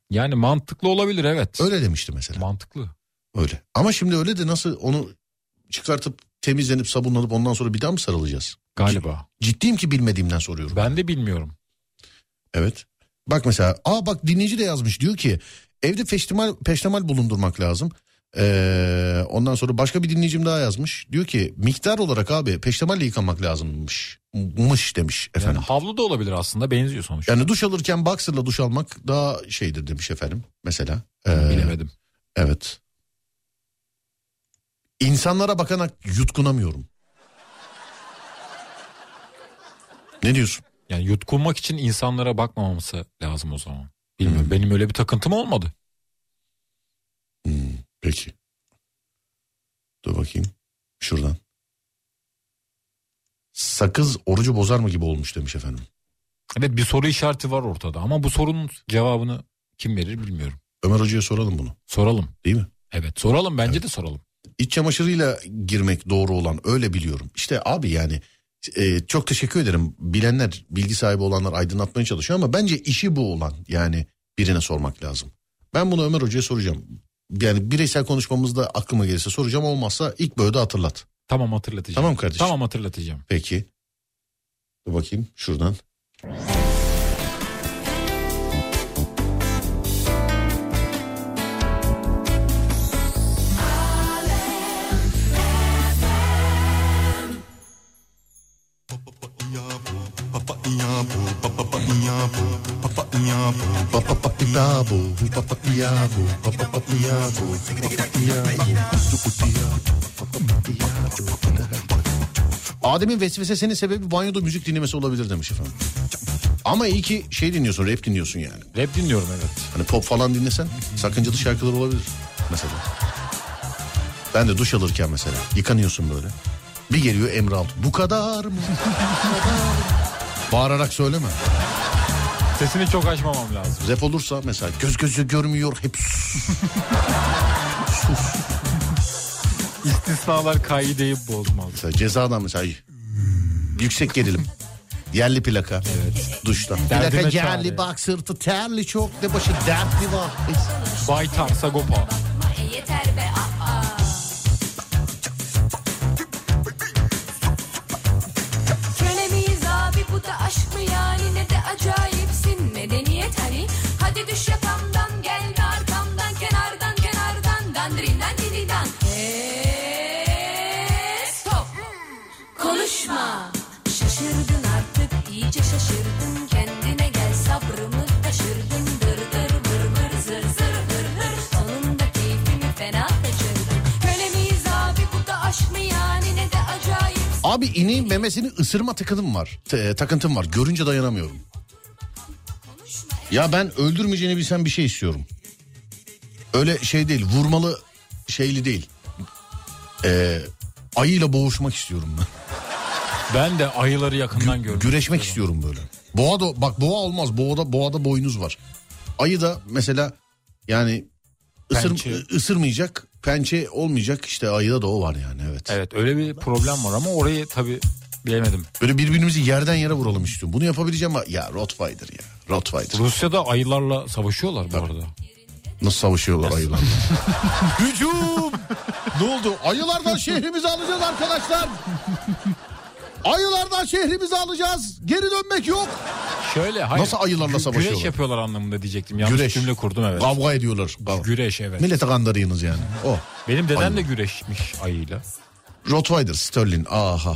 D: Yani mantıklı olabilir evet.
C: Öyle demişti mesela.
D: Mantıklı.
C: Öyle. Ama şimdi öyle de nasıl onu çıkartıp temizlenip sabunlanıp ondan sonra bir daha mı sarılacağız?
D: Galiba.
C: Ciddiyim ki bilmediğimden soruyorum.
D: Ben de bilmiyorum.
C: Evet. Bak mesela aa bak dinleyici de yazmış diyor ki evde peştemal, peştemal bulundurmak lazım. Ee, ondan sonra başka bir dinleyicim daha yazmış. Diyor ki miktar olarak abi peştemalle yıkamak lazımmış. Mış demiş
D: Yani
C: efendim.
D: havlu da olabilir aslında benziyor sonuçta.
C: Yani duş alırken boxer'la duş almak daha şeydir demiş efendim mesela. Ee,
D: Bilemedim.
C: Evet. İnsanlara bakarak yutkunamıyorum. Ne diyorsun?
D: Yani yutkunmak için insanlara bakmaması lazım o zaman. Bilmiyorum benim öyle bir takıntım olmadı.
C: Hmm, Peki. Dur bakayım. Şuradan. Sakız orucu bozar mı gibi olmuş demiş efendim.
D: Evet bir soru işareti var ortada ama bu sorunun cevabını kim verir bilmiyorum.
C: Ömer Hoca'ya soralım bunu.
D: Soralım.
C: Değil mi?
D: Evet soralım bence de soralım.
C: İç çamaşırıyla girmek doğru olan öyle biliyorum. İşte abi yani e, çok teşekkür ederim. Bilenler, bilgi sahibi olanlar aydınlatmaya çalışıyor ama bence işi bu olan yani birine sormak lazım. Ben bunu Ömer Hoca'ya soracağım. Yani bireysel konuşmamızda aklıma gelirse soracağım olmazsa ilk böyle de hatırlat.
D: Tamam hatırlatacağım.
C: Tamam kardeşim.
D: Tamam hatırlatacağım.
C: Peki. Dur bakayım şuradan. Adem'in vesvesesinin sebebi banyoda müzik dinlemesi olabilir demiş efendim. Ama iyi ki şey dinliyorsun, rap dinliyorsun yani.
D: Rap dinliyorum evet.
C: Hani pop falan dinlesen sakıncalı şarkılar olabilir mesela. Ben de duş alırken mesela yıkanıyorsun böyle. Bir geliyor Emre Altun. Bu kadar mı? Bu kadar mı?" Bağırarak söyleme.
D: Sesini çok açmamam lazım.
C: Rap olursa mesela göz gözü görmüyor hep sus. sus.
D: İstisnalar kaideyi bozmaz.
C: Mesela cezadan mesela yüksek gerilim. Yerli plaka. Evet. Duşta.
D: Derdime
C: Plaka
D: çare.
C: yerli bak sırtı terli çok de başı dertli var.
D: Baytar, Sagopa.
B: Yeter be aa. Köle miyiz abi bu da aşk mı yani ne de acayipsin medeniyet hani Hadi düş yakamdan gelme arkamdan kenardan kenardan dandirinden dilinden Eee, Stop konuşma Şaşırdın artık iyice şaşırdın kendine gel sabrımı taşırdın dır dır vır vır zır zır hır hır Sonunda keyfimi fena kaçırdın Köle miyiz abi bu da aşk mı yani ne de acayip
C: Abi ineğin memesini ısırma takıntım var. T- e, takıntım var. Görünce dayanamıyorum. Ya ben öldürmeyeceğini bilsem bir şey istiyorum. Öyle şey değil. Vurmalı şeyli değil. Ee, ayıyla boğuşmak istiyorum ben.
D: Ben de ayıları yakından gördüm.
C: Güreşmek istiyorum böyle. Boğa da bak boğa olmaz. Boğada boğada boynuz var. Ayı da mesela yani ısır,
D: Pençe.
C: ısırmayacak. Pençe olmayacak. işte ayıda da o var yani evet.
D: Evet öyle bir problem var ama orayı tabii bilemedim.
C: Böyle birbirimizi yerden yere vuralım istiyorum. Bunu yapabileceğim ama ya Rottweiler ya. Rottweiler.
D: Rusya'da ayılarla savaşıyorlar bu arada.
C: Nasıl savaşıyorlar ayılarla? Hücum! ne oldu? Ayılardan şehrimizi alacağız arkadaşlar. Ayılardan şehrimizi alacağız. Geri dönmek yok.
D: Şöyle hayır.
C: Nasıl ayılarla
D: Gü- Güreş
C: savaşıyorlar?
D: yapıyorlar anlamında diyecektim. Yanlış
C: Güreş.
D: cümle kurdum evet.
C: Kavga ediyorlar. Kavga.
D: Güreş evet.
C: Millete kandırıyorsunuz yani. O.
D: Benim dedem de güreşmiş ayıyla.
C: Rottweiler, Sterling. Aha.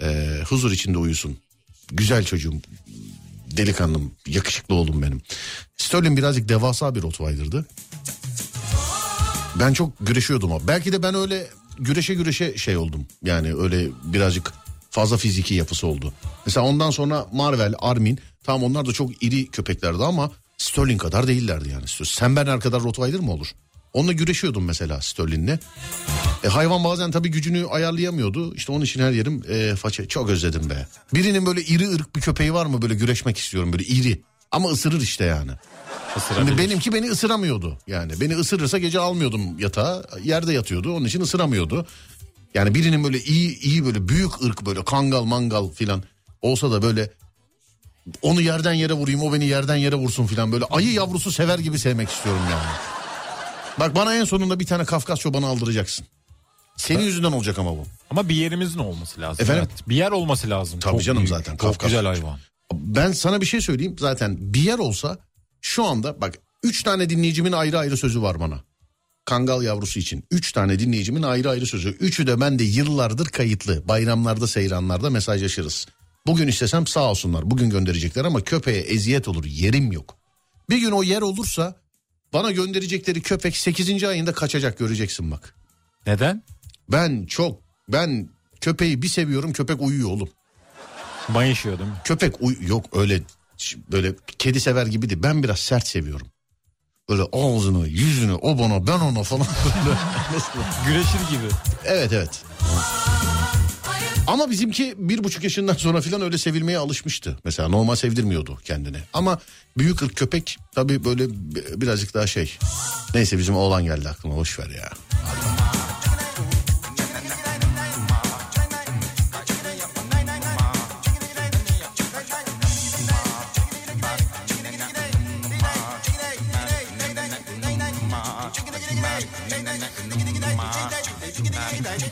C: Ee, huzur içinde uyusun. Güzel çocuğum. Delikanlım. Yakışıklı oğlum benim. Sterling birazcık devasa bir Rottweiler'dı. Ben çok güreşiyordum ama. Belki de ben öyle güreşe güreşe şey oldum. Yani öyle birazcık fazla fiziki yapısı oldu. Mesela ondan sonra Marvel, Armin tamam onlar da çok iri köpeklerdi ama Sterling kadar değillerdi yani. Sen ben kadar Rottweiler mi olur? Onunla güreşiyordum mesela Sterling'le. E, hayvan bazen tabii gücünü ayarlayamıyordu. İşte onun için her yerim e, faça. Çok özledim be. Birinin böyle iri ırk bir köpeği var mı böyle güreşmek istiyorum böyle iri. Ama ısırır işte yani. Şimdi benimki beni ısıramıyordu yani. Beni ısırırsa gece almıyordum yatağa. Yerde yatıyordu onun için ısıramıyordu. Yani birinin böyle iyi iyi böyle büyük ırk böyle kangal mangal filan olsa da böyle onu yerden yere vurayım o beni yerden yere vursun filan böyle ayı yavrusu sever gibi sevmek istiyorum yani. Bak bana en sonunda bir tane Kafkas çobanı aldıracaksın. Senin yüzünden olacak ama bu.
D: Ama bir yerimizin olması lazım.
C: Efendim?
D: Evet, bir yer olması lazım.
C: Tabii
D: Çok
C: canım
D: büyük,
C: zaten,
D: Çok
C: Kafkas.
D: güzel hayvan.
C: Ben sana bir şey söyleyeyim. Zaten bir yer olsa şu anda bak 3 tane dinleyicimin ayrı ayrı sözü var bana. Kangal yavrusu için. 3 tane dinleyicimin ayrı ayrı sözü. Üçü de ben de yıllardır kayıtlı. Bayramlarda, seyranlarda mesajlaşırız. Bugün istesem sağ olsunlar. Bugün gönderecekler ama köpeğe eziyet olur. Yerim yok. Bir gün o yer olursa bana gönderecekleri köpek 8. ayında kaçacak göreceksin bak.
D: Neden?
C: Ben çok ben köpeği bir seviyorum köpek uyuyor oğlum.
D: Mayışıyor değil mi?
C: Köpek uy- yok öyle ş- böyle kedi sever gibi değil. Ben biraz sert seviyorum. Böyle ağzını, yüzünü, o bana, ben ona falan. böyle.
D: Güreşir gibi.
C: evet evet. Ama bizimki bir buçuk yaşından sonra falan öyle sevilmeye alışmıştı. Mesela normal sevdirmiyordu kendini. Ama büyük ırk köpek tabii böyle bi- birazcık daha şey. Neyse bizim oğlan geldi aklıma boş ver ya.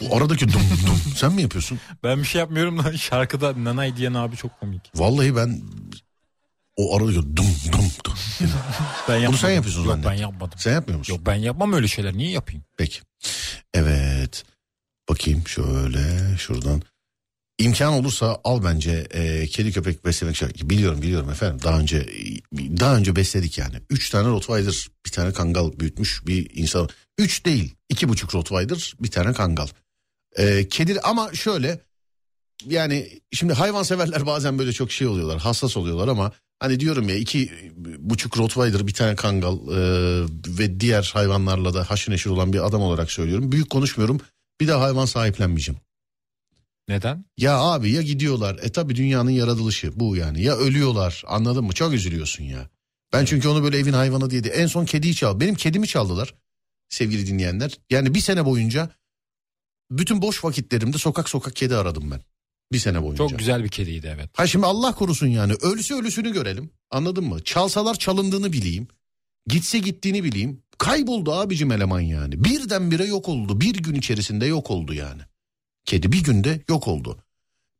C: Bu aradaki dum dum sen mi yapıyorsun?
D: Ben bir şey yapmıyorum da şarkıda nanay diyen abi çok komik.
C: Vallahi ben o aradaki dum dum dum. Bunu sen
D: Ben yapmadım.
C: yapıyorsun
D: Yok
C: zannettim.
D: ben yapmadım.
C: Sen yapmıyor musun?
D: Yok ben yapmam öyle şeyler. Niye yapayım?
C: Peki. Evet. Bakayım şöyle şuradan. İmkan olursa al bence e, kedi köpek beslemek şarkı. Biliyorum biliyorum efendim. Daha önce e, daha önce besledik yani. Üç tane Rottweiler bir tane kangal büyütmüş bir insan. Üç değil iki buçuk Rottweiler bir tane kangal. E, kedi ama şöyle yani şimdi hayvanseverler bazen böyle çok şey oluyorlar hassas oluyorlar ama hani diyorum ya iki buçuk Rottweiler bir tane kangal e, ve diğer hayvanlarla da haşır neşir olan bir adam olarak söylüyorum. Büyük konuşmuyorum bir daha hayvan sahiplenmeyeceğim.
D: Neden?
C: Ya abi ya gidiyorlar e tabi dünyanın yaratılışı bu yani ya ölüyorlar anladın mı çok üzülüyorsun ya. Ben çünkü onu böyle evin hayvanı diye de en son kediyi çal benim kedimi çaldılar sevgili dinleyenler. Yani bir sene boyunca bütün boş vakitlerimde sokak sokak kedi aradım ben. Bir sene boyunca.
D: Çok güzel bir kediydi evet.
C: Ha şimdi Allah korusun yani ölse ölüsünü görelim anladın mı? Çalsalar çalındığını bileyim. Gitse gittiğini bileyim. Kayboldu abicim eleman yani. Birdenbire yok oldu. Bir gün içerisinde yok oldu yani. Kedi bir günde yok oldu.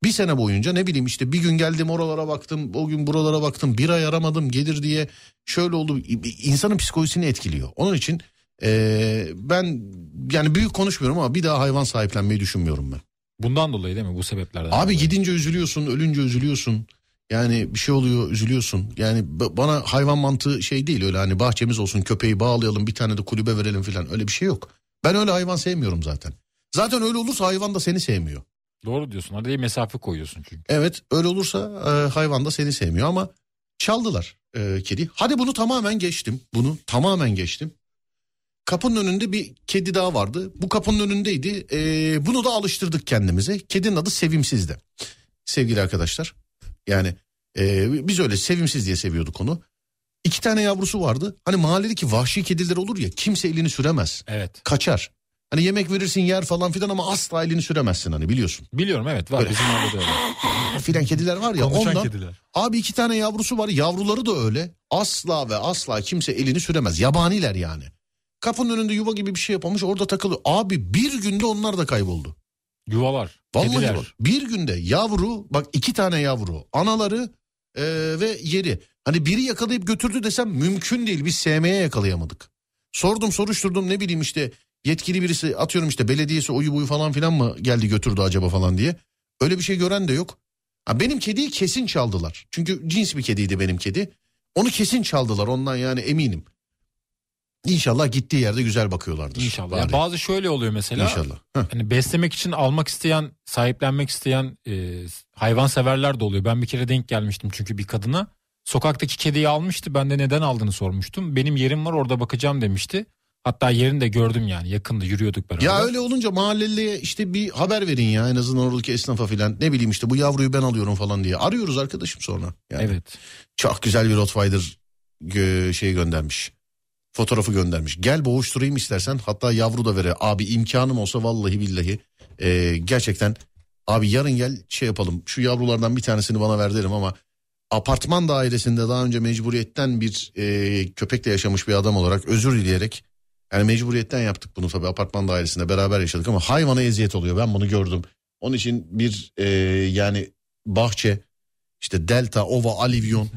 C: Bir sene boyunca ne bileyim işte bir gün geldim oralara baktım. O gün buralara baktım. Bir ay aramadım gelir diye. Şöyle oldu. İnsanın psikolojisini etkiliyor. Onun için eee, ben yani büyük konuşmuyorum ama bir daha hayvan sahiplenmeyi düşünmüyorum ben.
D: Bundan dolayı değil mi bu sebeplerden?
C: Abi
D: dolayı.
C: gidince üzülüyorsun, ölünce üzülüyorsun. Yani bir şey oluyor, üzülüyorsun. Yani b- bana hayvan mantığı şey değil öyle hani bahçemiz olsun, köpeği bağlayalım, bir tane de kulübe verelim falan öyle bir şey yok. Ben öyle hayvan sevmiyorum zaten. Zaten öyle olursa hayvan da seni sevmiyor.
D: Doğru diyorsun. Araya mesafe koyuyorsun çünkü.
C: Evet, öyle olursa e, hayvan da seni sevmiyor ama çaldılar e, kedi. Hadi bunu tamamen geçtim. Bunu tamamen geçtim. Kapının önünde bir kedi daha vardı. Bu kapının önündeydi. E, bunu da alıştırdık kendimize. Kedinin adı Sevimsiz'di. Sevgili arkadaşlar. Yani e, biz öyle Sevimsiz diye seviyorduk onu. İki tane yavrusu vardı. Hani mahalledeki vahşi kediler olur ya kimse elini süremez.
D: Evet.
C: Kaçar. Hani yemek verirsin yer falan filan ama asla elini süremezsin hani biliyorsun
D: Biliyorum evet var bizim orada da öyle.
C: filan kediler var ya
L: Konuşan
C: ondan.
L: kediler.
C: Abi iki tane yavrusu var yavruları da öyle. Asla ve asla kimse elini süremez. Yabaniler yani. Kapının önünde yuva gibi bir şey yapamış orada takılıyor. Abi bir günde onlar da kayboldu.
D: Yuvalar.
C: Vallahi
D: kediler.
C: bak, bir günde yavru bak iki tane yavru anaları e, ve yeri. Hani biri yakalayıp götürdü desem mümkün değil biz sevmeye yakalayamadık. Sordum soruşturdum ne bileyim işte yetkili birisi atıyorum işte belediyesi oyu buyu falan filan mı geldi götürdü acaba falan diye. Öyle bir şey gören de yok. Ha, benim kediyi kesin çaldılar. Çünkü cins bir kediydi benim kedi. Onu kesin çaldılar ondan yani eminim. İnşallah gittiği yerde güzel bakıyorlardır.
D: İnşallah.
C: Bari.
D: Ya bazı şöyle oluyor mesela.
C: İnşallah. Heh.
D: Hani beslemek için almak isteyen, sahiplenmek isteyen e, hayvanseverler de oluyor. Ben bir kere denk gelmiştim çünkü bir kadına. Sokaktaki kediyi almıştı. Ben de neden aldığını sormuştum. Benim yerim var orada bakacağım demişti. Hatta yerini de gördüm yani yakında yürüyorduk beraber.
C: Ya öyle olunca mahalleliye işte bir haber verin ya en azından oradaki esnafa filan. Ne bileyim işte bu yavruyu ben alıyorum falan diye. Arıyoruz arkadaşım sonra. Yani
D: Evet.
C: Çok güzel bir Rottweiler gö- şey göndermiş. Fotoğrafı göndermiş. Gel boğuşturayım istersen hatta yavru da vere. Abi imkanım olsa vallahi billahi. ee, gerçekten abi yarın gel şey yapalım. Şu yavrulardan bir tanesini bana ver derim ama apartman dairesinde daha önce mecburiyetten bir ee, köpekle yaşamış bir adam olarak özür dileyerek yani mecburiyetten yaptık bunu tabii apartman dairesinde beraber yaşadık ama hayvana eziyet oluyor ben bunu gördüm. Onun için bir e, yani bahçe işte delta, ova, alivyon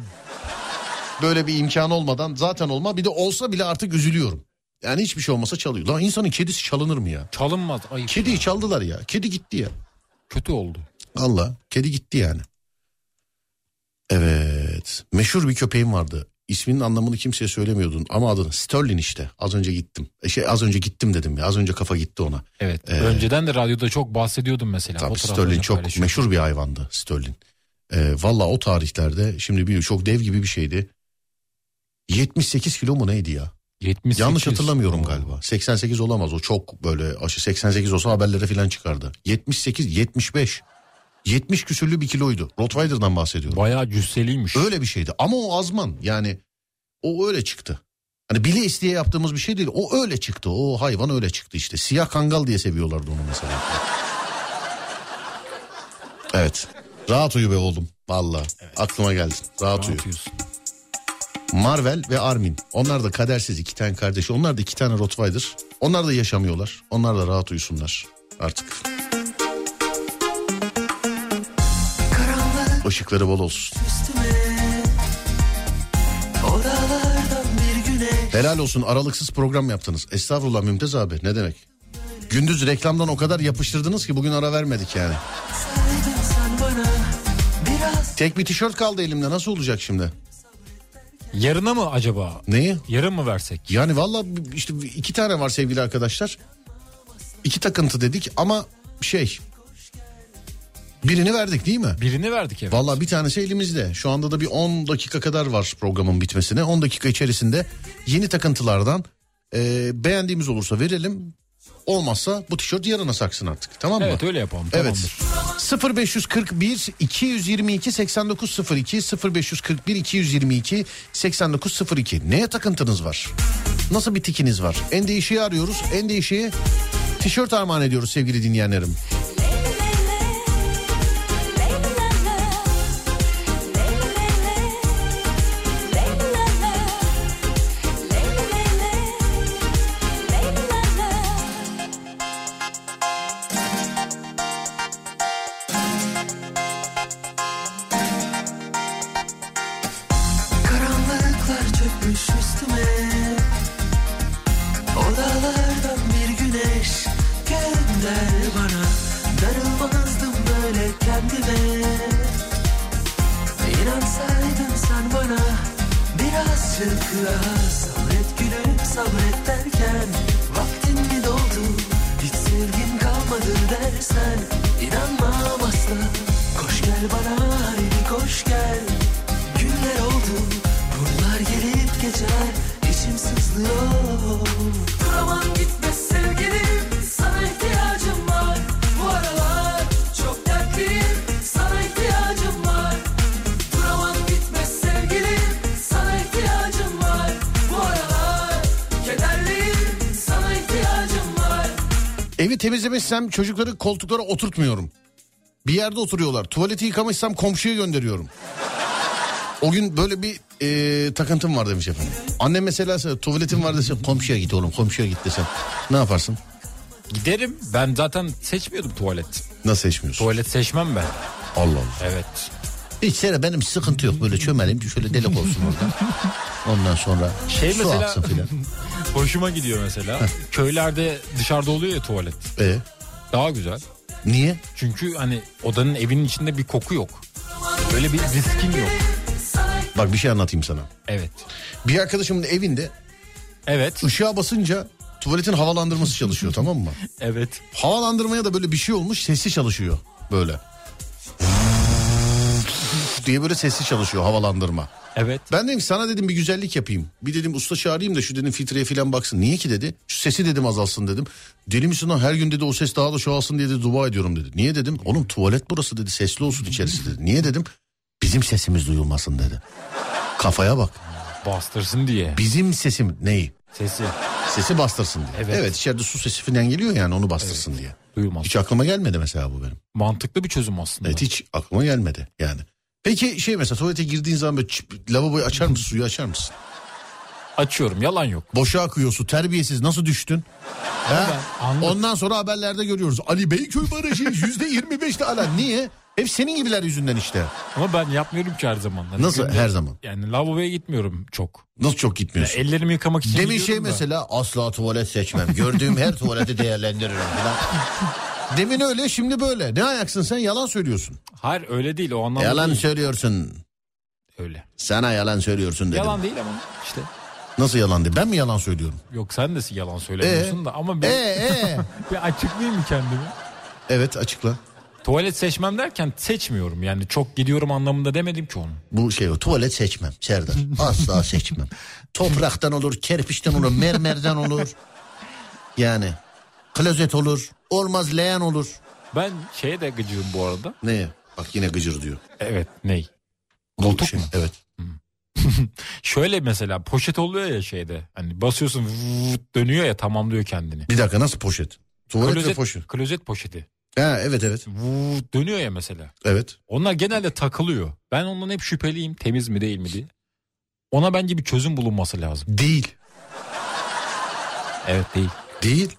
C: böyle bir imkan olmadan zaten olma bir de olsa bile artık üzülüyorum. Yani hiçbir şey olmasa çalıyor. Lan insanın kedisi çalınır mı ya?
D: Çalınmaz. Ay
C: Kediyi çaldılar ya. Kedi gitti ya.
D: kötü oldu.
C: Allah kedi gitti yani. Evet. Meşhur bir köpeğim vardı. İsminin anlamını kimseye söylemiyordun ama adını Sterling işte. Az önce gittim. E Şey az önce gittim dedim ya. Az önce kafa gitti ona.
D: Evet.
C: Ee,
D: Önceden de radyoda çok bahsediyordum mesela.
C: Tabii
D: Fotoğraflarını
C: Sterling çok
D: paylaşıyordum.
C: meşhur bir hayvandı Sterling. Ee, Valla o tarihlerde şimdi biliyor çok dev gibi bir şeydi. 78 kilo mu neydi ya?
D: 78.
C: Yanlış hatırlamıyorum galiba. 88 olamaz o çok böyle aşı 88 olsa haberlere falan çıkardı. 78, 75, 70 küsürlü bir kiloydu. Rottweiler'dan bahsediyorum.
D: Bayağı cüsseliymiş.
C: Öyle bir şeydi ama o azman yani o öyle çıktı. Hani bile isteye yaptığımız bir şey değil. O öyle çıktı. O hayvan öyle çıktı işte. Siyah kangal diye seviyorlardı onu mesela. evet. Rahat uyu be oğlum. Valla. Aklıma geldi. Rahat
D: Ne
C: uyu.
D: yapıyorsun?
C: Marvel ve Armin. Onlar da kadersiz iki tane kardeş. Onlar da iki tane Rottweiler. Onlar da yaşamıyorlar. Onlar da rahat uyusunlar artık.
E: Karanlık
C: Işıkları bol olsun.
E: üstüme Odalardan bir güneş
C: Helal olsun aralıksız program yaptınız. Estağfurullah Mümtaz abi ne demek? Gündüz reklamdan o kadar yapıştırdınız ki bugün ara vermedik yani.
E: saydın sen bana Biraz
C: Tek bir tişört kaldı elimde nasıl olacak şimdi?
D: Yarına mı acaba?
C: Neyi?
D: Yarın mı versek?
C: Yani valla işte iki tane var sevgili arkadaşlar. İki takıntı dedik ama şey... Birini verdik değil mi?
D: Birini verdik evet.
C: Valla bir tanesi elimizde. Şu anda da bir 10 dakika kadar var programın bitmesine. 10 dakika içerisinde yeni takıntılardan e, beğendiğimiz olursa verelim. Olmazsa bu tişört yarına saksın artık. Tamam mı?
D: Evet öyle yapalım.
C: Evet.
D: Tamamdır.
C: 0541 222 8902 0541 222 8902. Neye takıntınız var? Nasıl bir tikiniz var? En değişiği arıyoruz. En değişiği Tişört armağan ediyoruz sevgili dinleyenlerim.
A: Karanlıklar çökmüş üstüme Odalardan bir güneş gönder bana Darılmazdım böyle kendime İnansaydın sen bana Birazcık daha sabret gülüm sabret derken Vaktin mi doldu hiç sevgim kalmadı dersen inanmam asla Koş gel bana haydi koş gel Günler oldu Bunlar gelip geçer içim sızlıyor Duramam gitme sevgilim Sana ihtiyacım var Bu aralar çok dertliyim Sana ihtiyacım var Duramam gitme sevgilim Sana ihtiyacım var Bu aralar kederliyim Sana ihtiyacım var
C: Evi temizlemişsem çocukları koltuklara oturtmuyorum. Bir yerde oturuyorlar. Tuvaleti yıkamışsam komşuya gönderiyorum. O gün böyle bir e, takıntım var demiş efendim. Annem mesela sana tuvaletin var dese komşuya git oğlum komşuya git desem. Ne yaparsın?
D: Giderim. Ben zaten seçmiyordum tuvalet.
C: Nasıl seçmiyorsun?
D: Tuvalet seçmem ben.
C: Allah Allah.
D: Evet.
K: Hiç sene benim sıkıntı yok böyle çömelim şöyle delik olsun orada. Ondan sonra
D: Şey
K: su
D: mesela-
K: aksın filan.
D: Hoşuma gidiyor mesela. Köylerde dışarıda oluyor ya tuvalet.
C: E,
D: Daha güzel.
C: niye?
D: Çünkü hani odanın evinin içinde bir koku yok. Böyle bir riskin yok.
C: Bak bir şey anlatayım sana.
D: Evet.
C: Bir arkadaşımın evinde
D: Evet.
C: ışığa basınca tuvaletin havalandırması çalışıyor tamam mı?
D: Evet.
C: Havalandırmaya da böyle bir şey olmuş sesli çalışıyor böyle. diye böyle sesli çalışıyor havalandırma.
D: Evet.
C: Ben dedim ki sana dedim bir güzellik yapayım. Bir dedim usta çağırayım da şu dedim filtreye falan baksın. Niye ki dedi. Şu sesi dedim azalsın dedim. Deli misin lan her gün dedi o ses daha da çoğalsın diye de dua ediyorum dedi. Niye dedim. Oğlum tuvalet burası dedi sesli olsun içerisi dedi. Niye dedim. Bizim sesimiz duyulmasın dedi. Kafaya bak.
D: Bastırsın diye.
C: Bizim sesim neyi?
D: Sesi
C: Sesi bastırsın diye. Evet,
D: Evet.
C: içeride su sesi falan geliyor yani onu bastırsın diye.
D: duyulmaz.
C: Hiç aklıma gelmedi mesela bu benim.
D: Mantıklı bir çözüm aslında.
C: Evet hiç aklıma gelmedi yani. Peki şey mesela tuvalete girdiğin zaman böyle çıp- lavaboyu açar mısın suyu açar mısın?
D: Açıyorum yalan yok.
C: Boşa akıyor su terbiyesiz nasıl düştün? Ha?
D: ben anladım.
C: Ondan sonra haberlerde görüyoruz. Ali Beyköy Barajı yüzde yirmi beşte ala. Niye? Hep senin gibiler yüzünden işte.
D: Ama ben yapmıyorum ki her zaman. Hani
C: Nasıl
D: günde-
C: her zaman?
D: Yani lavaboya gitmiyorum çok.
C: Nasıl çok gitmiyorsun?
D: Ellerimi yıkamak için
C: Demin
D: gidiyorum
C: şey
D: e, da.
C: mesela asla tuvalet seçmem. Gördüğüm her tuvaleti değerlendiririm falan. Demin öyle şimdi böyle. Ne ayaksın sen yalan söylüyorsun.
D: Hayır öyle değil o anlamda
C: Yalan
D: değil.
C: söylüyorsun.
D: Öyle.
C: Sana yalan söylüyorsun dedim.
D: Yalan değil ama işte.
C: Nasıl yalan değil? Ben mi yalan söylüyorum?
D: Yok sen de yalan söylemiyorsun
C: Ee?
D: da ama
C: Ee,
D: ben
C: ee.
D: bir açıklayayım mı kendimi?
C: evet açıkla.
D: Tuvalet seçmem derken seçmiyorum yani çok gidiyorum anlamında demedim ki onu.
K: Bu şey o tuvalet seçmem Serdar. Asla seçmem. Topraktan olur, kerpiçten olur, mermerden olur. Yani klozet olur, olmaz leğen olur.
D: Ben şeye de gıcığım bu arada.
C: Ne? Bak yine gıcır diyor.
D: Evet ney?
C: Koltuk mu? Evet.
D: Şöyle mesela poşet oluyor ya şeyde hani basıyorsun vvvt dönüyor ya tamamlıyor kendini.
C: Bir dakika nasıl poşet? Tuvalet ve
D: Klozet,
C: poşet.
D: klozet poşeti
C: Ha, evet evet.
D: vvvt dönüyor ya mesela.
C: Evet.
D: Onlar genelde takılıyor. Ben ondan hep şüpheliyim temiz mi değil mi diye. Ona bence bir çözüm bulunması lazım.
C: Değil.
D: Evet değil.
C: Değil.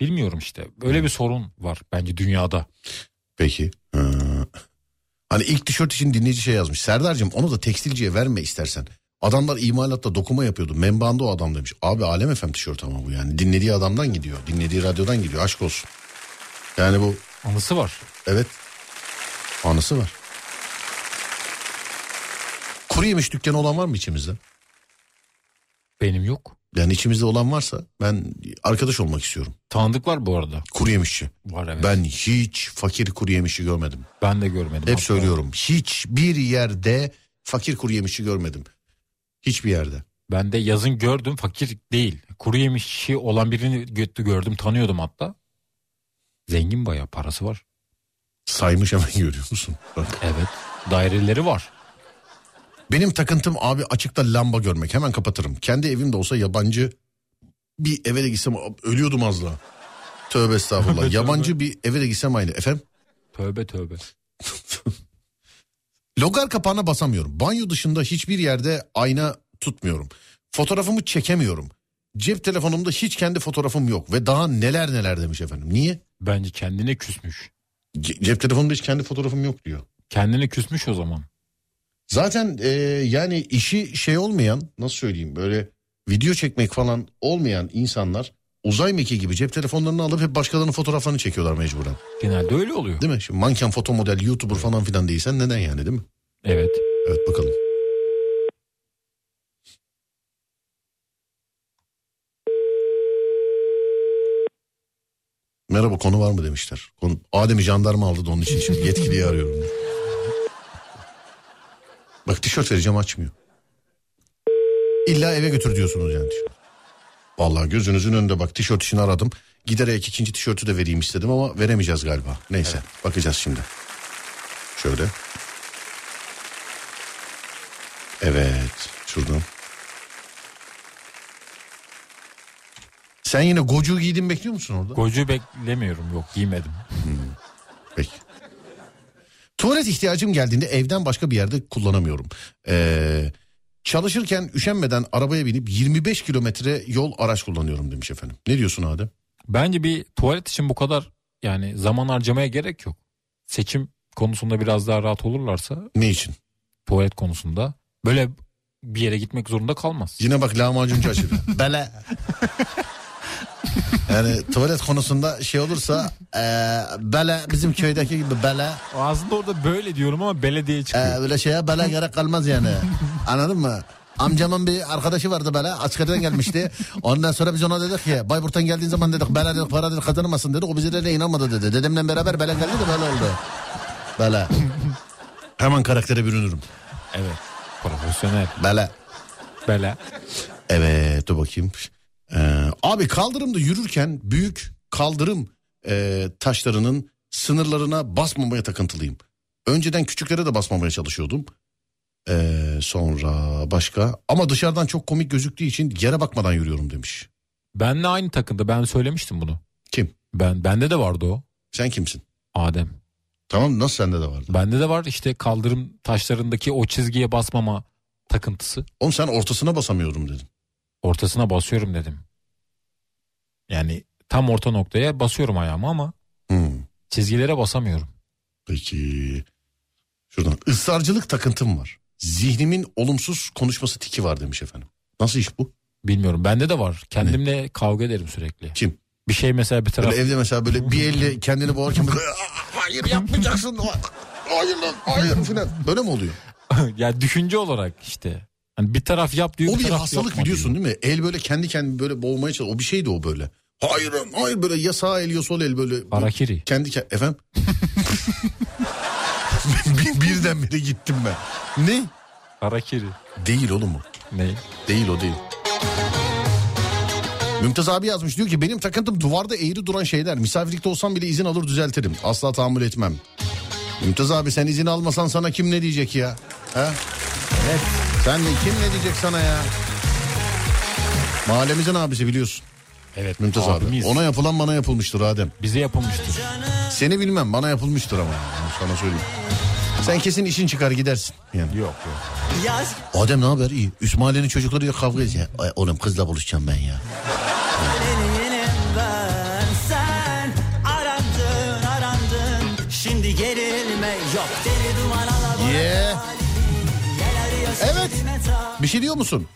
D: Bilmiyorum işte. Öyle bir sorun var bence dünyada.
C: Peki. Ha. Hani ilk tişört için dinleyici şey yazmış. Serdar'cığım onu da tekstilciye verme istersen. Adamlar imalatta dokuma yapıyordu. Membanda o adam demiş. Abi Alem efem tişört ama bu yani. Dinlediği adamdan gidiyor. Dinlediği radyodan gidiyor. Aşk olsun. Yani bu
D: Anısı var.
C: evet anısı var. Kuru yemiş dükkanı olan var mı içimizde?
D: Benim yok.
C: Yani içimizde olan varsa ben arkadaş olmak istiyorum.
D: Tanıdıklar bu arada.
C: Kuru yemişçi.
D: Var evet. Ben,
C: Ben hiç fakir kuru yemişçi görmedim.
D: de görmedim.
C: Hep
D: Hatta
C: söylüyorum. Hiçbir yerde fakir kuru yemişçi görmedim. Hiçbir yerde.
D: Ben de yazın gördüm fakir değil. Kuru yemişçi olan birini gö- gördüm tanıyordum hatta. Zengin bayağı parası var.
C: Saymış hemen görüyor musun? Bak.
D: Evet. Daireleri var.
C: Benim takıntım abi açıkta lamba görmek. Hemen kapatırım. Kendi evimde olsa yabancı bir eve de gitsem ölüyordum az daha. Tövbe estağfurullah. Yabancı bir eve de gitsem aynı. Efendim?
D: Tövbe tövbe.
C: Logar kapağına basamıyorum. Banyo dışında hiçbir yerde ayna tutmuyorum. Fotoğrafımı çekemiyorum. Cep telefonumda hiç kendi fotoğrafım yok ve daha neler neler demiş efendim. Niye?
D: Bence kendine küsmüş.
C: Ce- Cep telefonumda hiç kendi fotoğrafım yok diyor.
D: Kendine küsmüş o zaman.
C: Zaten e, yani işi şey olmayan nasıl söyleyeyim böyle video çekmek falan olmayan insanlar uzay mekiği gibi cep telefonlarını alıp hep başkalarının fotoğraflarını çekiyorlar mecburen.
D: Genelde öyle oluyor.
C: Değil mi? Şimdi manken foto model youtuber falan filan değilsen neden yani değil mi?
D: Evet.
C: Evet bakalım. Merhaba konu var mı demişler. Konu, Adem'i jandarma aldı da onun için şimdi yetkiliyi arıyorum. Bak tişört vereceğim açmıyor. İlla eve götür diyorsunuz yani tişört. Vallahi gözünüzün önünde bak tişört işini aradım. Giderek ikinci tişörtü de vereyim istedim ama veremeyeceğiz galiba. Neyse bakacağız şimdi. Şöyle. Evet şuradan. Sen yine gocuğu giydin bekliyor musun orada?
D: Gocu beklemiyorum yok giymedim.
C: Peki. Tuvalet ihtiyacım geldiğinde evden başka bir yerde kullanamıyorum. Ee, çalışırken üşenmeden arabaya binip 25 kilometre yol araç kullanıyorum demiş efendim. Ne diyorsun Adem?
D: Bence bir tuvalet için bu kadar yani zaman harcamaya gerek yok. Seçim konusunda biraz daha rahat olurlarsa
C: Ne için?
D: tuvalet konusunda böyle bir yere gitmek zorunda kalmaz.
C: Yine bak lahmacuncu açıldı. Bele. yani tuvalet konusunda şey olursa eee bele bizim köydeki gibi bele
D: Aslında orada böyle diyorum ama belediye çıkıyor.
C: eee, öyle Ee, şeye bele gerek kalmaz yani. Anladın mı? Amcamın bir arkadaşı vardı böyle askerden gelmişti. Ondan sonra biz ona dedik ki Bayburt'tan geldiğin zaman dedik bele dedik para dedik kazanamazsın dedik. O bize de inanmadı dedi. Dedemle beraber bele geldi de böyle oldu. Bele. Hemen karaktere bürünürüm.
D: Evet. Profesyonel.
C: Bele.
D: Bela.
C: Evet dur bakayım. Ee, abi kaldırımda yürürken büyük kaldırım e, taşlarının sınırlarına basmamaya takıntılıyım. Önceden küçüklere de basmamaya çalışıyordum. Ee, sonra başka ama dışarıdan çok komik gözüktüğü için yere bakmadan yürüyorum demiş.
D: Benle aynı takımda ben söylemiştim bunu.
C: Kim?
D: Ben bende de vardı o.
C: Sen kimsin?
D: Adem.
C: Tamam nasıl sende de vardı?
D: Bende de var işte kaldırım taşlarındaki o çizgiye basmama takıntısı.
C: Oğlum sen ortasına basamıyorum dedin.
D: Ortasına basıyorum dedim. Yani tam orta noktaya basıyorum ayağımı ama
C: Hmm,
D: çizgilere basamıyorum.
C: peki. Şuradan ısrarcılık takıntım var. Zihnimin olumsuz konuşması tiki var demiş efendim. Nasıl iş bu?
D: Bilmiyorum bende de var. Kendimle kavga ederim sürekli.
C: Hani? Kim?
D: Bir şey mesela bir taraf
C: Böyle evde mesela böyle bir elle kendini boğarken böyle, "Aa, hayır yapmayacaksın. Hayır lan hayır falan. Böyle mi oluyor?
D: ya düşünce olarak işte. Hani bir taraf yap
C: O
D: diyor bir
C: bir
D: taraf
C: hastalık
D: yapma
C: biliyorsun
D: diyor.
C: değil mi? El böyle kendi kendini böyle boğmaya çalışıyor. O bir şeydi o böyle. Hayır lan, hayır böyle ya sağ el ya sol el böyle.
D: Harakiri.
C: Kendi ke- efendim. Bir- Birdenbire gittim ben. Ne?
D: Harakiri.
C: Değil oğlum o.
D: Ne?
C: Değil o değil. Mümtaz abi yazmış diyor ki benim takıntım duvarda eğri duran şeyler. Misafirlikte olsam bile izin alır düzeltirim. Asla tahammül etmem. Mümtaz abi sen izin almasan sana kim ne diyecek ya? He? Evet. Sen de kim ne diyecek sana ya? Mahallemizin abisi biliyorsun
D: Evet.
C: Mümtaz
D: abimiz.
C: abi. Ona yapılan bana yapılmıştır Adem.
D: Bize yapılmıştır.
C: Seni bilmem bana yapılmıştır ama. yani, Sana söyleyeyim. Sen kesin işin çıkar gidersin. Yani.
D: Yok yok.
E: Yaz
C: Adem ne haber? İyi. Üst mahallenin çocuklarıyla kavga ediyor. Ay, Oğlum kızla buluşacağım ben ya.
E: Gelenim ben sen arandın arandın şimdi gerilme yok deli duman alabora
C: Yeah. Evet.
E: meta
C: Bir şey diyor musun?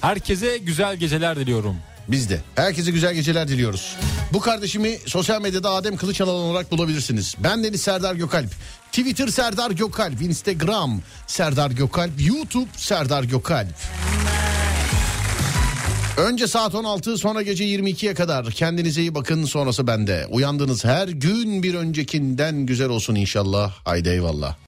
D: Herkese güzel geceler diliyorum.
C: Biz de. Herkese güzel geceler diliyoruz. Bu kardeşimi sosyal medyada Adem Kılıçalan olarak bulabilirsiniz. Ben Deniz Serdar Gökalp. Twitter Serdar Gökalp. Instagram Serdar Gökalp. YouTube Serdar Gökalp. Önce saat 16 sonra gece 22'ye kadar kendinize iyi bakın sonrası bende. Uyandığınız her gün bir öncekinden güzel olsun inşallah. Haydi eyvallah.